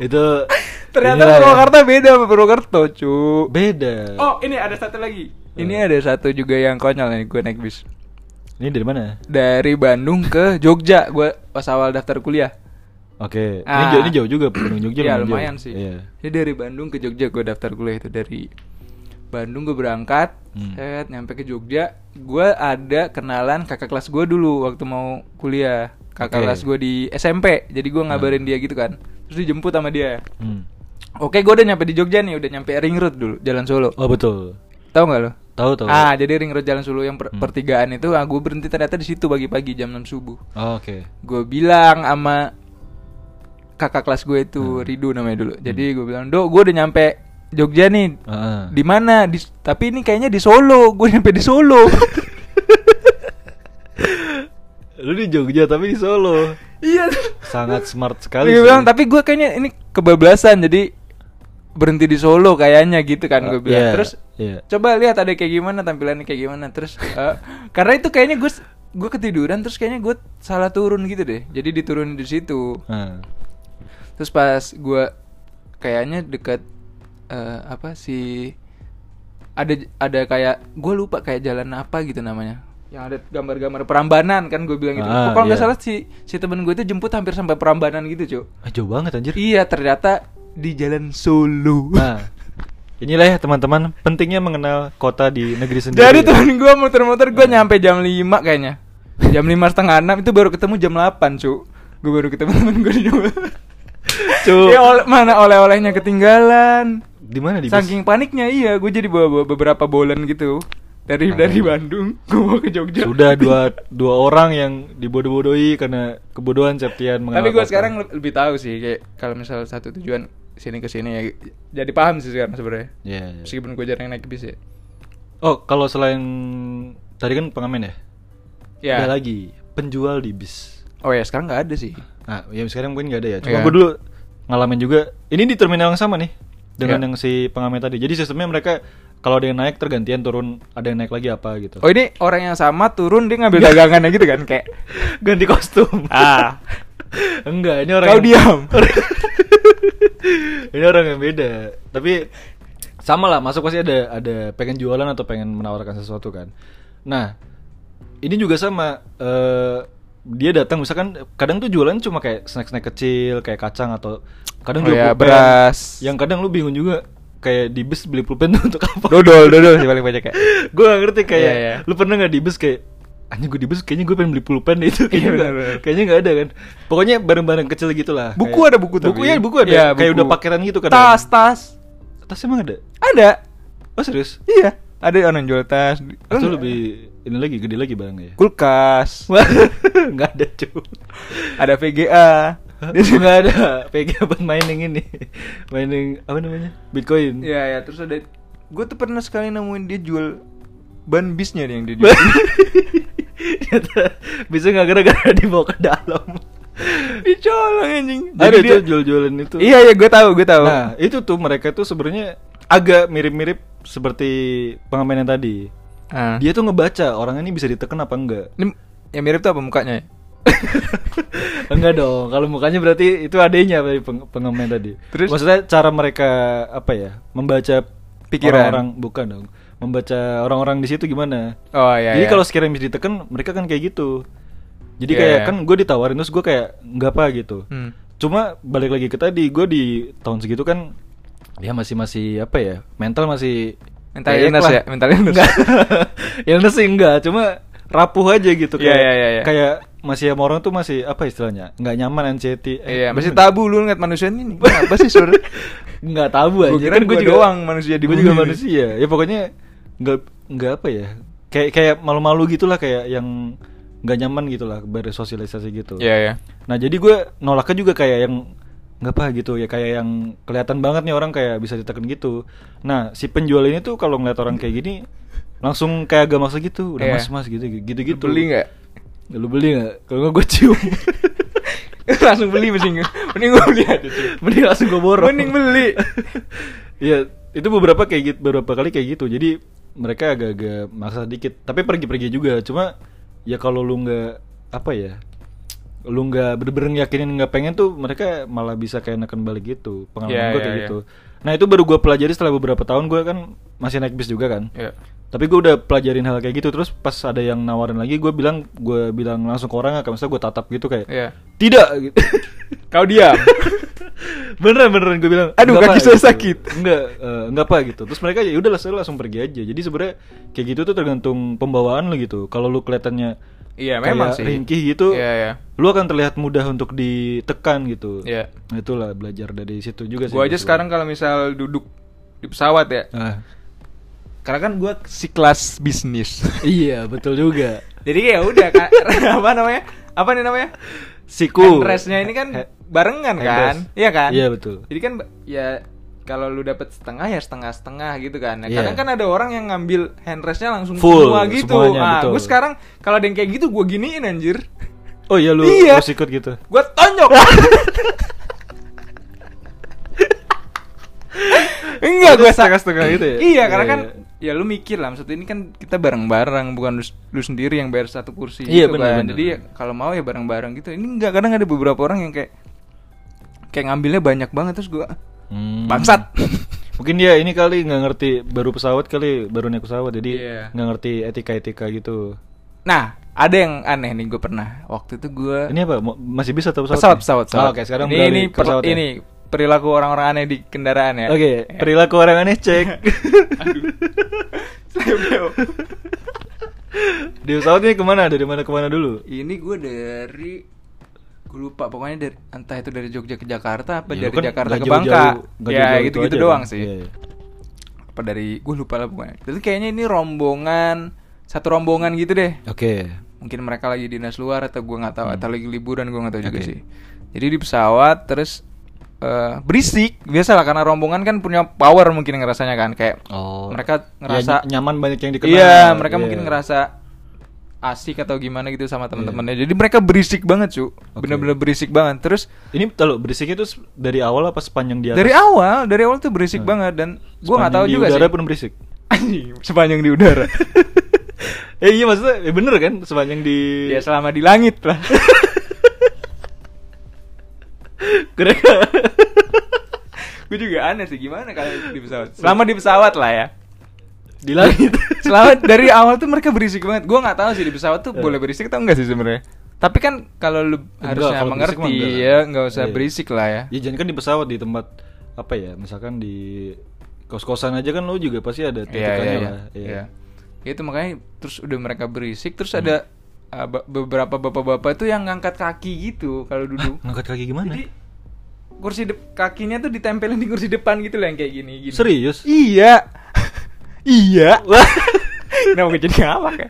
A: Itu
B: ternyata
A: inilah ya.
B: Purwakarta beda sama Purwokerto cu
A: beda.
B: oh ini ada satu lagi ini
A: Hmm.
B: ada satu juga yang konyol nih gue naik bis
A: Ini dari mana?
B: dari Bandung ke Jogja gue pas awal daftar kuliah
A: Oke. Ini,
B: Ah.
A: jauh, ini jauh juga Bandung Jogja. lumayan
B: Iya
A: jauh.
B: lumayan sih.
A: Iya.
B: Jadi dari Bandung ke Jogja gue daftar kuliah itu dari Bandung gue berangkat,
A: Hmm.
B: set, nyampe ke Jogja, gue ada kenalan kakak kelas gue dulu waktu mau kuliah. Kakak
A: Oke.
B: kelas gue di SMP, jadi gue ngabarin
A: Hmm.
B: dia gitu kan. Terus dijemput sama dia.
A: Hmm.
B: Oke, gue udah nyampe di Jogja nih, udah nyampe Ring Road dulu, Jalan Solo.
A: Oh, betul.
B: Tahu nggak lo?
A: Tahu tahu.
B: Ah, jadi Ring Road Jalan Solo yang per-
A: Hmm.
B: pertigaan itu, ah, gue berhenti ternyata di situ pagi-pagi jam 6 subuh
A: Oh, Oke.
B: gue bilang sama kakak kelas gue itu
A: Hmm. Ah.
B: Ridu namanya dulu jadi gue bilang do gue udah nyampe Jogja nih
A: Heeh.
B: di mana di tapi ini kayaknya di Solo gue nyampe di Solo
A: Lu di Jogja tapi di Solo.
B: iya
A: Sangat smart sekali.
B: gue
A: sih.
B: bilang tapi gue kayaknya ini kebablasan jadi berhenti di Solo kayaknya gitu kan gue
A: Ah,
B: bilang
A: iya,
B: terus
A: iya.
B: coba lihat ada kayak gimana tampilannya kayak gimana terus eh, karena itu kayaknya gue gue ketiduran terus kayaknya gue salah turun gitu deh jadi diturunin di situ
A: Ah.
B: Terus pas gue kayaknya deket eh, apa sih ada ada kayak gue lupa kayak jalan apa gitu namanya yang ada gambar-gambar Prambanan kan gue bilang gitu.
A: Ah,
B: Kok kalau nggak
A: iya.
B: salah si si temen gue itu jemput hampir sampai Prambanan gitu
A: Ah,
B: cuy.
A: jauh banget anjir.
B: Iya ternyata di jalan Solo.
A: Nah, inilah ya teman-teman pentingnya mengenal kota di negeri sendiri.
B: Jadi temen gue muter-muter gue nyampe jam 5 kayaknya Jam 5 setengah 6 itu baru ketemu jam 8 cu Gue baru ketemu temen gue di
A: Cu.
B: Ya ole- mana oleh-olehnya ketinggalan
A: di mana di bis?
B: Saking paniknya iya gue jadi bawa, bawa beberapa bolan gitu Dari
A: Ah.
B: dari Bandung gue bawa ke Jogja
A: Sudah dua dua orang yang dibodoh-bodohi karena kebodohan Septian mengenal.
B: Tapi gue
A: kota.
B: sekarang le- lebih tahu sih kayak Kalau misalnya satu tujuan sini ke sini ya Jadi paham sih sekarang sebenarnya
A: Iya, iya.
B: Meskipun gue jarang naik bis ya
A: Oh, kalau selain tadi kan pengamen ya?
B: Ya.
A: Ada lagi penjual di bis.
B: Oh ya sekarang nggak ada sih.
A: Nah, ya sekarang mungkin nggak ada ya. Cuma
B: Iya.
A: gue dulu ngalamin juga. Ini di terminal yang sama nih dengan
B: Iya.
A: yang si pengamen tadi. Jadi sistemnya mereka kalau ada yang naik tergantian turun, ada yang naik lagi apa gitu.
B: Oh ini orang yang sama turun
A: Iya.
B: dia ngambil dagangannya gitu kan kayak.
A: Ganti kostum.
B: Ah.
A: Enggak, ini orang
B: Kau
A: yang-
B: diam.
A: ini orang yang beda. Tapi sama lah, masuk pasti ada ada pengen jualan atau pengen menawarkan sesuatu kan. Nah, ini juga sama eh, dia datang misalkan kadang tuh jualan cuma kayak snack-snack kecil, kayak kacang atau kadang
B: Oh
A: juga
B: ya,
A: pulpen.
B: beras.
A: Yang kadang lu bingung juga kayak di bus beli pulpen tuh untuk apa?
B: Dodol dodol sih paling banyak kayak.
A: gue gak ngerti kayak
B: Iya, iya.
A: lu pernah gak di bus kayak anjing gue di bus kayaknya gue pengen beli pulpen deh itu kayaknya
B: Iya,
A: nggak-
B: benar-benar.
A: kayaknya gak ada kan pokoknya barang-barang kecil gitu lah
B: Buku
A: Kayak-
B: ada buku tapi.
A: buku ya buku ada
B: Iya,
A: kayak
B: buku.
A: udah paketan gitu kan
B: Tas tas.
A: tas emang ada
B: Ada.
A: oh serius
B: Iya. Ada orang yang jual tas.
A: itu lebih ini lagi gede lagi barangnya ya
B: kulkas.
A: nggak ada cuy
B: Ada VGA.
A: dia juga ada PG buat mining ini mining apa namanya bitcoin
B: Iya ya terus ada gue tuh pernah sekali nemuin dia jual ban bisnya nih yang dia jual.
A: Ternyata bisa nggak gara-gara dibawa ke dalam
B: Dicolong anjing.
A: ada
B: Jadi
A: tuh
B: dia-
A: jual-jualan itu
B: Iya iya gue tahu gue tahu.
A: Nah, itu tuh mereka tuh sebenarnya agak mirip-mirip seperti pengamen yang tadi.
B: Ah.
A: Dia tuh ngebaca orang ini bisa diteken apa enggak.
B: Ini yang mirip tuh apa mukanya? ya?
A: enggak dong. Kalau mukanya berarti itu adanya dari peng- pengamen tadi.
B: Terus?
A: maksudnya cara mereka apa ya? Membaca
B: Pikiran.
A: orang bukan dong. Membaca orang-orang di situ gimana?
B: Oh iya.
A: Jadi
B: iya.
A: kalau sekiranya bisa diteken, mereka kan kayak gitu. Jadi
B: Iya,
A: kayak
B: iya.
A: kan gue ditawarin terus gue kayak nggak apa gitu.
B: Hmm.
A: Cuma balik lagi ke tadi, gue di tahun segitu kan ya masih masih apa ya mental masih
B: Mental
A: kayak
B: illness
A: lah.
B: ya? Mental illness.
A: Enggak. illness sih enggak, cuma rapuh aja gitu
B: Iya,
A: kayak
B: iya, iya, iya.
A: kayak masih sama orang tuh masih apa istilahnya nggak nyaman anxiety Eh,
B: Iya, masih
A: gimana?
B: tabu lu ngeliat manusia ini. Apa sih sur?
A: nggak tabu aja
B: Gua kira
A: gua
B: gua doang manusia di
A: gua
B: bumi
A: juga
B: ini.
A: manusia ya pokoknya nggak nggak apa ya kayak kayak malu-malu gitulah kayak yang nggak nyaman gitulah bersosialisasi gitu
B: Iya iya.
A: Nah jadi gue nolaknya juga kayak yang nggak apa gitu ya kayak yang kelihatan banget nih orang kayak bisa ditekan gitu. Nah si penjual ini tuh kalau ngeliat orang kayak gini langsung kayak agak maksa gitu. Udah
B: Iya.
A: mas mas gitu gitu gitu. Ya,
B: Lu Beli nggak?
A: Lu beli nggak? Kalau nggak gue cium.
B: Langsung beli mending. Mending gue beli aja cuy.
A: Mending langsung gue borong.
B: Mending beli.
A: Iya itu beberapa kayak gitu beberapa kali kayak gitu. Jadi mereka agak-agak maksa dikit. Tapi pergi-pergi juga. Cuma ya kalau lu nggak apa ya lu nggak bener-bener yakinin nggak pengen tuh mereka malah bisa kayak neken balik gitu pengalaman
B: Iya,
A: gue
B: iya,
A: kayak
B: iya.
A: gitu nah itu baru gue pelajari setelah beberapa tahun gue kan masih naik bis juga kan
B: Iya.
A: tapi gue udah pelajarin hal kayak gitu terus pas ada yang nawarin lagi gue bilang gue bilang langsung ke orang kayak misalnya gue tatap gitu kayak
B: Iya.
A: tidak gitu.
B: Kau diam.
A: beneran beneran gue bilang
B: Aduh,
A: "Nggak,
B: kaki
A: Pak,"
B: saya
A: gitu.
B: sakit.
A: nggak eh, nggak apa gitu terus mereka ya udahlah saya langsung pergi aja jadi sebenarnya kayak gitu tuh tergantung pembawaan lu gitu kalau lu kelihatannya
B: Iya,
A: kayak
B: memang sih.
A: ringkih gitu
B: Iya iya.
A: lu akan terlihat mudah untuk ditekan gitu
B: Iya.
A: itulah belajar dari situ juga sih
B: Gue aja sekarang kalau misal duduk di pesawat ya.
A: Ah,
B: Karena kan gue si kelas bisnis.
A: iya betul juga
B: Jadi ya udah Kak. apa namanya? Apa nih namanya?
A: siku
B: Handrestnya ini kan
A: He-
B: barengan kan?
A: handrest.
B: Iya kan?
A: Iya, betul.
B: Jadi kan ba- ya kalau lu dapat setengah ya setengah-setengah gitu kan. Nah,
A: Iya.
B: Kadang kan ada orang yang ngambil handrestnya langsung
A: Full,
B: semua gitu.
A: semuanya,
B: ah,
A: betul.
B: gue sekarang kalau ada yang kayak gitu gue giniin anjir.
A: oh iya lu lu
B: Iya.
A: sikut gitu
B: Gue tonjok. Enggak
A: Itu
B: gue
A: setengah-setengah gitu ya?
B: Iya karena
A: Iya,
B: kan ya lu mikir lah maksud ini kan kita bareng-bareng bukan lu, lu sendiri yang bayar satu kursi
A: Iya,
B: gitu
A: bener,
B: kan.
A: bener.
B: Jadi ya, kalau mau ya bareng-bareng gitu. Ini enggak kadang ada beberapa orang yang kayak kayak ngambilnya banyak banget terus gua
A: Hmm.
B: bangsat.
A: mungkin dia ini kali nggak ngerti baru pesawat kali baru naik pesawat jadi
B: Iya.
A: nggak ngerti etika etika gitu
B: Nah, ada yang aneh nih gue pernah. Waktu itu gue
A: ini apa Mo- masih bisa tuh pesawat
B: pesawat
A: nih?
B: pesawat.
A: Oh,
B: pesawat.
A: oke sekarang
B: ini
A: beralih
B: ini,
A: ke
B: per-
A: pesawat ya.
B: ini perilaku orang-orang aneh di kendaraan ya.
A: oke
B: Ya.
A: perilaku orang aneh cek
B: Slebeo.
A: di pesawat ini kemana dari mana kemana dulu
B: Ini gue dari gue lupa pokoknya dari entah itu dari Jogja ke Jakarta apa
A: Ya,
B: dari
A: kan
B: Jakarta
A: nggak
B: ke Bangka.
A: jauh-jauh- nggak
B: Ya
A: jauh-jauh
B: gitu-gitu
A: aja,
B: doang
A: kan?
B: sih.
A: Iya, iya.
B: Apa dari gue lupa lah pokoknya. Tapi kayaknya ini rombongan satu rombongan gitu deh.
A: oke
B: Mungkin mereka lagi dinas luar atau gue nggak tahu atau lagi liburan gue nggak tahu juga
A: Hmm. Oke.
B: sih. Jadi di pesawat terus eh, berisik biasalah karena rombongan kan punya power mungkin ngerasanya kan kayak
A: oh
B: mereka
A: Ya,
B: ngerasa
A: nyaman banyak yang dikenal
B: Iya, mereka
A: Iya.
B: mungkin ngerasa asik atau gimana gitu sama teman-temannya. Jadi mereka berisik banget, cu.
A: Oke.
B: Bener-bener berisik banget. Terus
A: Ini kalau berisiknya tuh dari awal apa sepanjang dia?
B: dari awal, dari awal tuh berisik
A: Hmm.
B: banget dan gua nggak tahu juga
A: udara
B: sih.
A: pun berisik.
B: Anjing, sepanjang di udara.
A: eh iya maksudnya eh, bener kan sepanjang di
B: ya selama di langit lah.
A: Keren. kan?
B: Gue juga aneh sih gimana kalau di pesawat. Selama di pesawat lah ya.
A: di langit.
B: Selama dari awal tuh mereka berisik banget. Gua nggak tahu sih di pesawat tuh
A: Eh.
B: boleh berisik atau enggak sih sebenarnya. Tapi kan kalau lu harusnya
A: kalau berisik mah
B: mengerti
A: enggak.
B: ya nggak usah
A: Iya.
B: berisik lah ya.
A: Ya jangan kan di pesawat di tempat apa ya misalkan di kos-kosan aja kan lo juga pasti ada
B: Iya iya
A: titiknya
B: iya.
A: lah. Iya.
B: Iya. Itu makanya terus udah mereka berisik terus ada
A: Hmm.
B: uh, ba- beberapa bapak-bapak tuh yang ngangkat kaki gitu kalau duduk.
A: Ngangkat kaki gimana?
B: Jadi kursi dep- kakinya tuh ditempelin di kursi depan gitu loh yang kayak gini gini.
A: Serius?
B: Iya. iya. Kenapa gue jadi ngawak ya?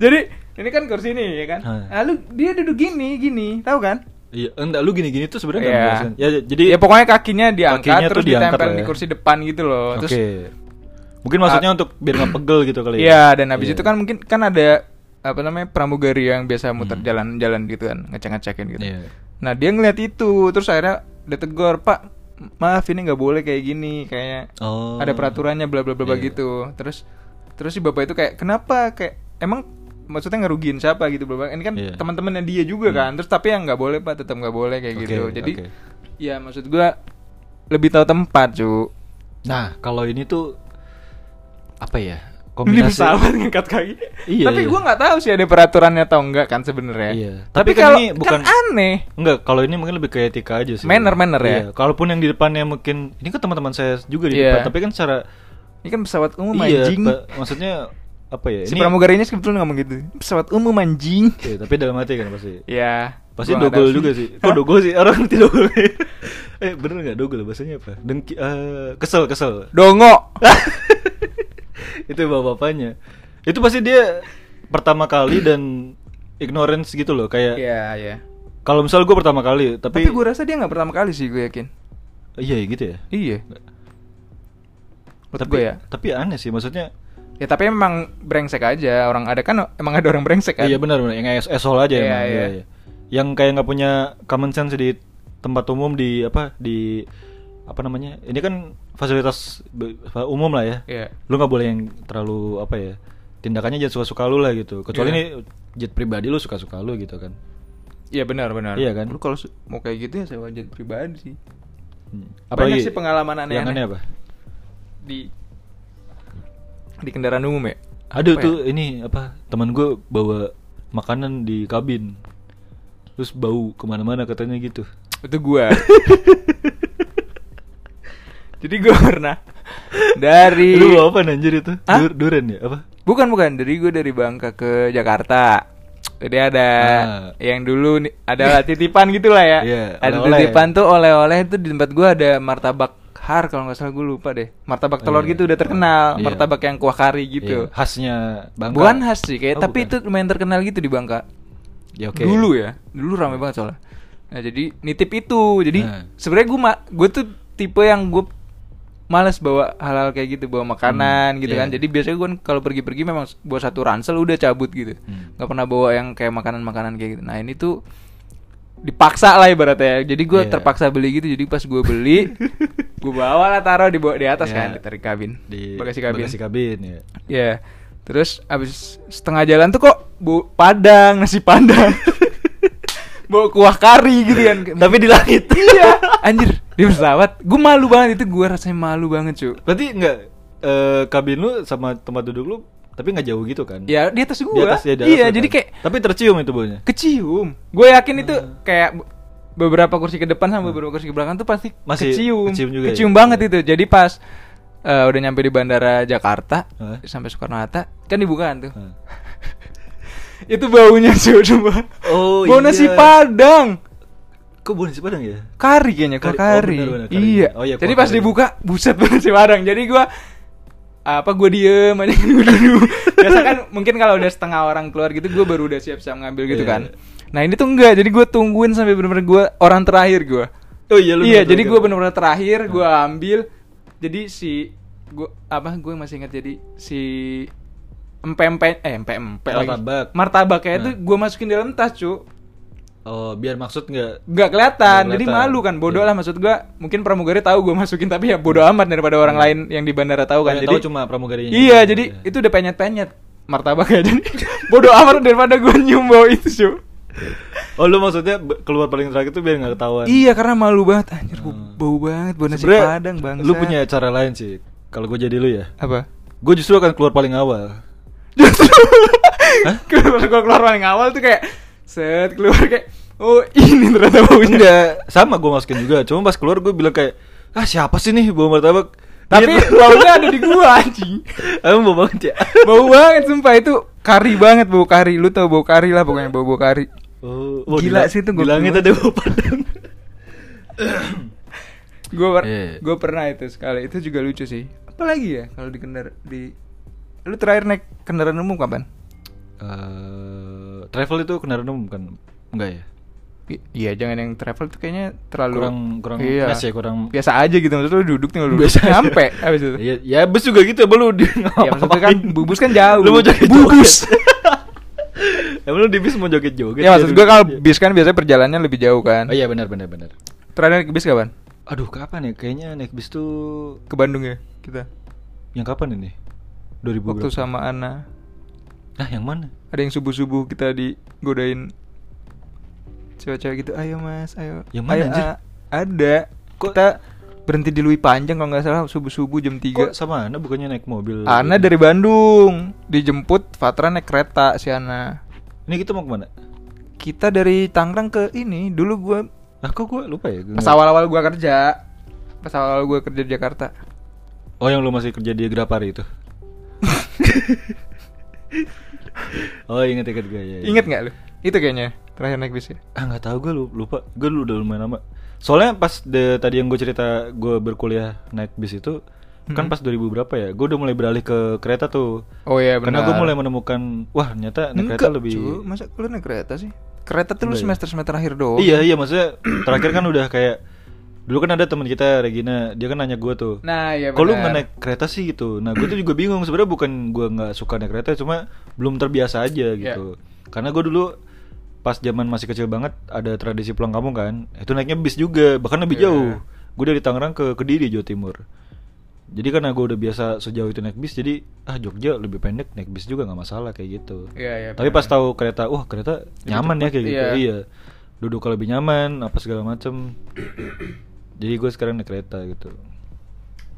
B: Jadi ini kan kursi ini ya kan.
A: Hmm.
B: Lalu dia duduk gini gini, tahu kan?
A: Iya, enggak lu gini-gini tuh sebenarnya
B: Iya.
A: nggak menjelaskan. Ya j- jadi
B: ya pokoknya kakinya diangkat
A: kakinya tuh
B: terus
A: diangkat
B: ditempel
A: lah ya.
B: di kursi depan gitu loh.
A: Oke.
B: Terus
A: Mungkin maksudnya untuk biar nggak pegel gitu kali
B: Iya, dan habis
A: Iya.
B: itu kan mungkin kan ada apa namanya pramugari yang biasa muter
A: Hmm.
B: jalan-jalan gitu kan, ngecek-ngecekin gitu.
A: Iya.
B: Nah, dia ngeliat itu, terus akhirnya ditegur, "Pak, maaf ini nggak boleh kayak gini, kayaknya
A: Oh.
B: ada peraturannya bla bla bla bla
A: Iya.
B: gitu." Terus terus si bapak itu kayak, "Kenapa? Kayak emang maksudnya ngerugiin siapa gitu bla bla. Ini kan
A: Iya.
B: teman-temannya dia juga
A: Hmm.
B: kan. Terus tapi yang nggak boleh, Pak, tetap nggak boleh kayak
A: Oke,
B: gitu." Jadi
A: oke.
B: ya maksud gua lebih tahu tempat, Cu.
A: Nah, kalau ini tuh apa ya?
B: Kombinasi. Di pesawat ngangkat kaki.
A: Iya,
B: Tapi
A: iya.
B: gua nggak tahu sih ada peraturannya atau enggak kan sebenarnya.
A: Iya.
B: Tapi,
A: Tapi kan
B: kalau
A: ini
B: kan
A: bukan-
B: aneh.
A: Enggak, kalau ini mungkin lebih ke etika aja sih.
B: Manner-manner ya?
A: Iya, kalaupun yang di depannya mungkin ini kan teman-teman saya juga di
B: Iya.
A: depan, tapi kan secara
B: Ini kan pesawat umum
A: iya,
B: anjing.
A: pa- maksudnya apa ya?
B: Si pramugarinya sebetulnya ngomong gitu. Pesawat umum anjing.
A: Iya, tapi dalam hati kan pasti.
B: Ya.
A: Pasti
B: gua nggak
A: dogol
B: tahu
A: juga sih. Kok dogol sih? Orang ngerti dogol. eh, bener nggak dogol bahasanya apa? Dengki eh, kesel, kesel.
B: Dongo.
A: Itu bapak-bapaknya. Itu pasti dia pertama kali dan ignorance gitu loh, kayak
B: Iya, iya.
A: kalau misal gue pertama kali,
B: Tapi,
A: tapi,
B: gua rasa dia nggak pertama kali sih gue yakin.
A: iya gitu ya.
B: Iya. Menurut
A: tapi
B: gue ya.
A: tapi aneh sih maksudnya
B: Ya tapi emang brengsek aja orang ada kan emang ada orang brengsek kan.
A: iya benar benar yang es esol aja
B: Iya,
A: emang,
B: iya.
A: yang kayak nggak punya common sense di tempat umum di apa di apa namanya ini kan fasilitas be- umum lah ya
B: Iya.
A: lu nggak boleh yang terlalu apa ya tindakannya jangan suka-suka lu lah gitu kecuali
B: Iya.
A: ini jet pribadi lu suka-suka lu gitu kan
B: Iya benar benar.
A: Iya kan?
B: Lu kalau su- mau kayak gitu ya sewa jet pribadi sih.
A: Hmm.
B: Banyak
A: Apalagi
B: sih pengalaman
A: yang
B: aneh-aneh.
A: aneh apa
B: Di di kendaraan umum ya.
A: Aduh
B: Apa
A: tuh
B: ya?
A: ini apa teman gue bawa makanan di kabin terus bau kemana-mana katanya gitu
B: Itu gua. Jadi gua pernah dari
A: Lu bawa apa anjir itu?
B: Hah?
A: Dur- duren ya apa?
B: Bukan bukan dari gua dari Bangka ke Jakarta. Jadi ada
A: Ah.
B: yang dulu nih- ada titipan gitulah ya.
A: Iya,
B: ada
A: oleh-oleh.
B: titipan tuh oleh-oleh itu di tempat gua ada martabak har kalau nggak salah gua lupa deh. Martabak telur
A: Iya.
B: gitu udah terkenal,
A: Iya.
B: martabak yang kuah kari
A: Iya,
B: gitu.
A: khasnya Bangka.
B: Bukan khas sih
A: Oh,
B: kayak, tapi
A: bukan.
B: itu lumayan terkenal gitu di Bangka.
A: ya, oke.
B: Dulu ya, dulu rame banget soalnya. Nah jadi nitip itu, jadi
A: Nah.
B: sebenarnya gue gue tuh tipe yang gue males bawa hal-hal kayak gitu, bawa makanan
A: Hmm,
B: gitu
A: iya.
B: kan. Jadi biasanya gue kalau pergi-pergi memang s- bawa satu ransel udah cabut gitu,
A: Hmm.
B: nggak pernah bawa yang kayak makanan-makanan kayak gitu. Nah ini tuh dipaksa lah ibaratnya jadi gue
A: Iya.
B: terpaksa beli gitu jadi pas gue beli gue bawa lah taruh di bawah di
A: Iya.
B: atas kan ditarik kabin
A: di
B: bagasi kabin
A: Bagasi kabin ya.
B: Ya, terus abis setengah jalan tuh kok bu padang nasi padang, bawa kuah kari gitu kan.
A: Tapi di langit.
B: iya, anjir di pesawat. Gue malu banget itu, gue rasanya malu banget cu.
A: Berarti enggak eh, kabin lu sama tempat duduk lu tapi nggak jauh gitu kan?
B: Ya di atas gue.
A: Di atas, ya, di atas
B: iya,
A: lu kan?
B: jadi kayak
A: Tapi tercium itu baunya.
B: kecium. Gue yakin itu kayak be- beberapa kursi ke depan sama beberapa kursi ke belakang tuh pasti
A: Masih
B: kecium.
A: kecium juga ya?
B: banget
A: Iya.
B: itu. Jadi pas eh, udah nyampe di bandara Jakarta
A: Hah?
B: sampai Soekarno Hatta kan dibukaan tuh.
A: Nah.
B: itu baunya cu coba
A: Oh,
B: bau
A: iya.
B: nasi padang
A: Kok bau nasi Padang ya?
B: kari kayaknya
A: Kari.
B: kuah
A: Oh,
B: kari,
A: benar, benar, kari.
B: iya
A: Oh, iya,
B: jadi
A: kuah
B: pas
A: kari.
B: dibuka buset bau nasi padang jadi gua apa gua diem aja dulu dulu biasa kan mungkin kalau udah setengah orang keluar gitu gua baru udah siap-siap ngambil gitu
A: Iya.
B: kan nah ini tuh enggak jadi gua tungguin sampai bener-bener gua orang terakhir gua
A: Oh iya lu.
B: iya
A: bener-bener
B: jadi
A: kan?
B: gua bener-bener terakhir gua ambil jadi si gua apa gue masih ingat jadi si empe-empe eh empe-empe lagi.
A: Martabak.
B: Martabaknya itu
A: Nah.
B: gue masukin dalam tas, cu.
A: Oh, biar maksud nggak
B: Nggak kelihatan,
A: Nggak
B: jadi
A: kelihatan.
B: malu kan. Bodoh
A: Iya.
B: lah maksud gue. Mungkin pramugari tahu gue masukin tapi ya bodoh amat daripada orang lain yang di bandara tahu kan.
A: Yang
B: jadi
A: Iya. tahu cuma pramugarinya.
B: Iya,
A: Iya.
B: jadi itu udah penyet-penyet martabaknya jadi bodoh amat daripada gue nyium bau itu, cu.
A: Oh, lu maksudnya b- keluar paling terakhir tuh biar nggak ketahuan.
B: Iya, karena malu banget. Anjir, gua
A: Hmm.
B: bau banget bau nasi
A: Sebenernya
B: padang, bang.
A: Lu punya cara lain sih. Kalau gue jadi lu ya,
B: apa?
A: gue justru akan keluar paling awal.
B: keluar gua keluar paling awal tuh kayak set keluar kayak oh ini ternyata baunya
A: Enggak, sama gue masukin juga. Cuma pas keluar gue bilang kayak, ah siapa sih nih bawa martabak? Gitu.
B: tapi
A: Iya,
B: baunya ada di gua anjing
A: Emang bau banget ya?
B: bau banget sumpah itu kari banget bau kari lu tau bau kari lah pokoknya bau bau kari
A: Oh,
B: Gila
A: di-
B: sih itu
A: di
B: gua
A: langit
B: keluar.
A: ada bau padang.
B: gua per-
A: Iya.
B: gua pernah itu sekali itu juga lucu sih apalagi ya kalau di kendar di lu terakhir naik kendaraan umum kapan
A: Eh, travel itu kendaraan umum kan? Enggak ya?
B: I- Iya jangan yang travel tuh kayaknya terlalu
A: Kurang kurang
B: iya.
A: gas ya, kurang
B: biasa aja gitu maksudnya lu duduk tinggal duduk
A: Biasa aja.
B: nyampe abis itu
A: Ya, ya bus juga gitu ya, belum dia
B: Ya, maksudnya kan bubus kan jauh.
A: Lu mau joget
B: Bubus.
A: Emang lu di bis mau joget-joget.
B: ya maksud
A: duduk
B: gue kalau
A: aja.
B: bis kan biasanya perjalanannya lebih jauh kan.
A: Oh iya benar benar benar.
B: Terakhir naik bis kapan?
A: Aduh, kapan ya? Kayaknya naik bis tuh
B: Ke Bandung ya kita.
A: yang kapan ini? 2000
B: Waktu
A: berapa?
B: sama Ana.
A: Nah, yang mana?
B: Ada yang subuh-subuh kita digodain cewek-cewek gitu. Ayo mas, ayo.
A: Yang mana,
B: Ayo,
A: anjir?
B: ah." ada.
A: Kok-
B: Kita berhenti di Lui Panjang kalau nggak salah subuh-subuh jam 3
A: Kok sama Ana bukannya naik mobil?
B: Ana dari Bandung dijemput Fatra naik kereta si Ana.
A: Ini kita mau kemana?
B: Kita dari Tangerang ke ini dulu gua
A: Nah, kok gue lupa ya? Gua-
B: pas awal-awal gua kerja. Pas awal-awal gua kerja di Jakarta.
A: Oh, yang lu masih kerja di Grapari itu. oh, inget inget gue ya.
B: Ingat nggak lu? Itu kayaknya terakhir naik bis ya.
A: Ah, nggak tahu gue lupa. Gue udah lumayan lama. Soalnya pas de- tadi yang gue cerita gue berkuliah naik bis itu kan
B: Mm-mm.
A: pas 2000 berapa ya? Gue udah mulai beralih ke kereta tuh.
B: Oh iya
A: Karena
B: benar.
A: gue mulai menemukan wah ternyata naik kereta lebih
B: Cu, masa lu naik kereta sih? Kereta tuh lu
A: Enggak ya?
B: semester semester akhir doang.
A: Iya iya maksudnya terakhir kan udah kayak dulu kan ada teman kita Regina dia kan nanya gue tuh
B: Nah, iya
A: kalau lu
B: benar.
A: nggak naik kereta sih gitu nah gue tuh juga bingung sebenarnya bukan gue nggak suka naik kereta cuma belum terbiasa aja
B: Iya.
A: gitu karena gue dulu pas zaman masih kecil banget ada tradisi pulang kampung kan itu naiknya bis juga bahkan lebih
B: Iya.
A: jauh gue dari Tangerang ke Kediri Jawa Timur jadi karena gue udah biasa sejauh itu naik bis jadi ah Jogja lebih pendek naik bis juga nggak masalah kayak gitu
B: Iya, iya.
A: tapi pas tahu kereta wah kereta
B: Lebih
A: nyaman ya
B: cepet,
A: kayak gitu
B: iya.
A: iya duduk lebih nyaman apa segala macem jadi gue sekarang naik kereta gitu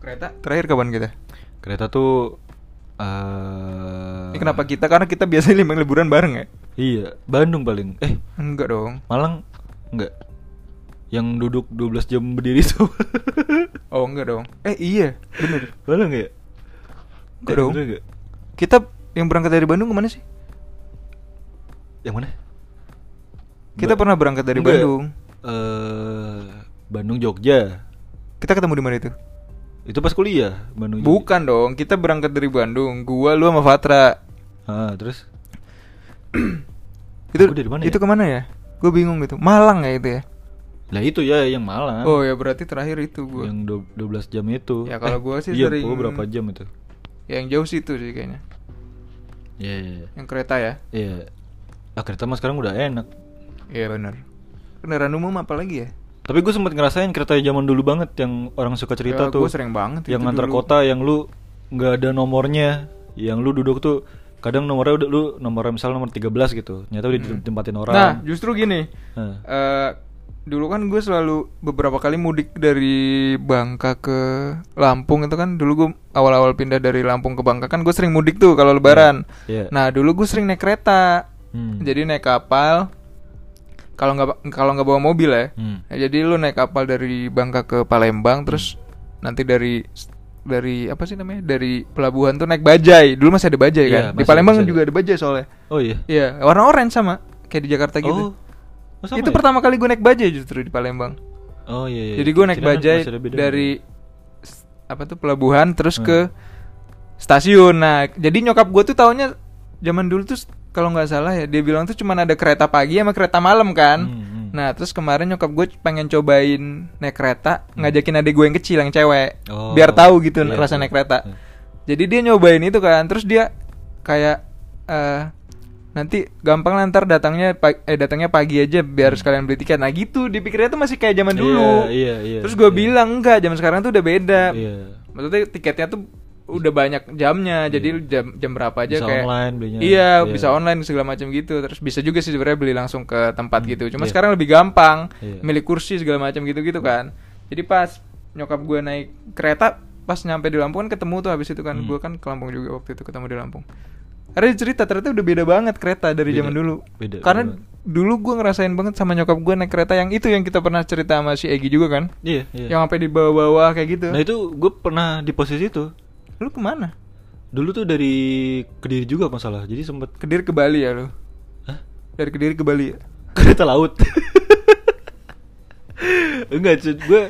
B: kereta terakhir kapan kita?
A: kereta tuh eh
B: Ini Eh, kenapa kita? Karena kita biasanya lima liburan bareng ya.
A: iya Bandung paling eh
B: Enggak dong.
A: Malang enggak yang duduk 12 jam berdiri tuh
B: Oh, enggak dong. Eh, iya. Bener.
A: Malang ya
B: Enggak
A: Eh,
B: dong.
A: bener nggak?
B: Kita yang berangkat dari Bandung kemana sih?
A: yang mana
B: Kita
A: Ba-
B: pernah berangkat dari
A: Enggak.
B: Bandung.
A: eh Bandung Jogja
B: Kita ketemu di mana itu?
A: itu pas kuliah Bandung Jogja.
B: Bukan dong, kita berangkat dari Bandung. Gua, lu sama Fatra.
A: ah terus
B: Itu
A: Gua dari mana
B: Itu
A: ya?
B: kemana ya? Gue bingung gitu. Malang ya itu ya?
A: lah itu ya yang Malang
B: Oh ya berarti terakhir itu gue.
A: yang dua- 12 jam itu
B: Ya, kalau gua sih
A: iya,
B: sering-
A: gua berapa jam itu
B: Yang jauh situ sih kayaknya.
A: iya iya iya.
B: Yang kereta ya?
A: iya ah kereta mah sekarang udah enak
B: Iya benar. Kendaraan umum apa lagi ya?
A: tapi gue sempet ngerasain kereta zaman dulu banget yang orang suka cerita
B: Ya,
A: tuh
B: gua sering banget
A: yang
B: itu
A: antar
B: dulu.
A: kota yang lu nggak ada nomornya yang lu duduk tuh kadang nomornya udah lu nomornya misalnya nomor 13 gitu nyata udah ditempatin orang
B: Nah justru gini.
A: Hah.
B: eh, dulu kan gue selalu beberapa kali mudik dari Bangka ke Lampung itu kan dulu gue awal-awal pindah dari Lampung ke Bangka kan gue sering mudik tuh kalau Lebaran.
A: Iya.
B: Nah dulu gue sering naik kereta.
A: Hmm.
B: Jadi naik kapal. Kalau nggak kalau nggak bawa mobil ya.
A: Hmm.
B: Ya, jadi lu naik kapal dari Bangka ke Palembang terus
A: Hmm.
B: nanti dari dari apa sih namanya? Dari pelabuhan tuh naik bajai. Dulu masih ada bajai
A: Iya,
B: kan? Di
A: masih-
B: Palembang
A: masih ada.
B: juga ada bajai soalnya.
A: oh iya
B: Iya, warna orange sama kayak di Jakarta
A: oh,
B: gitu.
A: Oh, sama ya?
B: itu pertama kali gue naik bajai justru di Palembang.
A: oh iya, iya.
B: Jadi gue naik
A: Kirain
B: bajai
A: masih ada bedanya.
B: dari s- apa tuh pelabuhan terus
A: Hmm.
B: ke stasiun. Nah, jadi nyokap gue tuh taunya zaman dulu tuh s- kalau nggak salah ya dia bilang tuh cuman ada kereta pagi sama kereta malam kan.
A: Hmm, hmm.
B: Nah, terus kemarin nyokap gue pengen cobain naik kereta, ngajakin adik gue yang kecil yang cewek,
A: Hmm. Oh,
B: biar tahu gitu
A: iya,
B: rasa
A: iya.
B: naik kereta.
A: Hmm.
B: Jadi dia nyobain itu kan, terus dia kayak eh nanti gampang lah ntar datangnya pa- eh datangnya pagi aja biar sekalian beli tiket. Nah gitu dipikirnya tuh masih kayak zaman
A: Hmm.
B: dulu.
A: Iya, iya, iya,
B: Terus gue
A: iya.
B: bilang enggak, zaman sekarang tuh udah beda.
A: Iya.
B: Maksudnya tiketnya tuh udah banyak jamnya. Jadi
A: Iya.
B: lu jam jam berapa aja
A: Bisa
B: kayak
A: online belinya.
B: Iya,
A: Iya.
B: bisa online segala macam gitu. Terus bisa juga sih sebenarnya beli langsung ke tempat
A: Hmm,
B: gitu. Cuma
A: iya.
B: sekarang lebih gampang.
A: Iya.
B: Milik kursi segala macam gitu-gitu kan. Jadi pas nyokap gue naik kereta pas nyampe di Lampung kan ketemu tuh habis itu kan
A: Hmm.
B: gue kan ke Lampung juga waktu itu ketemu di Lampung. Ada cerita ternyata udah beda banget kereta dari
A: Beda,
B: zaman dulu.
A: beda,
B: Karena
A: beda
B: dulu gue ngerasain banget sama nyokap gue naik kereta yang itu yang kita pernah cerita sama si Egi juga kan.
A: Iya, iya.
B: Yang sampai di bawah-bawah kayak gitu.
A: Nah itu gue pernah di posisi itu.
B: Lu kemana?
A: Dulu tuh dari Kediri juga masalah. Jadi sempet
B: Kediri ke Bali ya lu?
A: Hah?
B: Dari Kediri ke Bali. ya?
A: kereta laut. Enggak, cuy. Gue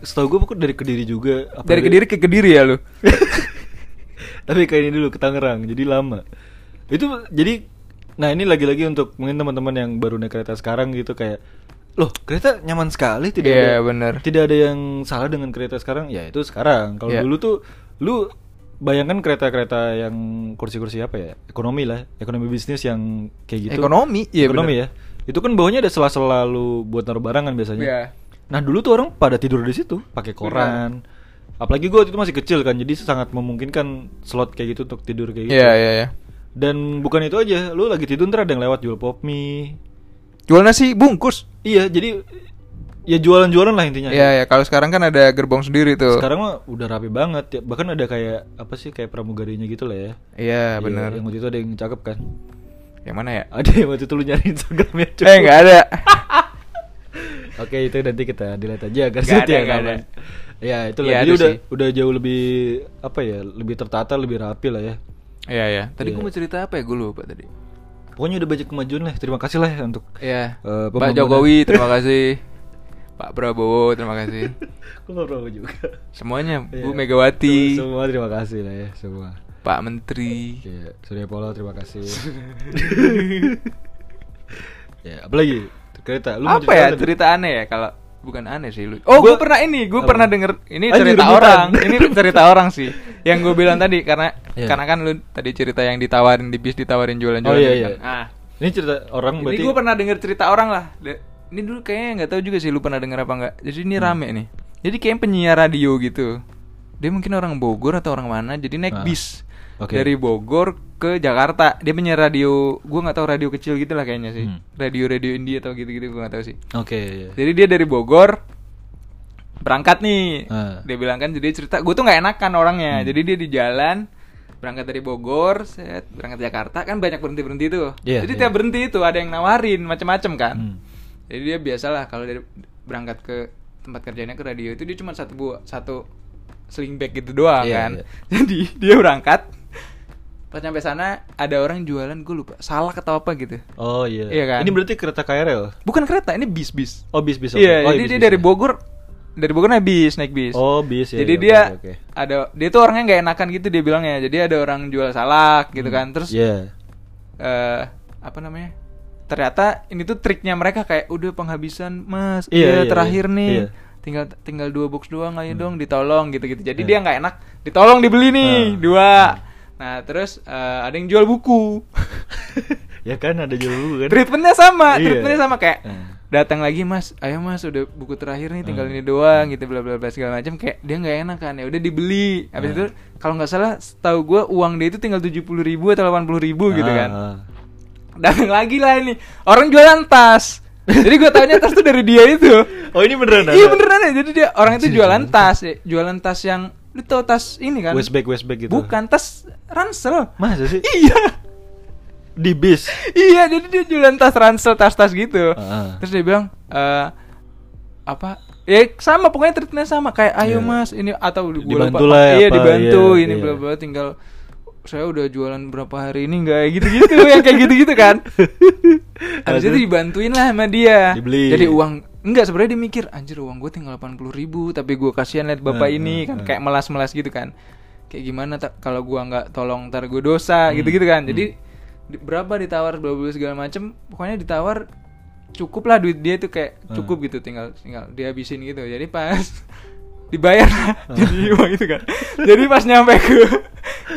A: setahu gue pokoknya dari Kediri juga. Apa
B: Dari Kediri ke Kediri ya lu?
A: Tapi kayak ini dulu ke Tangerang, jadi lama. Itu jadi nah ini lagi-lagi untuk mungkin teman-teman yang baru naik kereta sekarang gitu kayak loh kereta nyaman sekali tidak ada
B: Iya, bener.
A: tidak ada yang salah dengan kereta sekarang ya itu sekarang kalau
B: Iya.
A: dulu tuh lu bayangkan kereta-kereta yang kursi-kursi apa ya ekonomi lah ekonomi bisnis yang kayak gitu
B: Ekonomi, iya
A: ekonomi
B: bener.
A: ya itu kan bawahnya ada sela-sela lu buat naruh barangan biasanya
B: Iya.
A: Nah dulu tuh orang pada tidur di situ pakai koran. Apalagi gue waktu itu masih kecil kan, jadi sangat memungkinkan slot kayak gitu untuk tidur kayak gitu.
B: Iya, iya, iya.
A: Dan bukan itu aja, lu lagi tidur ntar ada yang lewat jual pop mie.
B: Jual nasi bungkus.
A: Iya, jadi ya jualan-jualan lah intinya.
B: Iya, ya. Kalau sekarang kan ada gerbong sendiri tuh.
A: Sekarang mah udah rapi banget, ya. bahkan ada kayak apa sih kayak pramugarinya gitu lah ya.
B: Iya,
A: Iya,
B: bener.
A: Yang waktu itu ada yang cakep kan.
B: Yang mana ya?
A: Ada yang waktu itu lu nyari Instagramnya. cuy.
B: Eh, nggak ada.
A: Oke itu nanti kita dilihat aja agar
B: Nggak
A: setia
B: ada, nggak
A: kawan.
B: ada.
A: Ya itu
B: Iya,
A: lagi
B: ada
A: udah
B: sih.
A: udah jauh lebih apa ya lebih tertata lebih rapi lah ya.
B: Iya, iya. Tadi
A: Iya.
B: gue mau cerita apa ya? Gue lupa tadi.
A: Pokoknya udah banyak kemajuan lah. Terima kasih lah untuk
B: Iya.
A: Eh,
B: Pak
A: pembangunan.
B: Jokowi, terima kasih. Pak Prabowo, terima kasih.
A: Keluar juga.
B: Semuanya, Bu
A: Iya.
B: Megawati,
A: Sem- Semua terima kasih lah ya semua.
B: Pak Menteri.
A: Oke, Surya Paloh terima kasih. ya, apalagi kereta. Lu mau
B: apa ya
A: apa?
B: cerita aneh ya kalau bukan aneh sih lu. Oh, gue
A: Gua-
B: pernah ini, gue
A: apa?
B: pernah denger ini
A: Anjing,
B: cerita
A: rebutan.
B: orang. ini cerita orang sih. Yang gue bilang tadi karena
A: Iya.
B: karena kan lu tadi cerita yang ditawarin di bis ditawarin jualan-jualan.
A: Oh iya
B: gitu
A: iya.
B: kan. Ah.
A: Ini cerita orang
B: Ini
A: berarti.
B: gue pernah denger cerita orang lah. De- Ini dulu kayaknya nggak tahu juga sih lu pernah denger apa nggak. Jadi
A: Hmm.
B: ini rame nih. Jadi kayak penyiar radio gitu. Dia mungkin orang Bogor atau orang mana. Jadi naik
A: Ah.
B: bis
A: Oke.
B: dari Bogor ke Jakarta. Dia penyiar radio. Gue nggak tahu radio kecil gitu lah kayaknya sih.
A: Hmm.
B: Radio radio India atau gitu-gitu gue nggak tahu sih.
A: Oke. iya.
B: Jadi dia dari Bogor berangkat nih.
A: Ah.
B: Dia bilang kan jadi cerita gue tuh nggak enakan orangnya.
A: Hmm.
B: Jadi dia di jalan berangkat dari Bogor, set berangkat Jakarta kan banyak berhenti berhenti tuh.
A: Iya,
B: jadi
A: iya.
B: tiap berhenti itu ada yang nawarin macam-macam kan.
A: Hmm.
B: Jadi dia biasalah kalau dari berangkat ke tempat kerjanya ke radio itu dia cuma satu bu satu sling bag gitu doang
A: Iya,
B: kan.
A: iya.
B: Jadi dia berangkat pas nyampe sana ada orang jualan gue lupa salah atau apa gitu.
A: Oh iya.
B: Iya kan?
A: Ini berarti kereta KRL.
B: Bukan kereta ini bis bis.
A: Oh bis bis. oke.
B: Iya,
A: Oh,
B: jadi
A: bis-
B: dia
A: bis,
B: dari
A: ya.
B: Bogor dari Bogor naik bis, naik bis.
A: Oh, bis, ya,
B: Jadi
A: ya,
B: dia
A: oke, oke.
B: ada dia tuh orangnya nggak enakan gitu dia bilangnya. Jadi ada orang jual salak gitu kan. Terus eh
A: Iya.
B: apa namanya? Ternyata ini tuh triknya mereka kayak udah penghabisan, Mas.
A: Iya,
B: Iya,
A: iya,
B: terakhir
A: iya,
B: nih.
A: iya.
B: Tinggal tinggal dua box doang ayo
A: Hmm.
B: dong ditolong gitu-gitu. Jadi
A: Iya.
B: dia nggak enak, ditolong dibeli nih
A: Hmm.
B: dua. Nah, terus eh, ada yang jual buku.
A: ya kan ada jual dulu kan.
B: treatmentnya sama
A: Iya.
B: treatmentnya sama kayak
A: Eh.
B: datang lagi mas ayo mas udah buku terakhir nih tinggal
A: Eh.
B: ini doang gitu bla bla bla segala macam kayak dia nggak enak kan ya udah dibeli
A: Eh.
B: habis itu kalau nggak salah setahu gua uang dia itu tinggal tujuh puluh ribu atau delapan puluh ribu gitu
A: Ah,
B: kan
A: ah.
B: datang lagi lah ini orang jualan tas jadi gua taunya tas tuh dari dia itu
A: Oh, ini beneran ada?
B: iya beneran ya jadi dia orang itu
A: Anjir,
B: jualan
A: jualan
B: tas ya. jualan tas yang lu tau tas ini kan
A: Westback Westback gitu.
B: bukan tas ransel
A: Masa sih?
B: iya
A: Di bis.
B: iya jadi dia jualan tas ransel tas tas gitu
A: Ah.
B: terus dia bilang eh apa ya sama pokoknya treatmentnya sama kayak ayo
A: Iya.
B: mas ini atau gua
A: Dibantu
B: lupa,
A: lah ya,
B: iya
A: apa,
B: dibantu
A: iya,
B: ini
A: iya.
B: bla bla tinggal saya udah jualan berapa hari ini nggak gitu gitu yang kayak gitu gitu kan habis itu
A: Aduh.
B: dibantuin lah sama dia
A: Dibeli.
B: jadi uang enggak sebenarnya dia mikir anjir uang gue tinggal 80 ribu tapi gue kasihan liat bapak
A: Eh,
B: ini
A: eh,
B: kan
A: eh.
B: kayak melas melas gitu kan kayak gimana ta- kalau gua nggak tolong ntar gue dosa gitu gitu kan jadi di- berapa ditawar bla bla segala macem pokoknya ditawar cukup lah duit dia tuh kayak
A: Hmm.
B: cukup gitu tinggal tinggal dihabisin gitu jadi pas dibayar lah jadi uang itu kan jadi pas nyampe ke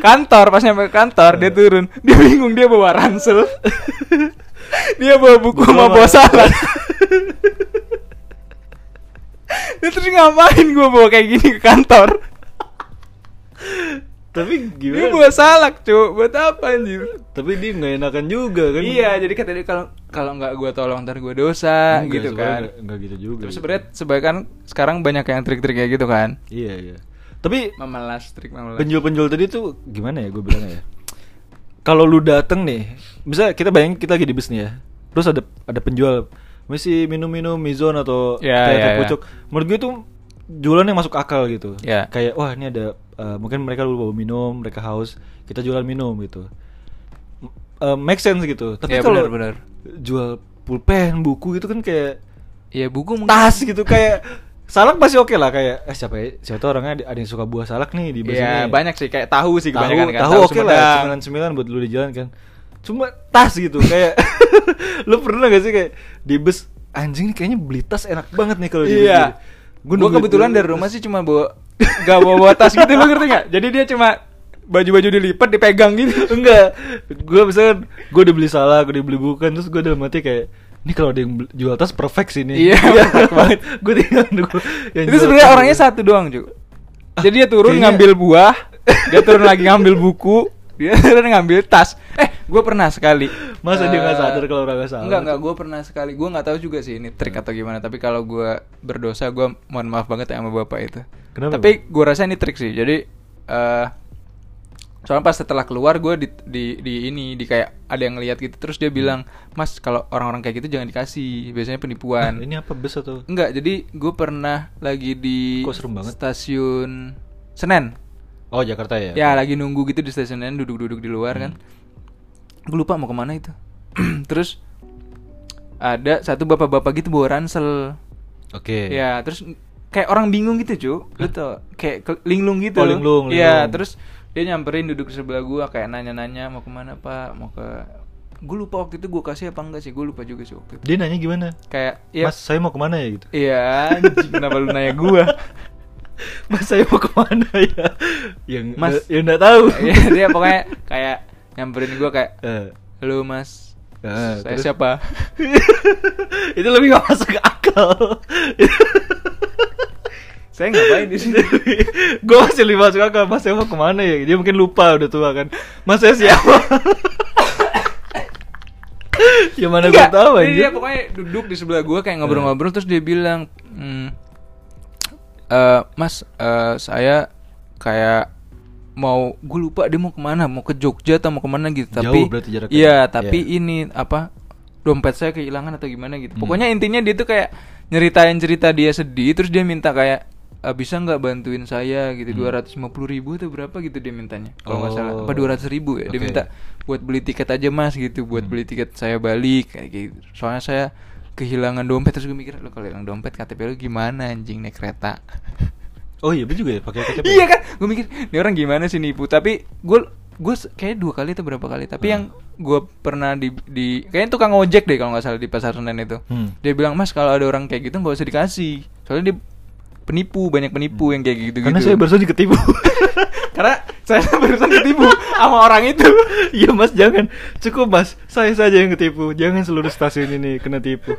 B: kantor pas nyampe kantor dia turun dia bingung dia bawa ransel dia bawa buku sama bawa salad dia terus ngapain gue bawa kayak gini ke kantor
A: Tapi
B: dia
A: gimana?
B: bawa salak cuy buat apa anjir
A: Tapi dia nggak enakan juga kan?
B: iya jadi kata dia kalau kalau nggak gue tolong ntar gue dosa
A: Enggak,
B: gitu
A: sebenarnya
B: kan
A: nggak- nggak gitu juga.
B: tapi
A: gitu.
B: sebenarnya sebenarnya kan sekarang banyak yang trik-trik kayak gitu kan
A: Iya iya. Tapi
B: memelas trik memelas
A: penjual-penjual tadi tuh gimana ya gue bilang ya? Kalau lu dateng nih, bisa kita bayangin kita lagi di bis nih ya. Terus ada ada penjual masih minum-minum mizon atau
B: Ya,
A: teh-teh
B: ya, ya.
A: pucuk. Menurut gue tuh jualan yang masuk akal gitu.
B: Ya.
A: Kayak wah ini ada eh, mungkin mereka dulu bawa minum, mereka haus, kita jualan minum gitu. M- eh, make sense gitu. Tapi
B: Ya,
A: kalau
B: benar, benar.
A: jual pulpen, buku gitu kan kayak
B: ya buku mungkin
A: tas gitu kayak salak masih oke lah kayak eh siapa ya siapa tahu orangnya ada, ada yang suka buah salak nih di bus
B: Iya
A: ini.
B: banyak sih kayak tahu sih
A: tahu
B: kebanyakan kan
A: tahu oke lah
B: Sumedang.
A: sembilan sembilan buat lu di jalan kan cuma tas gitu kayak lu pernah gak sih kayak di bus anjing nih kayaknya beli tas enak banget nih kalau di bus
B: Iya.
A: gini." Gua
B: Gue
A: nungguin
B: kebetulan
A: dulu,
B: dari
A: terus-
B: rumah sih cuma bawa gak bawa, bawa tas gitu lu ngerti gak? Jadi dia cuma baju-baju dilipat dipegang gitu.
A: enggak gue misalkan gue Kan udah beli salah gue udah beli bukan terus gue dalam hati kayak ini kalau ada yang beli- jual tas perfect sih ini
B: Iya, perfect banget.
A: gue tinggal nunggu yang
B: Itu
A: jual
B: sebenarnya
A: tas.
B: orangnya satu doang, Ju. Jadi dia turun
A: kayaknya-
B: ngambil buah, dia turun lagi ngambil buku, dia turun ngambil tas. Eh, gue pernah sekali.
A: Masa dia nggak
B: Eh,
A: sadar kalau orangnya salah?
B: Enggak, enggak, gue pernah sekali. Gue nggak tahu juga sih ini trik atau gimana, tapi kalau gue berdosa, gue mohon maaf banget ya sama bapak itu.
A: Kenapa,
B: Tapi
A: Bang?
B: gue rasa ini trik sih. Jadi eh soalnya pas setelah keluar gue di, di di ini di kayak ada yang ngeliat gitu terus dia bilang mas kalau orang-orang kayak gitu jangan dikasih biasanya penipuan
A: Nah, Ini apa bus atau
B: Enggak, jadi gue pernah lagi di
A: Kok serem banget?
B: stasiun Senen.
A: Oh Jakarta ya?
B: Ya, lagi nunggu gitu di stasiun Senen, duduk-duduk di luar kan.
A: Hmm.
B: Gue lupa mau kemana itu. Terus ada satu bapak-bapak gitu bawa ransel.
A: Oke.
B: Ya, terus kayak orang bingung gitu, Cu. Lu tau, kayak ke- linglung gitu.
A: Oh, linglung,
B: Iya,
A: linglung.
B: terus dia nyamperin duduk di sebelah gua kayak nanya-nanya mau kemana, Pak? Mau ke Gue lupa waktu itu gue kasih apa enggak sih? Gue lupa juga sih waktu itu.
A: Dia nanya gimana?
B: Kayak ya
A: Mas saya mau kemana ya gitu?
B: Iya, anjing, kenapa lu nanya gua?
A: Mas saya mau kemana ya? Yang
B: Mas-
A: eh, yang nggak tahu.
B: Iya, dia pokoknya kayak nyamperin gua kayak,
A: Eh,
B: "Lu Mas,
A: Ah,
B: saya
A: terus?
B: siapa?"
A: itu lebih gak masuk akal.
B: saya Eh, ngapain di sini?
A: gue masih lebih masuk akal. Mas saya mau kemana ya? Dia mungkin lupa udah tua kan. Mas saya siapa? ya mana gue
B: Enggak,
A: tahu
B: jadi
A: anjir.
B: Iya, Dia pokoknya duduk di sebelah gua kayak ngobrol-ngobrol terus dia bilang, "Hmm, eh, Mas, eh, saya kayak mau gue lupa dia mau kemana mau ke Jogja atau mau kemana gitu
A: Jauh
B: tapi
A: berarti jaraknya.
B: iya tapi
A: Iya.
B: ini apa dompet saya kehilangan atau gimana gitu
A: Hmm.
B: pokoknya intinya dia tuh kayak nyeritain cerita dia sedih terus dia minta kayak "Eh, bisa nggak bantuin saya gitu dua ratus ribu atau berapa gitu dia mintanya kalau nggak salah
A: Hmm. Oh.
B: apa dua ribu ya dia
A: Oke.
B: minta buat beli tiket aja mas gitu
A: Hmm.
B: buat beli tiket saya balik kayak gitu soalnya saya kehilangan dompet terus gue mikir lo kalau hilang dompet KTP lu gimana anjing naik kereta
A: Oh iya, bener juga ya pakai KTP.
B: iya kan gue mikir ini orang gimana sih nipu tapi gue gue kayak dua kali atau berapa kali tapi
A: Hmm.
B: yang gue pernah di di kayaknya tukang ojek deh kalau nggak salah di pasar senen itu
A: Hmm.
B: dia bilang mas kalau ada orang kayak gitu nggak usah dikasih soalnya dia penipu banyak penipu yang kayak gitu gitu
A: Hmm. Karena saya barusan juga ketipu.
B: karena saya barusan ketipu sama orang itu
A: Iya mas jangan Cukup mas Saya saja yang ketipu Jangan seluruh stasiun ini kena tipu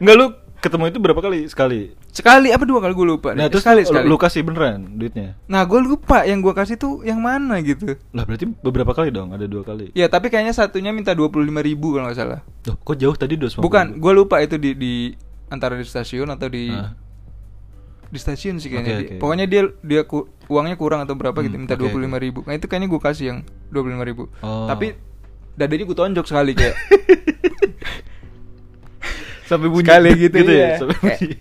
A: Enggak lu ketemu itu berapa kali? Sekali?
B: sekali apa dua kali gue lupa deh.
A: Nah terus
B: sekali
A: lu, lu kasih beneran duitnya?
B: nah gue lupa yang gue kasih tuh yang mana gitu
A: Lah berarti beberapa kali dong? Ada dua kali
B: ya tapi kayaknya satunya minta dua puluh ribu kalau nggak salah
A: Loh kok jauh tadi 250
B: bukan gue lupa itu di di antara di stasiun atau di
A: Hah?
B: di stasiun sih kayaknya
A: Oke,
B: Dia-
A: oke.
B: pokoknya dia dia ku- uangnya kurang atau berapa gitu
A: Hmm,
B: minta
A: oke,
B: dua puluh ribu nah itu kayaknya gue kasih yang dua puluh ribu
A: Oh.
B: tapi dadanya gue tonjok sekali kayak
A: Sampai bunyi
B: Sekali gitu,
A: ya?
B: iya.
A: Sampai
B: Kayak,
A: bunyi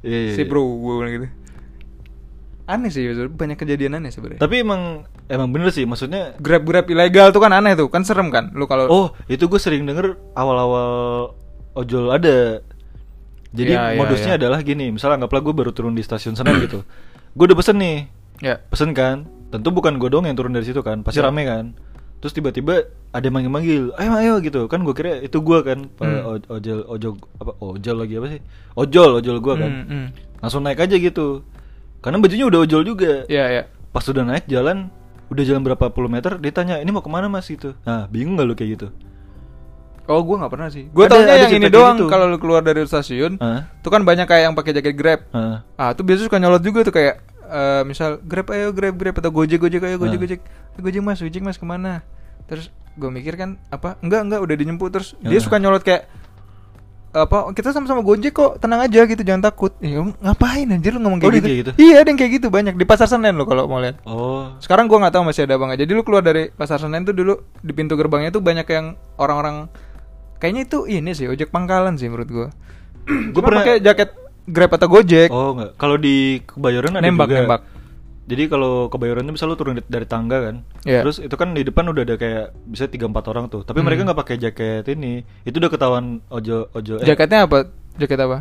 A: Iya iya
B: si
A: iya.
B: bro gue bilang gitu aneh sih Yusuf. banyak kejadian aneh sebenarnya
A: Tapi emang Emang bener sih maksudnya
B: grab grab ilegal tuh kan aneh tuh kan serem kan lu kalau
A: Oh itu gue sering denger Awal-awal ojol ada Jadi
B: Iya, iya,
A: modusnya
B: iya.
A: adalah gini Misalnya anggaplah gue baru turun di stasiun Senen gitu Gue udah pesen nih
B: ya
A: pesen kan tentu bukan gue doang yang turun dari situ kan pasti
B: Ya.
A: rame kan terus tiba-tiba ada yang manggil-manggil ayo ayo gitu kan gue kira itu gue kan Pak
B: Hmm.
A: o- ojol ojol apa ojol lagi apa sih ojol ojol gue kan
B: Hmm, hmm.
A: langsung naik aja gitu karena bajunya udah ojol juga
B: ya ya
A: pas udah naik jalan udah jalan berapa puluh meter dia tanya ini mau kemana mas gitu nah bingung gak lu kayak gitu
B: Oh gue nggak pernah sih. Gue
A: Ada- ada
B: taunya yang
A: cerita
B: ini
A: kayak
B: doang
A: gitu.
B: kalau lu keluar dari stasiun,
A: Hah?
B: tuh kan banyak kayak yang pakai jaket Grab.
A: Heeh.
B: Ah, tuh biasa suka nyolot juga tuh kayak eh, misal Grab ayo Grab Grab atau Gojek Gojek ayo Gojek
A: Ah.
B: Gojek. Eh, Gojek Mas, Gojek Mas kemana? Terus gue mikir kan apa? Enggak enggak udah dijemput terus
A: Ah.
B: dia suka nyolot kayak apa kita sama-sama Gojek kok tenang aja gitu jangan takut ya, ngapain anjir lu ngomong
A: Oh,
B: kayak,
A: dia
B: gitu.
A: kayak gitu?
B: iya ada yang kayak gitu banyak di pasar Senen lo kalau mau lihat
A: oh
B: sekarang gua nggak tahu masih ada apa nggak jadi lu keluar dari pasar Senen tuh dulu di pintu gerbangnya tuh banyak yang orang-orang kayaknya itu ini sih ojek pangkalan sih menurut gua
A: Gua
B: gue
A: pernah-
B: pernah pakai jaket Grab atau Gojek
A: oh enggak kalau di kebayoran ada
B: Nembak,
A: juga
B: nembak.
A: jadi kalau kebayoran tuh bisa lu turun di- dari tangga kan
B: Iya.
A: terus itu kan di depan udah ada kayak bisa 3 4 orang tuh tapi
B: Hmm.
A: mereka nggak pakai jaket ini itu udah ketahuan ojo ojo eh,
B: jaketnya apa jaket apa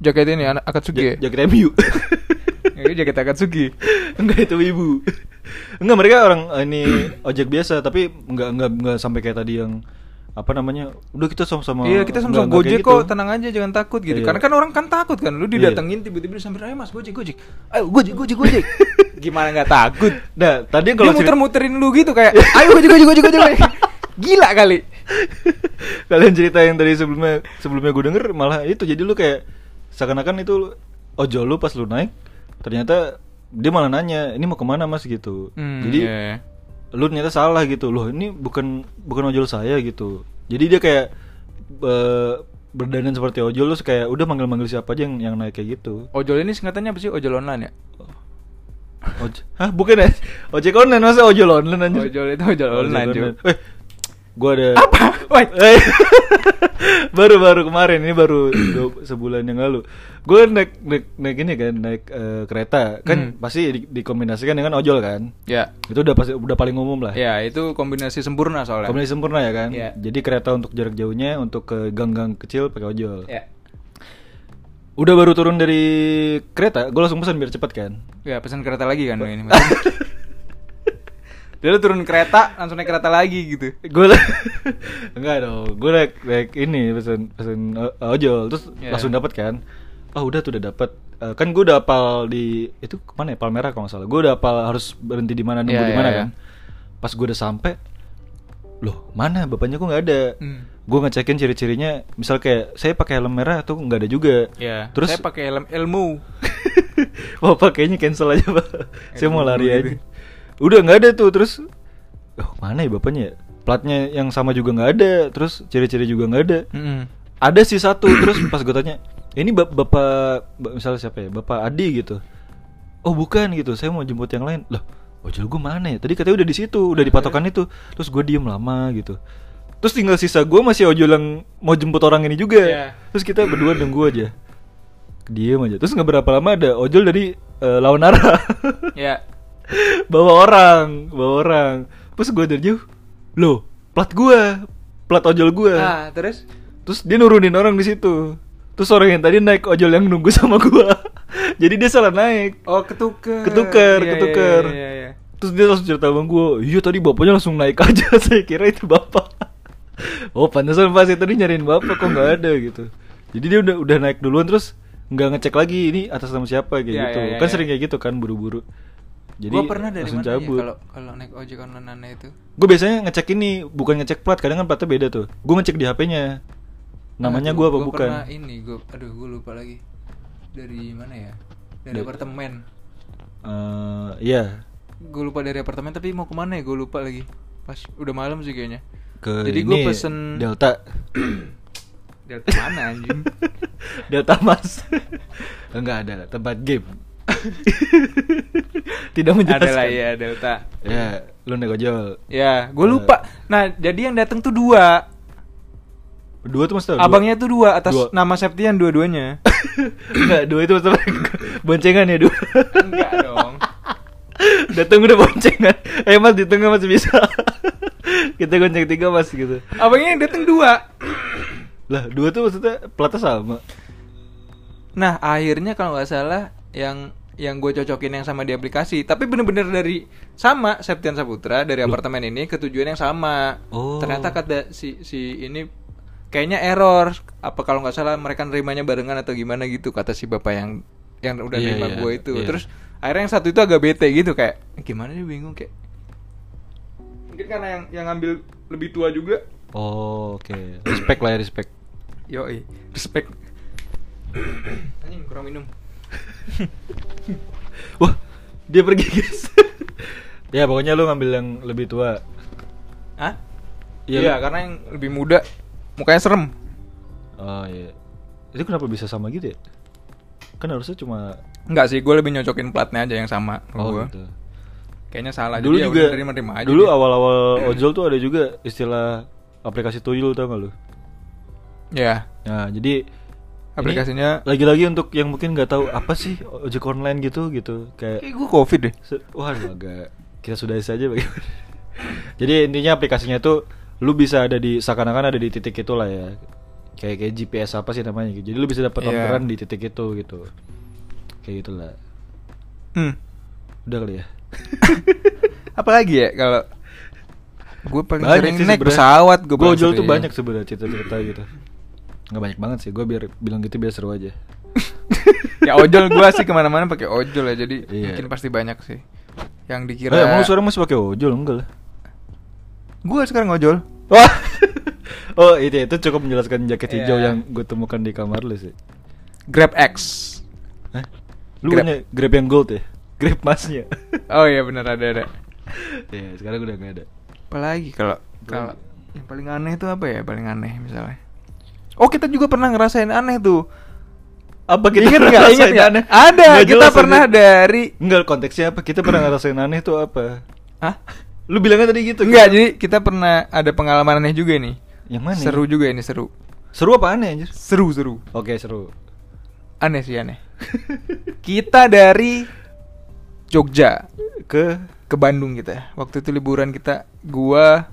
B: jaket ini anak
A: ja-
B: Akatsuki ya?
A: jaket MU
B: Ini jaket Akatsuki
A: enggak itu ibu enggak mereka orang eh, ini ojek biasa tapi enggak enggak enggak sampai kayak tadi yang apa namanya udah kita sama-sama
B: iya kita
A: enggak-
B: sama-sama
A: enggak
B: Gojek
A: kayak
B: kok
A: gitu.
B: tenang aja jangan takut gitu
A: Iya.
B: karena kan orang kan takut kan lu
A: Iya.
B: didatengin tiba-tiba disamperin ayo mas Gojek Gojek ayo Gojek Gojek Gojek gimana nggak takut
A: nah tadi
B: dia
A: kalau cerita-
B: muter-muterin lu gitu kayak ayo Gojek Gojek Gojek Gojek gila kali
A: kalian cerita yang tadi sebelumnya sebelumnya gue denger malah itu jadi lu kayak seakan-akan itu lu- ojo lu pas lu naik ternyata dia malah nanya ini mau kemana mas gitu
B: Hmm,
A: jadi
B: iya, iya.
A: lu ternyata salah gitu loh ini bukan bukan ojol saya gitu jadi dia kayak eh, berdandan seperti ojol terus kayak udah manggil-manggil siapa aja yang yang naik kayak gitu
B: Ojol ini singkatannya apa sih? Ojol online ya?
A: Oj Hah bukan ya? Ojek online masa ojol online anjir?
B: Ojol itu ojol online, cuy.
A: Eh, gua ada
B: Apa? Woi.
A: Eh, Baru-baru kemarin ini baru dua- sebulan yang lalu. Gua naik naik naik ini kan naik eh, kereta. Kan
B: Hmm.
A: pasti di- dikombinasikan dengan ojol kan?
B: Ya.
A: Itu udah pasti udah paling umum lah.
B: Ya, itu kombinasi sempurna soalnya.
A: Kombinasi sempurna ya kan?
B: Iya.
A: Jadi kereta untuk jarak jauhnya untuk ke gang-gang kecil pakai ojol.
B: Ya.
A: Udah baru turun dari kereta, gua langsung pesan biar cepat kan.
B: Ya, pesan kereta lagi kan ini. Dia lu turun kereta, langsung naik kereta lagi gitu.
A: gue enggak dong gue naik naik ini pesen pesen o- ojol terus
B: Iya.
A: langsung dapat kan oh udah tuh udah dapat Eh, kan gue udah apal di itu kemana ya Palmerah kalau nggak salah gue udah apal harus berhenti di mana nunggu
B: Iya,
A: di mana
B: iya,
A: kan
B: iya.
A: pas gue udah sampai loh mana bapaknya kok nggak ada
B: Hmm.
A: gue ngecekin ciri-cirinya misal kayak saya pakai helm merah atau nggak ada juga
B: Ya.
A: terus
B: saya pakai helm ilmu.
A: Bapak kayaknya cancel aja pak Saya mau
B: Aduh,
A: lari
B: gitu.
A: aja Udah nggak ada tuh Terus Oh mana ya bapaknya ya? Platnya yang sama juga nggak ada Terus ciri-ciri juga nggak ada
B: Mm-mm.
A: Ada sih satu Terus pas gue tanya Ini bap- bapak ba- Misalnya siapa ya Bapak Adi gitu Oh bukan gitu Saya mau jemput yang lain Loh ojol gue mana ya Tadi katanya udah di situ Udah di patokan itu Terus gue diem lama gitu Terus tinggal sisa gue masih ojol yang Mau jemput orang ini juga
B: Iya.
A: Terus kita berdua nunggu aja Diem aja Terus nggak berapa lama ada ojol dari eh, lawan arah
B: Ya.
A: Bawa orang Bawa orang Terus gue dari jauh Loh plat gue Plat ojol gue
B: Ah, terus
A: Terus dia nurunin orang di situ Terus orang yang tadi naik ojol yang nunggu sama gue Jadi dia salah naik
B: Oh, ketuker.
A: Ketuker,
B: Iya, iya,
A: ketuker.
B: Iya, iya, iya.
A: Terus dia langsung cerita sama gue Iya tadi bapaknya langsung naik aja Saya kira itu bapak Oh pantesan pas saya tadi nyariin bapak Kok nggak ada gitu Jadi dia udah udah naik duluan Terus nggak ngecek lagi Ini atas nama siapa kayak
B: Ya,
A: gitu
B: ya, ya,
A: Kan
B: ya.
A: sering kayak gitu kan buru-buru Jadi
B: Gua pernah dari
A: langsung
B: mana ya
A: cabut
B: kalau kalau naik ojek online itu?
A: Gue biasanya ngecek ini Bukan ngecek plat Kadang kan platnya beda tuh Gue ngecek di HP-nya Namanya
B: Ah,
A: gue apa
B: gua
A: bukan
B: pernah ini gue aduh gue lupa lagi dari mana ya dari
A: Dari-
B: apartemen
A: Eh, Iya
B: gue lupa dari apartemen tapi mau kemana ya gue lupa lagi pas udah malam sih kayaknya
A: Ke
B: jadi
A: ini
B: gue pesen
A: Delta
B: Delta mana anjing
A: Delta Mas Enggak ada tempat game Tidak menjelaskan
B: ada lah ya Delta
A: Ya lu naik ojol
B: ya
A: Eh.
B: gue lupa nah jadi yang datang tuh dua
A: Dua tuh maksudnya dua.
B: abangnya tuh dua atas
A: Dua.
B: nama Septian dua-duanya
A: Enggak dua itu maksudnya Boncengan ya dua
B: enggak dong
A: Datang udah boncengan Eh mas di tengah masih bisa Kita gonceng tiga mas gitu
B: abangnya yang datang dua
A: Lah dua tuh maksudnya platnya sama
B: Nah akhirnya kalau nggak salah yang yang gue cocokin yang sama di aplikasi tapi bener-bener dari sama Septian Saputra dari
A: Loh.
B: apartemen ini ke tujuan yang sama
A: Oh.
B: ternyata kata si si ini kayaknya error apa kalau nggak salah mereka nerimanya barengan atau gimana gitu kata si bapak yang yang udah
A: Iya,
B: nerima
A: iya,
B: gue itu
A: iya.
B: terus akhirnya yang satu itu agak bete gitu kayak gimana sih bingung kayak mungkin karena yang yang ngambil lebih tua juga
A: Oh, oke. Respect lah ya, respect.
B: yoi respect anjing kurang minum
A: Wah, dia pergi, guys. ya, pokoknya lu ngambil yang lebih tua.
B: Hah?
A: Iya,
B: iya
A: lu-
B: karena yang lebih muda mukanya serem
A: Oh, iya. Itu kenapa bisa sama gitu ya? Kan harusnya cuma
B: Enggak sih, gue lebih nyocokin platnya aja yang sama sama
A: oh,
B: gua.
A: gitu.
B: Kayaknya salah
A: dulu
B: jadi ya
A: juga
B: udah terima-terima aja
A: dulu
B: dia.
A: awal-awal ojol tuh ada juga istilah aplikasi tuyul tau gak lu
B: ya
A: nah jadi ini
B: aplikasinya
A: lagi-lagi untuk yang mungkin nggak tahu apa sih ojek online gitu gitu kayak
B: kayak gue covid deh
A: se- waduh agak kita sudahi saja bagaimana jadi intinya aplikasinya tuh lu bisa ada di seakan-akan ada di titik itu lah ya kayak kayak GPS apa sih namanya gitu. jadi lu bisa dapat
B: Iya.
A: orderan di titik itu gitu kayak gitulah
B: hmm.
A: udah kali ya
B: apalagi ya kalau gue paling sering
A: sih
B: naik
A: sebenarnya.
B: pesawat gue
A: Gua ojol tuh banyak sebenarnya cerita-cerita gitu nggak banyak banget sih gue biar bilang gitu biar seru aja
B: ya ojol gue sih kemana-mana pakai ojol ya jadi
A: Iya. Oh,
B: mungkin pasti banyak sih yang dikira
A: Kira... mau sekarang masih pakai ojol enggak lah
B: gue sekarang ojol
A: Wah. oh itu itu cukup menjelaskan jaket
B: Iya.
A: hijau yang gue temukan di kamar lu sih
B: grab X
A: Hah? lu
B: Grab.
A: punya grab yang gold ya grab masnya
B: oh iya bener ada ada
A: Iya sekarang udah nggak ada
B: apalagi kalau kalau yang paling aneh itu apa ya paling aneh misalnya oh kita juga pernah ngerasain aneh tuh
A: apa
B: Ingat nggak?
A: ngerasain
B: Ingat nggak?
A: aneh?
B: Ada,
A: Nggak
B: kita
A: jelas
B: pernah
A: aja.
B: dari-
A: Enggak, konteksnya apa? Kita pernah ngerasain aneh tuh apa?
B: Hah?
A: Lu bilangnya tadi gitu
B: Enggak,
A: kan?
B: jadi kita pernah ada pengalaman aneh juga nih.
A: Yang mana? ya?
B: Seru juga ini seru.
A: Seru apa aneh anjir?
B: Seru seru.
A: Oke, seru
B: Aneh sih aneh. kita dari Jogja
A: Ke
B: ke Bandung kita. Waktu itu liburan kita gua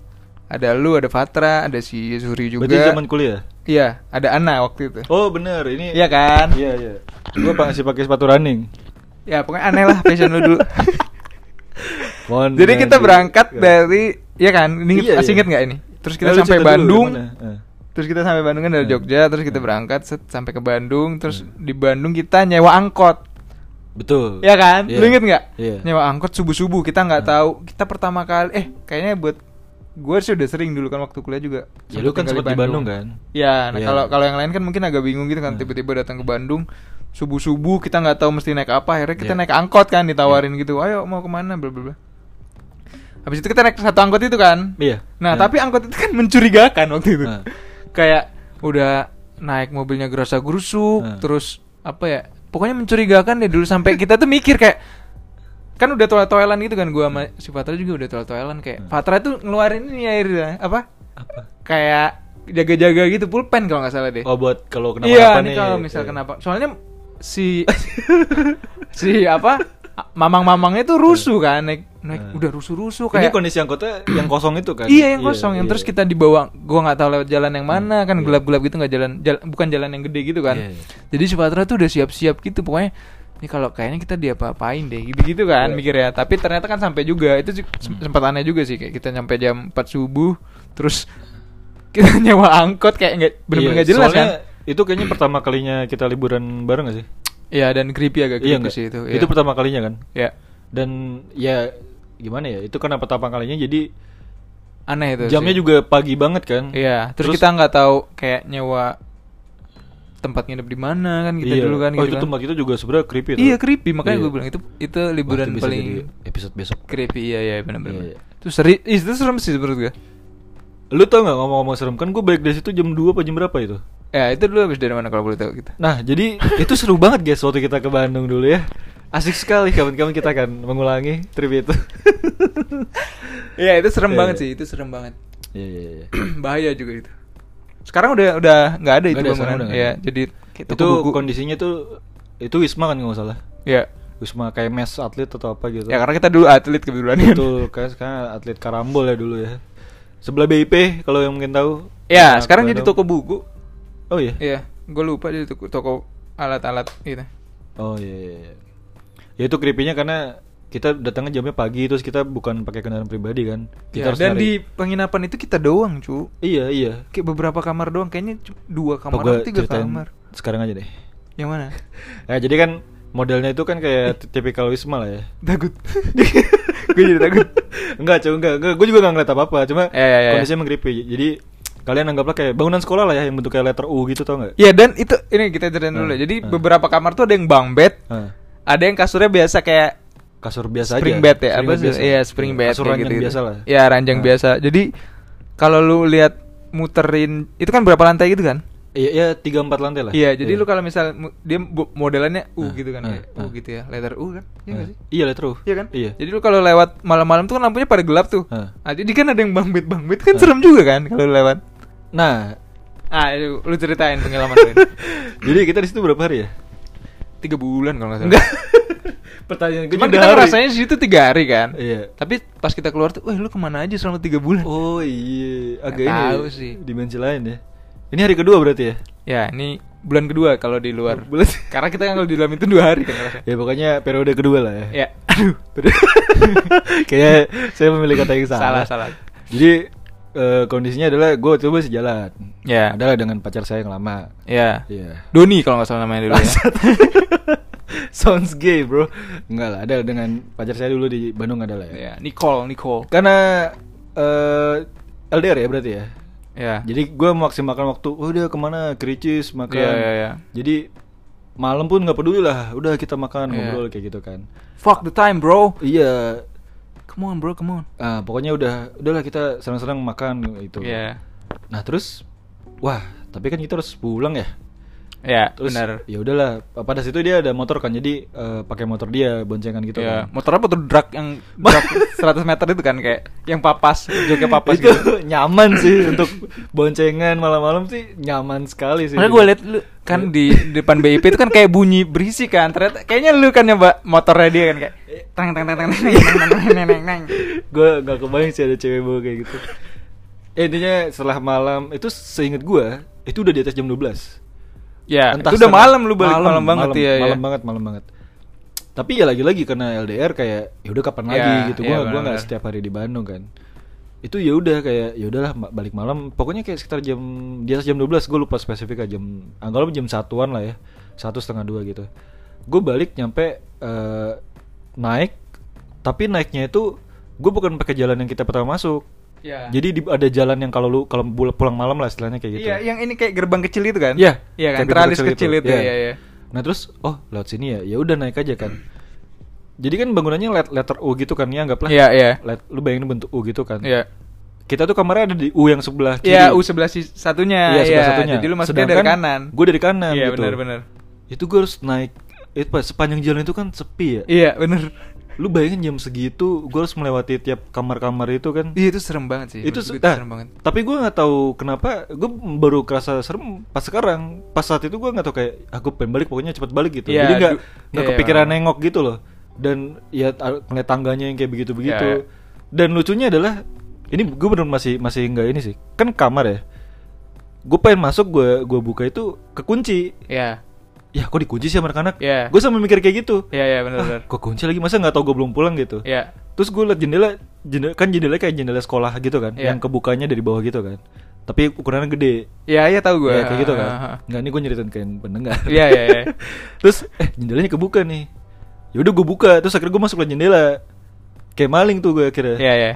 B: ada lu, ada Fatra, ada si Suri juga.
A: Berarti zaman kuliah?
B: Iya, ada Ana waktu itu.
A: Oh bener ini
B: Iya kan?
A: Iya iya Gue masih pakai sepatu running
B: Ya, pokoknya aneh lah fashion lu dulu.
A: Mohon
B: Jadi
A: dengan
B: kita
A: di-
B: berangkat
A: Iya.
B: dari ya kan, ini
A: Iya,
B: masih
A: iya.
B: inget nggak ini? Terus kita
A: Nah, lu
B: sampai
A: cerita dulu
B: Bandung.
A: gimana? Eh.
B: Terus kita sampai Bandung kan dari
A: Hmm.
B: Jogja, terus kita
A: Hmm.
B: berangkat set, sampai ke Bandung, terus
A: Hmm.
B: di Bandung kita nyewa angkot,
A: Betul
B: ya kan?
A: Iya.
B: Lu inget nggak?
A: Iya
B: Nyewa angkot subuh subuh kita nggak
A: Hmm.
B: tahu, kita pertama kali, eh kayaknya buat gue sih udah sering dulu kan waktu kuliah juga.
A: Ya lu kan
B: tinggal
A: sempet di Bandung kan?
B: Ya, nah
A: Iya.
B: kalau kalau yang lain kan mungkin agak bingung gitu kan,
A: Hmm.
B: tiba-tiba datang ke Bandung subuh subuh kita nggak tahu mesti naik apa, akhirnya kita
A: Iya.
B: naik angkot kan ditawarin gitu, ayo mau kemana, bla bla bla. Habis itu kita naik satu angkot itu kan?
A: Iya
B: Nah,
A: Iya.
B: tapi angkot itu kan mencurigakan waktu itu.
A: Nah.
B: Kayak udah naik mobilnya gerasa gerusuk,
A: Nah.
B: terus apa ya? Pokoknya mencurigakan deh dulu sampai kita tuh mikir kayak kan udah toel-toelan gitu kan gua sama si Fatra juga udah toel-toelan kayak
A: Nah.
B: Fatra tuh ngeluarin ini airnya apa?
A: Apa?
B: Kayak jaga-jaga gitu pulpen kalau nggak salah deh.
A: Oh buat kalau kenapa
B: iya,
A: nih
B: ini kalau misal
A: Iya.
B: kenapa? Soalnya si si apa? Mamang-mamangnya tuh rusuh kan naik, naik
A: Nah.
B: udah rusuh-rusuh
A: Ini
B: kayak
A: kondisi angkotnya yang kosong itu kan?
B: ya? Iya yang kosong yang
A: iya.
B: terus kita dibawa gua nggak tahu lewat jalan yang
A: Hmm,
B: mana kan
A: iya.
B: gelap-gelap gitu nggak jalan, jal- bukan jalan yang gede gitu kan.
A: Iya, iya.
B: Jadi Sumatera tuh udah siap-siap gitu pokoknya ini kalau kayaknya kita diapa-apain deh gitu-gitu kan
A: Iya. Hmm.
B: mikir ya. Tapi ternyata kan sampai juga itu sih sem- sempat aneh juga sih kayak kita nyampe jam 4 subuh terus kita nyewa angkot kayak nggak bener-bener
A: Iya,
B: nggak jelas
A: soalnya
B: kan.
A: Itu kayaknya pertama kalinya kita liburan bareng gak sih?
B: Iya dan creepy agak creepy
A: nggak?
B: sih itu.
A: Itu
B: iya.
A: pertama kalinya kan?
B: Iya.
A: Dan ya gimana ya? Itu karena pertama kalinya jadi
B: Aneh itu.
A: jamnya
B: sih.
A: juga pagi banget kan?
B: Iya, terus, kita nggak tahu kayak nyewa tempat nginep di mana kan kita
A: Iya.
B: dulu kan
A: Oh
B: gitu
A: itu
B: kan.
A: tempat kita juga sebenarnya creepy tuh.
B: Iya creepy makanya
A: Iya.
B: gue bilang itu itu liburan
A: Wah, itu bisa
B: paling
A: jadi episode besok.
B: creepy iya iya benar-benar.
A: Iya, iya.
B: Itu seri ih, itu serem sih menurut gue.
A: Lu tau gak ngomong-ngomong serem kan gue balik dari situ jam 2 apa jam berapa itu?
B: Ya itu dulu habis dari mana kalau boleh tahu gitu. kita.
A: Nah jadi itu seru banget guys waktu kita ke Bandung dulu ya. Asik sekali kawan-kawan kita akan mengulangi trip itu.
B: Iya itu
A: Iya,
B: serem banget
A: iya.
B: sih itu serem banget.
A: Iya iya iya.
B: Bahaya juga itu. Sekarang udah udah nggak ada itu
A: Nggak ada, sekarang
B: bangunan.
A: udah nggak
B: Iya
A: ada.
B: jadi kayak toko
A: Itu
B: buku.
A: kondisinya tuh itu Wisma kan nggak salah.
B: Iya.
A: Wisma kayak mes atlet atau apa gitu.
B: Ya karena kita dulu atlet kebetulan kan.
A: Betul, kayak sekarang atlet karambol ya dulu ya. Sebelah BIP kalau yang mungkin tahu.
B: Ya
A: Nah,
B: sekarang jadi
A: Bandung.
B: toko buku.
A: Oh iya.
B: Iya, gue lupa jadi toko, toko alat-alat gitu.
A: Oh iya. iya, iya. Ya itu creepy-nya karena kita datangnya jamnya pagi terus kita bukan pakai kendaraan pribadi kan.
B: Iya,
A: Kita harus
B: dan
A: nyari-
B: di penginapan itu kita doang, cu.
A: Iya, iya.
B: Kayak beberapa kamar doang, kayaknya cu- dua
A: Apa
B: kamar,
A: gua
B: atau tiga
A: ceritain
B: kamar.
A: Sekarang aja deh.
B: Yang mana?
A: Nah, ya. jadi kan modelnya itu kan kayak tipikal Wisma lah ya.
B: Takut. gue jadi takut.
A: enggak cuy enggak, enggak. gue juga nggak ngeliat apa apa cuma
B: Ya, ya, ya.
A: kondisinya menggeripi jadi kalian anggaplah kayak bangunan sekolah lah ya yang bentuk kayak letter U gitu tau nggak
B: Ya dan itu ini kita ceritain dulu.
A: Hmm,
B: Jadi
A: hmm.
B: beberapa kamar tuh ada yang bang bed,
A: Nah,
B: ada yang kasurnya biasa kayak
A: kasur biasa
B: spring
A: aja
B: bed ya,
A: Spring
B: apa
A: bed
B: sih?
A: biasa.
B: Iya, spring bed
A: kasur
B: kayak
A: ranjang
B: gitu-gitu.
A: biasa lah
B: Iya, ranjang
A: Nah.
B: biasa. Jadi kalau lu lihat muterin itu kan berapa lantai gitu kan?
A: iya iya tiga empat lantai lah
B: Iya, jadi lu kalau misal mu- dia bu- modelannya U
A: Ah,
B: gitu kan,
A: ah,
B: kayak U
A: ah.
B: gitu ya, letter U kan? Iya nggak
A: Nah.
B: sih?
A: iya letter U
B: Iya kan?
A: iya
B: Jadi lu kalau lewat malam-malam tuh kan lampunya pada gelap tuh.
A: Ah.
B: Ah, jadi kan ada yang bangbit bangbit kan
A: Ah.
B: serem juga kan kalau lu lewat.
A: nah
B: Ah, lu, lu ceritain pengalaman lu. ini.
A: jadi kita di situ berapa hari ya
B: Tiga bulan kalau nggak salah.
A: enggak pertanyaan gue
B: Cuman
A: juga
B: kita
A: hari.
B: ngerasanya di situ tiga hari kan.
A: Iya.
B: Tapi pas kita keluar tuh, wah lu kemana aja selama tiga bulan?
A: oh iya agak
B: Nggak
A: ini
B: tahu sih.
A: dimensi lain ya ini hari kedua berarti ya
B: Ya ini bulan kedua kalau di luar.
A: Bulan-
B: Karena kita kalau di dalam itu dua hari kan ngerasa.
A: ya pokoknya periode kedua lah ya
B: Ya, aduh.
A: Kayaknya saya memilih kata yang salah.
B: Salah, salah.
A: Jadi eh, kondisinya adalah gue coba sejalan.
B: Ya.
A: Adalah dengan pacar saya yang lama.
B: Ya.
A: Iya.
B: Doni kalau nggak salah namanya dulu ya.
A: Sounds gay bro. Enggak lah. Ada dengan pacar saya dulu di Bandung adalah ya.
B: ya. Nicole, Nicole.
A: Karena eh, LDR ya berarti ya.
B: Ya.
A: Jadi gue maksimalkan waktu. Oh udah kemana? Kericis makan.
B: Iya, iya, iya.
A: Jadi malam pun nggak peduli lah. Udah kita makan
B: Iya.
A: ngobrol kayak gitu kan.
B: Fuck the time, bro.
A: Iya.
B: Come on, bro, come on.
A: Ah, pokoknya udah udahlah kita senang-senang makan itu.
B: Ya.
A: Nah terus, wah tapi kan kita harus pulang ya.
B: Ya,
A: Terus
B: benar.
A: ya udahlah. Pada situ dia ada motor kan, jadi eh, pakai motor dia boncengan gitu.
B: ya.
A: kan.
B: Motor apa tuh drag yang drag 100 meter itu kan kayak yang papas, joki papas
A: itu
B: gitu.
A: nyaman sih untuk boncengan malam-malam sih nyaman sekali sih.
B: Karena gue liat lu kan di depan BIP itu kan kayak bunyi berisik kan. Ternyata kayaknya lu kan nyoba motornya dia kan kayak tang tang tang tang tang tang tang tang tang tang.
A: gue nggak kebayang sih ada cewek bawa kayak gitu. Eh, intinya setelah malam itu seinget gue itu udah di atas jam 12
B: Ya,
A: Entah
B: itu udah
A: setengah-
B: malam lu balik malam, banget
A: malam,
B: ya. ya.
A: malam banget malam banget tapi ya lagi-lagi karena LDR kayak ya udah kapan lagi
B: Ya,
A: gitu
B: ya,
A: gua gua nggak
B: benar-benar.
A: setiap hari di Bandung kan itu ya udah kayak ya udahlah ma- balik malam pokoknya kayak sekitar jam di atas jam 12 gue lupa spesifik aja jam anggaplah jam satuan lah ya satu setengah dua gitu gue balik nyampe eh, naik tapi naiknya itu gue bukan pakai jalan yang kita pertama masuk
B: Ya.
A: jadi di- ada jalan yang kalau lu kalau bul- pulang malam lah istilahnya kayak gitu
B: Iya, yang ini kayak gerbang kecil itu kan?
A: Iya,
B: Iya kan,
A: kayak pintu
B: teralis kecil itu.
A: Iya.
B: Iya, iya.
A: Nah terus, oh lewat sini ya, ya udah naik aja kan. Jadi kan bangunannya let- letter U gitu kan, ya anggaplah.
B: Iya, iya.
A: Let- lu bayangin bentuk U gitu kan.
B: Iya.
A: Kita tuh kamarnya ada di U yang sebelah kiri.
B: Iya, U sebelah si- satunya.
A: Iya, sebelah satunya.
B: Jadi lu masuknya dari
A: Sedangkan
B: kanan.
A: gua dari kanan
B: Iya,
A: gitu.
B: benar benar.
A: Itu gue harus naik. Itu pas sepanjang jalan itu kan sepi ya.
B: Iya, benar.
A: Lu bayangin jam segitu, gue harus melewati tiap kamar-kamar itu kan.
B: Iya, itu serem banget sih.
A: itu
B: Menurut gua
A: nah,
B: serem banget.
A: tapi gue nggak tahu kenapa gue baru kerasa serem pas sekarang pas saat itu gue nggak tahu kayak aku pengen balik pokoknya cepet balik gitu
B: Iya,
A: jadi nggak
B: du-
A: nggak
B: iya,
A: kepikiran
B: iya.
A: nengok gitu loh dan ya ta- ngeliat tangganya yang kayak begitu begitu
B: Iya, iya.
A: dan lucunya adalah ini gue bener masih masih nggak ini sih kan kamar ya gue pengen masuk gue gue buka itu kekunci
B: Iya.
A: ya kok dikunci sih sama anak-anak
B: Iya.
A: gue sambil mikir kayak gitu
B: Iya, iya, benar benar.
A: "Ah, kok kunci lagi masa nggak tau gue belum pulang gitu
B: Iya.
A: Terus gue liat jendela, jendela kan jendela kayak jendela sekolah gitu kan,
B: Iya.
A: yang kebukanya dari bawah gitu kan. Tapi ukurannya gede.
B: Iya, iya tahu gua.
A: Ya, kayak gitu kan.
B: Ah, ah, ah.
A: Enggak, ini gue nyeritain ke yang pendengar.
B: Iya, iya, iya.
A: terus eh jendelanya kebuka nih. Ya udah gue buka, terus akhirnya gue masuk lewat jendela. Kayak maling tuh gue akhirnya.
B: Iya, iya.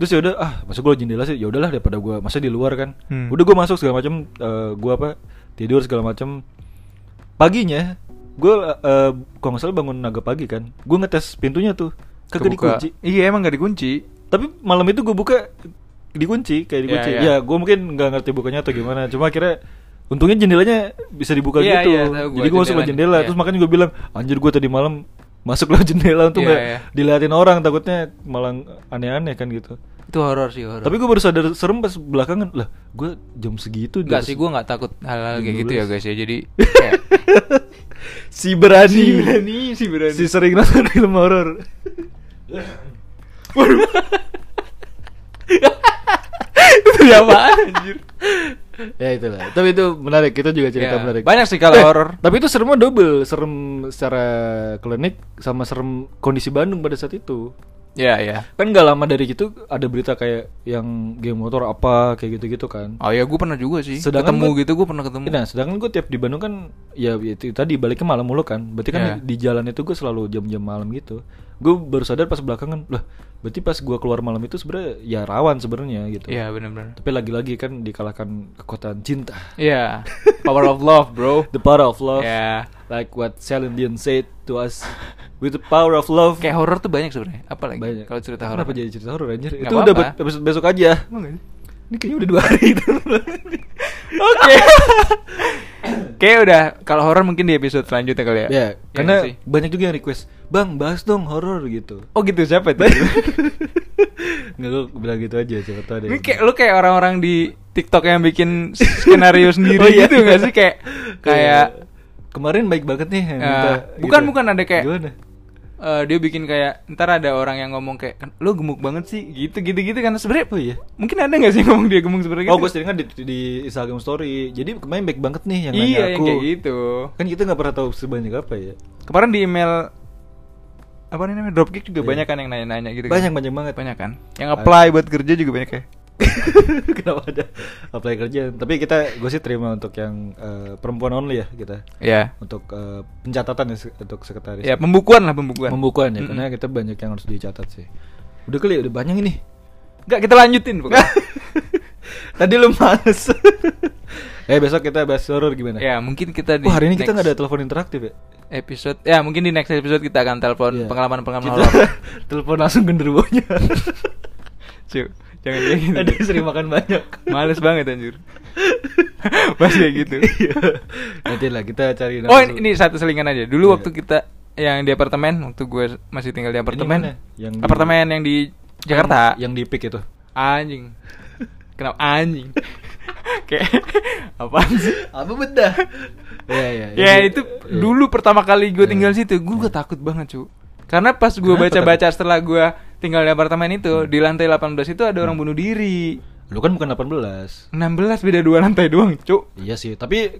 A: Terus ya udah ah, masuk gue lewat jendela sih. Ya udahlah daripada gue masa di luar kan.
B: Hmm.
A: Udah gue masuk segala macam eh, gue apa? Tidur segala macam. Paginya gue eh kalau nggak salah bangun agak pagi kan. Gue ngetes pintunya tuh. Kagak
B: Kebuka.
A: dikunci.
B: Iya, emang gak dikunci.
A: Tapi malam itu gue buka dikunci kayak dikunci.
B: Iya, iya.
A: Ya gue mungkin nggak ngerti bukanya atau gimana. Cuma akhirnya untungnya jendelanya bisa dibuka
B: Iya,
A: gitu.
B: iya, tahu gua
A: Jadi gue masuk lewat
B: jendelanya.
A: jendela.
B: Iya.
A: Terus makanya gue bilang anjir gue tadi malam masuk lewat jendela untuk
B: Iya,
A: nggak
B: iya.
A: diliatin orang takutnya malah aneh-aneh kan gitu.
B: Itu horor sih, horor.
A: Tapi gue baru sadar serem pas belakangan lah gue jam segitu. jam
B: Enggak
A: se-
B: sih, gue nggak takut hal-hal kayak gitu ya guys ya. Jadi
A: si berani.
B: Si berani, si berani.
A: Si sering nonton film horor.
B: itu ya anjir?
A: ya itulah. Tapi itu menarik. Itu juga cerita
B: Ya,
A: menarik.
B: Banyak sih kalau
A: Eh,
B: horor.
A: Tapi itu seremnya double, serem secara klinik sama serem kondisi Bandung pada saat itu.
B: Iya, iya.
A: Kan gak lama dari itu ada berita kayak yang game motor apa kayak gitu-gitu kan.
B: Oh ya, gue pernah juga sih.
A: Sedangkan
B: ketemu
A: gua-
B: gitu, gue pernah ketemu.
A: Nah, sedangkan gue tiap di Bandung kan ya itu tadi baliknya malam mulu kan. Berarti kan
B: Iya.
A: di jalan itu gue selalu jam-jam malam gitu. Gue baru sadar pas belakangan, lah, berarti pas gue keluar malam itu sebenarnya ya rawan sebenarnya gitu.
B: Iya, benar-benar.
A: Tapi lagi-lagi kan dikalahkan kekuatan cinta.
B: Iya. Power of love, bro.
A: The power of love.
B: Oh. Iya.
A: Like what Celine Dion said to us with the power of love.
B: Kayak horor tuh banyak sebenarnya. Apalagi
A: Banyak.
B: kalau cerita horor.
A: Kenapa jadi cerita horor anjir?
B: Nggak
A: itu udah
B: apa-apa.
A: buat episode besok aja.
B: Emang nggak sih?
A: Ini kayaknya udah dua hari itu.
B: Oke. Oke, udah. Kalau horor mungkin di episode selanjutnya kali ya.
A: ya,
B: Iya
A: karena
B: nggak sih?
A: banyak juga yang request, "Bang, bahas dong horor" gitu.
B: Oh gitu siapa itu?
A: Nggak, gue bilang gitu aja siapa tau ada
B: Ini
A: yang-
B: kayak lu kayak orang-orang di TikTok yang bikin skenario sendiri
A: Oh iya.
B: gitu gak sih kayak kayak
A: Kemarin baik banget nih yang
B: Eh,
A: minta, gitu.
B: bukan, bukan, ada kayak-
A: Gimana?
B: eh, dia bikin kayak ntar ada orang yang ngomong kayak "Kan lu gemuk banget sih gitu gitu gitu kan sebenarnya
A: Oh iya.
B: mungkin ada nggak sih ngomong dia gemuk sebenarnya
A: Oh
B: gitu?
A: gue sering kan di, di Instagram story Jadi kemarin baik banget nih yang nanya
B: iya
A: aku
B: yang kayak gitu
A: Kan kita nggak pernah tahu sebanyak apa ya
B: kemarin di email apa namanya dropkick juga
A: Iya.
B: banyak kan yang nanya-nanya gitu
A: Banyak
B: kan?
A: banyak banget
B: banyak kan yang apply buat kerja juga banyak ya
A: Kenapa ada apply kerja Tapi kita gue sih terima untuk yang eh, perempuan only ya kita
B: ya
A: Untuk eh, pencatatan ya se- untuk sekretaris
B: ya pembukuan lah pembukuan
A: Pembukuan ya
B: Mm-mm.
A: Karena kita banyak yang harus dicatat sih Udah kali ya, udah banyak ini
B: nggak kita lanjutin pokoknya
A: Tadi lu males Eh besok kita bahas horror gimana?
B: ya mungkin kita di
A: Wah Oh, hari ini kita
B: next
A: nggak ada telepon interaktif ya?
B: episode ya mungkin di next episode kita akan telepon
A: Iya.
B: pengalaman pengalaman
A: Kita
B: horor
A: Telepon langsung genderuwonya
B: Cuy, jangan kayak gitu
A: Ada yang sering makan banyak
B: males banget anjir Pas kayak gitu
A: Iya. Nanti lah kita cari
B: oh
A: langsung.
B: ini ini satu selingan aja dulu
A: Iya.
B: waktu kita yang di apartemen waktu gue masih tinggal di
A: mana?
B: apartemen
A: Yang di-
B: apartemen yang di Jakarta
A: Yang di pick itu
B: anjing kenapa anjing kayak apaan sih
A: Apa benda? Iya iya
B: ya
A: jadi-
B: itu
A: iya.
B: dulu pertama kali gue
A: Iya.
B: tinggal situ gue gak takut banget cu karena pas gue
A: Kenapa Iya.
B: baca-baca
A: takut?
B: setelah gue tinggal di apartemen itu di lantai 18 itu ada orang
A: Iya.
B: bunuh diri
A: Lu kan bukan 18
B: 16 beda dua lantai doang cu
A: Iya sih tapi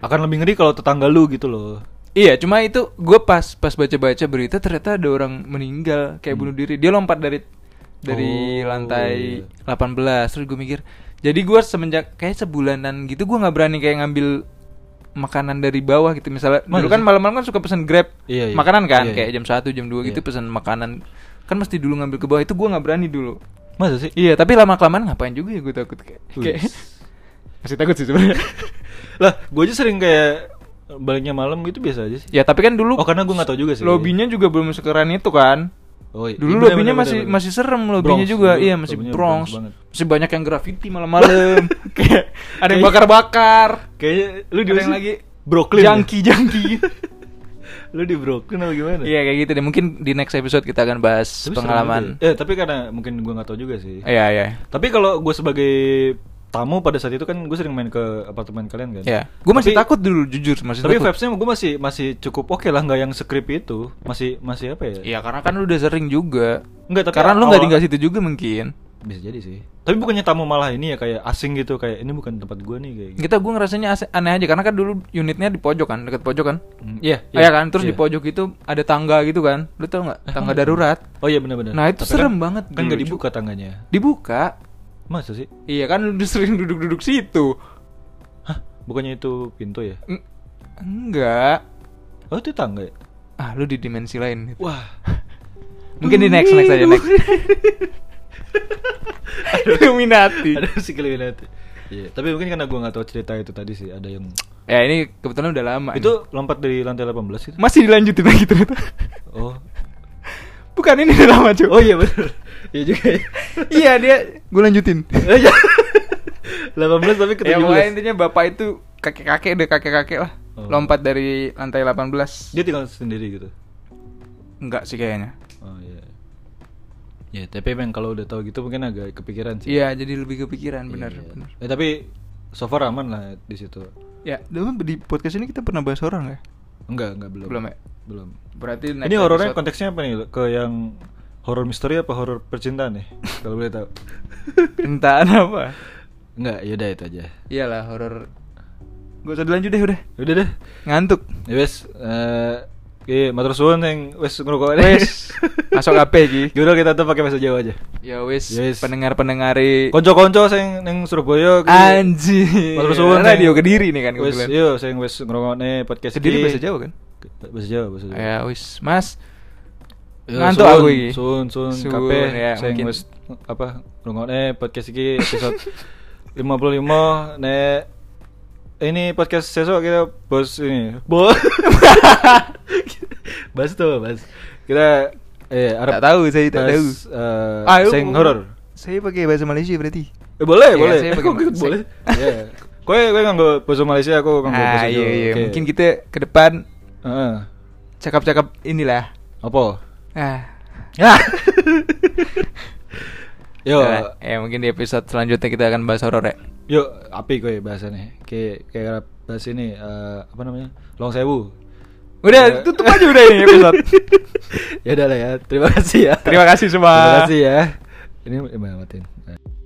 A: Akan lebih ngeri kalau tetangga lu gitu loh
B: Iya, cuma itu gue pas pas baca-baca berita ternyata ada orang meninggal kayak bunuh diri. Dia lompat dari dari
A: Hmm. Oh,
B: lantai
A: iya.
B: 18 terus gue mikir. Jadi gue semenjak kayak sebulanan gitu gue nggak berani kayak ngambil makanan dari bawah gitu misalnya.
A: Masa
B: Dulu kan
A: sih?
B: malam-malam kan suka pesan Grab
A: Iya, iya.
B: makanan kan
A: Iya, iya.
B: kayak jam 1, jam 2 gitu
A: Iya.
B: pesan makanan. Kan mesti dulu ngambil ke bawah itu gue nggak berani dulu.
A: Masa sih?
B: Iya, tapi lama-kelamaan ngapain juga ya gue takut kayak, kayak
A: Wih.
B: masih takut sih sebenarnya.
A: lah gue aja sering kayak baliknya malam gitu biasa aja sih
B: ya, tapi kan dulu
A: oh karena gue nggak tahu juga sih
B: Lobbynya juga belum sekeren itu kan.
A: oh, iya. Iya,
B: Dulu
A: bener,
B: lobbynya
A: bener,
B: masih
A: bener, bener.
B: masih serem lobbynya
A: Bronx,
B: juga.
A: dulu
B: Iya, masih
A: lobbynya
B: Bronx.
A: banget.
B: masih banyak yang graffiti malam-malam. Kayak ada yang
A: Kayak-
B: bakar-bakar.
A: kayaknya lu di mana
B: Ada yang
A: sih?
B: lagi
A: Brooklyn ya?
B: Jangki-jangki.
A: lu di Brooklyn atau gimana
B: Iya kayak gitu deh. Mungkin di next episode kita akan bahas
A: Tapi serem
B: pengalaman.
A: juga ya. eh tapi karena mungkin gue nggak tahu juga sih
B: Iya, iya.
A: tapi kalau gue sebagai tamu pada saat itu kan gue sering main ke apartemen kalian kan
B: Iya. Gue masih
A: Tapi-
B: takut dulu jujur, masih
A: tapi
B: takut.
A: vibesnya gue masih masih cukup oke lah nggak yang script itu masih masih apa ya
B: Iya, karena kan lu udah sering juga.
A: Nggak, tapi
B: karena lu nggak
A: awal-
B: tinggal situ juga mungkin.
A: bisa jadi sih tapi bukannya tamu malah ini ya kayak asing gitu kayak ini bukan tempat gue nih kayak gitu
B: Kita gue ngerasanya ase- aneh aja karena kan dulu unitnya di pojok kan, dekat pojok kan.
A: Hmm, iya
B: Ah, Iya kan, terus
A: iya.
B: di pojok itu ada tangga gitu kan. Lu tau nggak? Tangga darurat.
A: Oh iya benar-benar.
B: Nah, itu
A: Tapi
B: serem
A: kan-
B: banget
A: Kan
B: dulu,
A: nggak
B: Cuk.
A: dibuka tangganya.
B: Dibuka.
A: Masa sih?
B: Iya kan lu sering duduk-duduk situ.
A: Hah, bukannya itu pintu ya?
B: Eng- Enggak.
A: Oh, itu tangga ya?
B: Ah, lu di dimensi lain.
A: Wah.
B: Mungkin di next next aja next. Illuminati.
A: Ada si Illuminati. Iya, tapi mungkin karena gua nggak tahu cerita itu tadi sih, ada yang
B: Ya ini kebetulan udah lama.
A: itu lompat dari lantai gitu. 18 itu.
B: nih. masih dilanjutin lagi ternyata.
A: Oh.
B: Bukan ini udah lama, cuy.
A: Oh iya benar. Iya juga ya.
B: iya, dia gue lanjutin.
A: Eh, iya. 18 tapi ke
B: ya,
A: 17.
B: pokoknya intinya bapak itu kakek-kakek deh kakek-kakek lah.
A: Oh.
B: Lompat dari lantai 18.
A: Dia tinggal sendiri gitu.
B: Enggak sih kayaknya.
A: Oh iya. Ya, tapi emang kalau udah tahu gitu mungkin agak kepikiran sih.
B: Iya, jadi lebih kepikiran benar
A: Iya.
B: benar.
A: Eh, tapi so far aman lah di situ.
B: Ya, dulu di podcast ini kita pernah bahas ya? horor nggak?
A: Enggak, enggak belum.
B: Belum ya?
A: Belum.
B: Berarti
A: Ini horornya konteksnya apa nih? Ke yang horor misteri apa horor percintaan nih? Kalau boleh tahu.
B: Percintaan apa?
A: Enggak, yaudah itu aja.
B: Iyalah horor. Gak usah dilanjut deh udah.
A: Udah Ya deh.
B: Ngantuk.
A: Ya wes, eh, Oke, matur suwun yang wis ngrungokne.
B: Wis, masuk HP iki.
A: Yaudah kita tuh pakai bahasa Jawa aja.
B: Ya wis,
A: Ya wis.
B: pendengar-pendengari
A: Konco-konco sing ning Surabaya
B: Anjir.
A: Matur suwun iya. yang-
B: radio Kediri nih kan
A: Wis
B: kebetulan.
A: yo sing wis ngrungokne podcast
B: Kediri
A: iki.
B: bahasa Jawa kan?
A: Bahasa Jawa, bahasa Jawa.
B: Ya wis, Mas.
A: Ya,
B: Ngantuk
A: suwun,
B: aku iki.
A: Suwun, suwun
B: Suwun,
A: kabeh
B: ya,
A: sing
B: mungkin.
A: wis apa ngrungokne podcast iki episode 55 nek ini podcast sesok kita bos ini. Bos. bas tuh, bas. Kita eh arep
B: Tak tahu, saya tak
A: bahas,
B: tahu.
A: eh,
B: Ayo.
A: sing horor.
B: Saya pakai bahasa Malaysia berarti.
A: Eh boleh,
B: Iya,
A: boleh.
B: saya
A: Aku
B: bagaimana?
A: ikut
B: Saya-
A: boleh. Iya. Kowe kowe nganggo bahasa Malaysia, aku nganggo Oh,
B: Ah,
A: kan bahasa Jawa.
B: iya, iya.
A: Oke.
B: Mungkin kita ke depan
A: Heeh.
B: cakap-cakap inilah.
A: Apa?
B: Ah.
A: Ya. Yo,
B: Ya, ya, mungkin di episode selanjutnya kita akan bahas horor ya.
A: yo api kowe bahasane. Kayak kayak bahas ini eh, apa namanya? Long Sewu. Ya.
B: Udah, tutup aja udah ini episode.
A: ya udah lah ya. Terima kasih ya.
B: Terima kasih semua.
A: Terima kasih ya. Ini eh, matiin.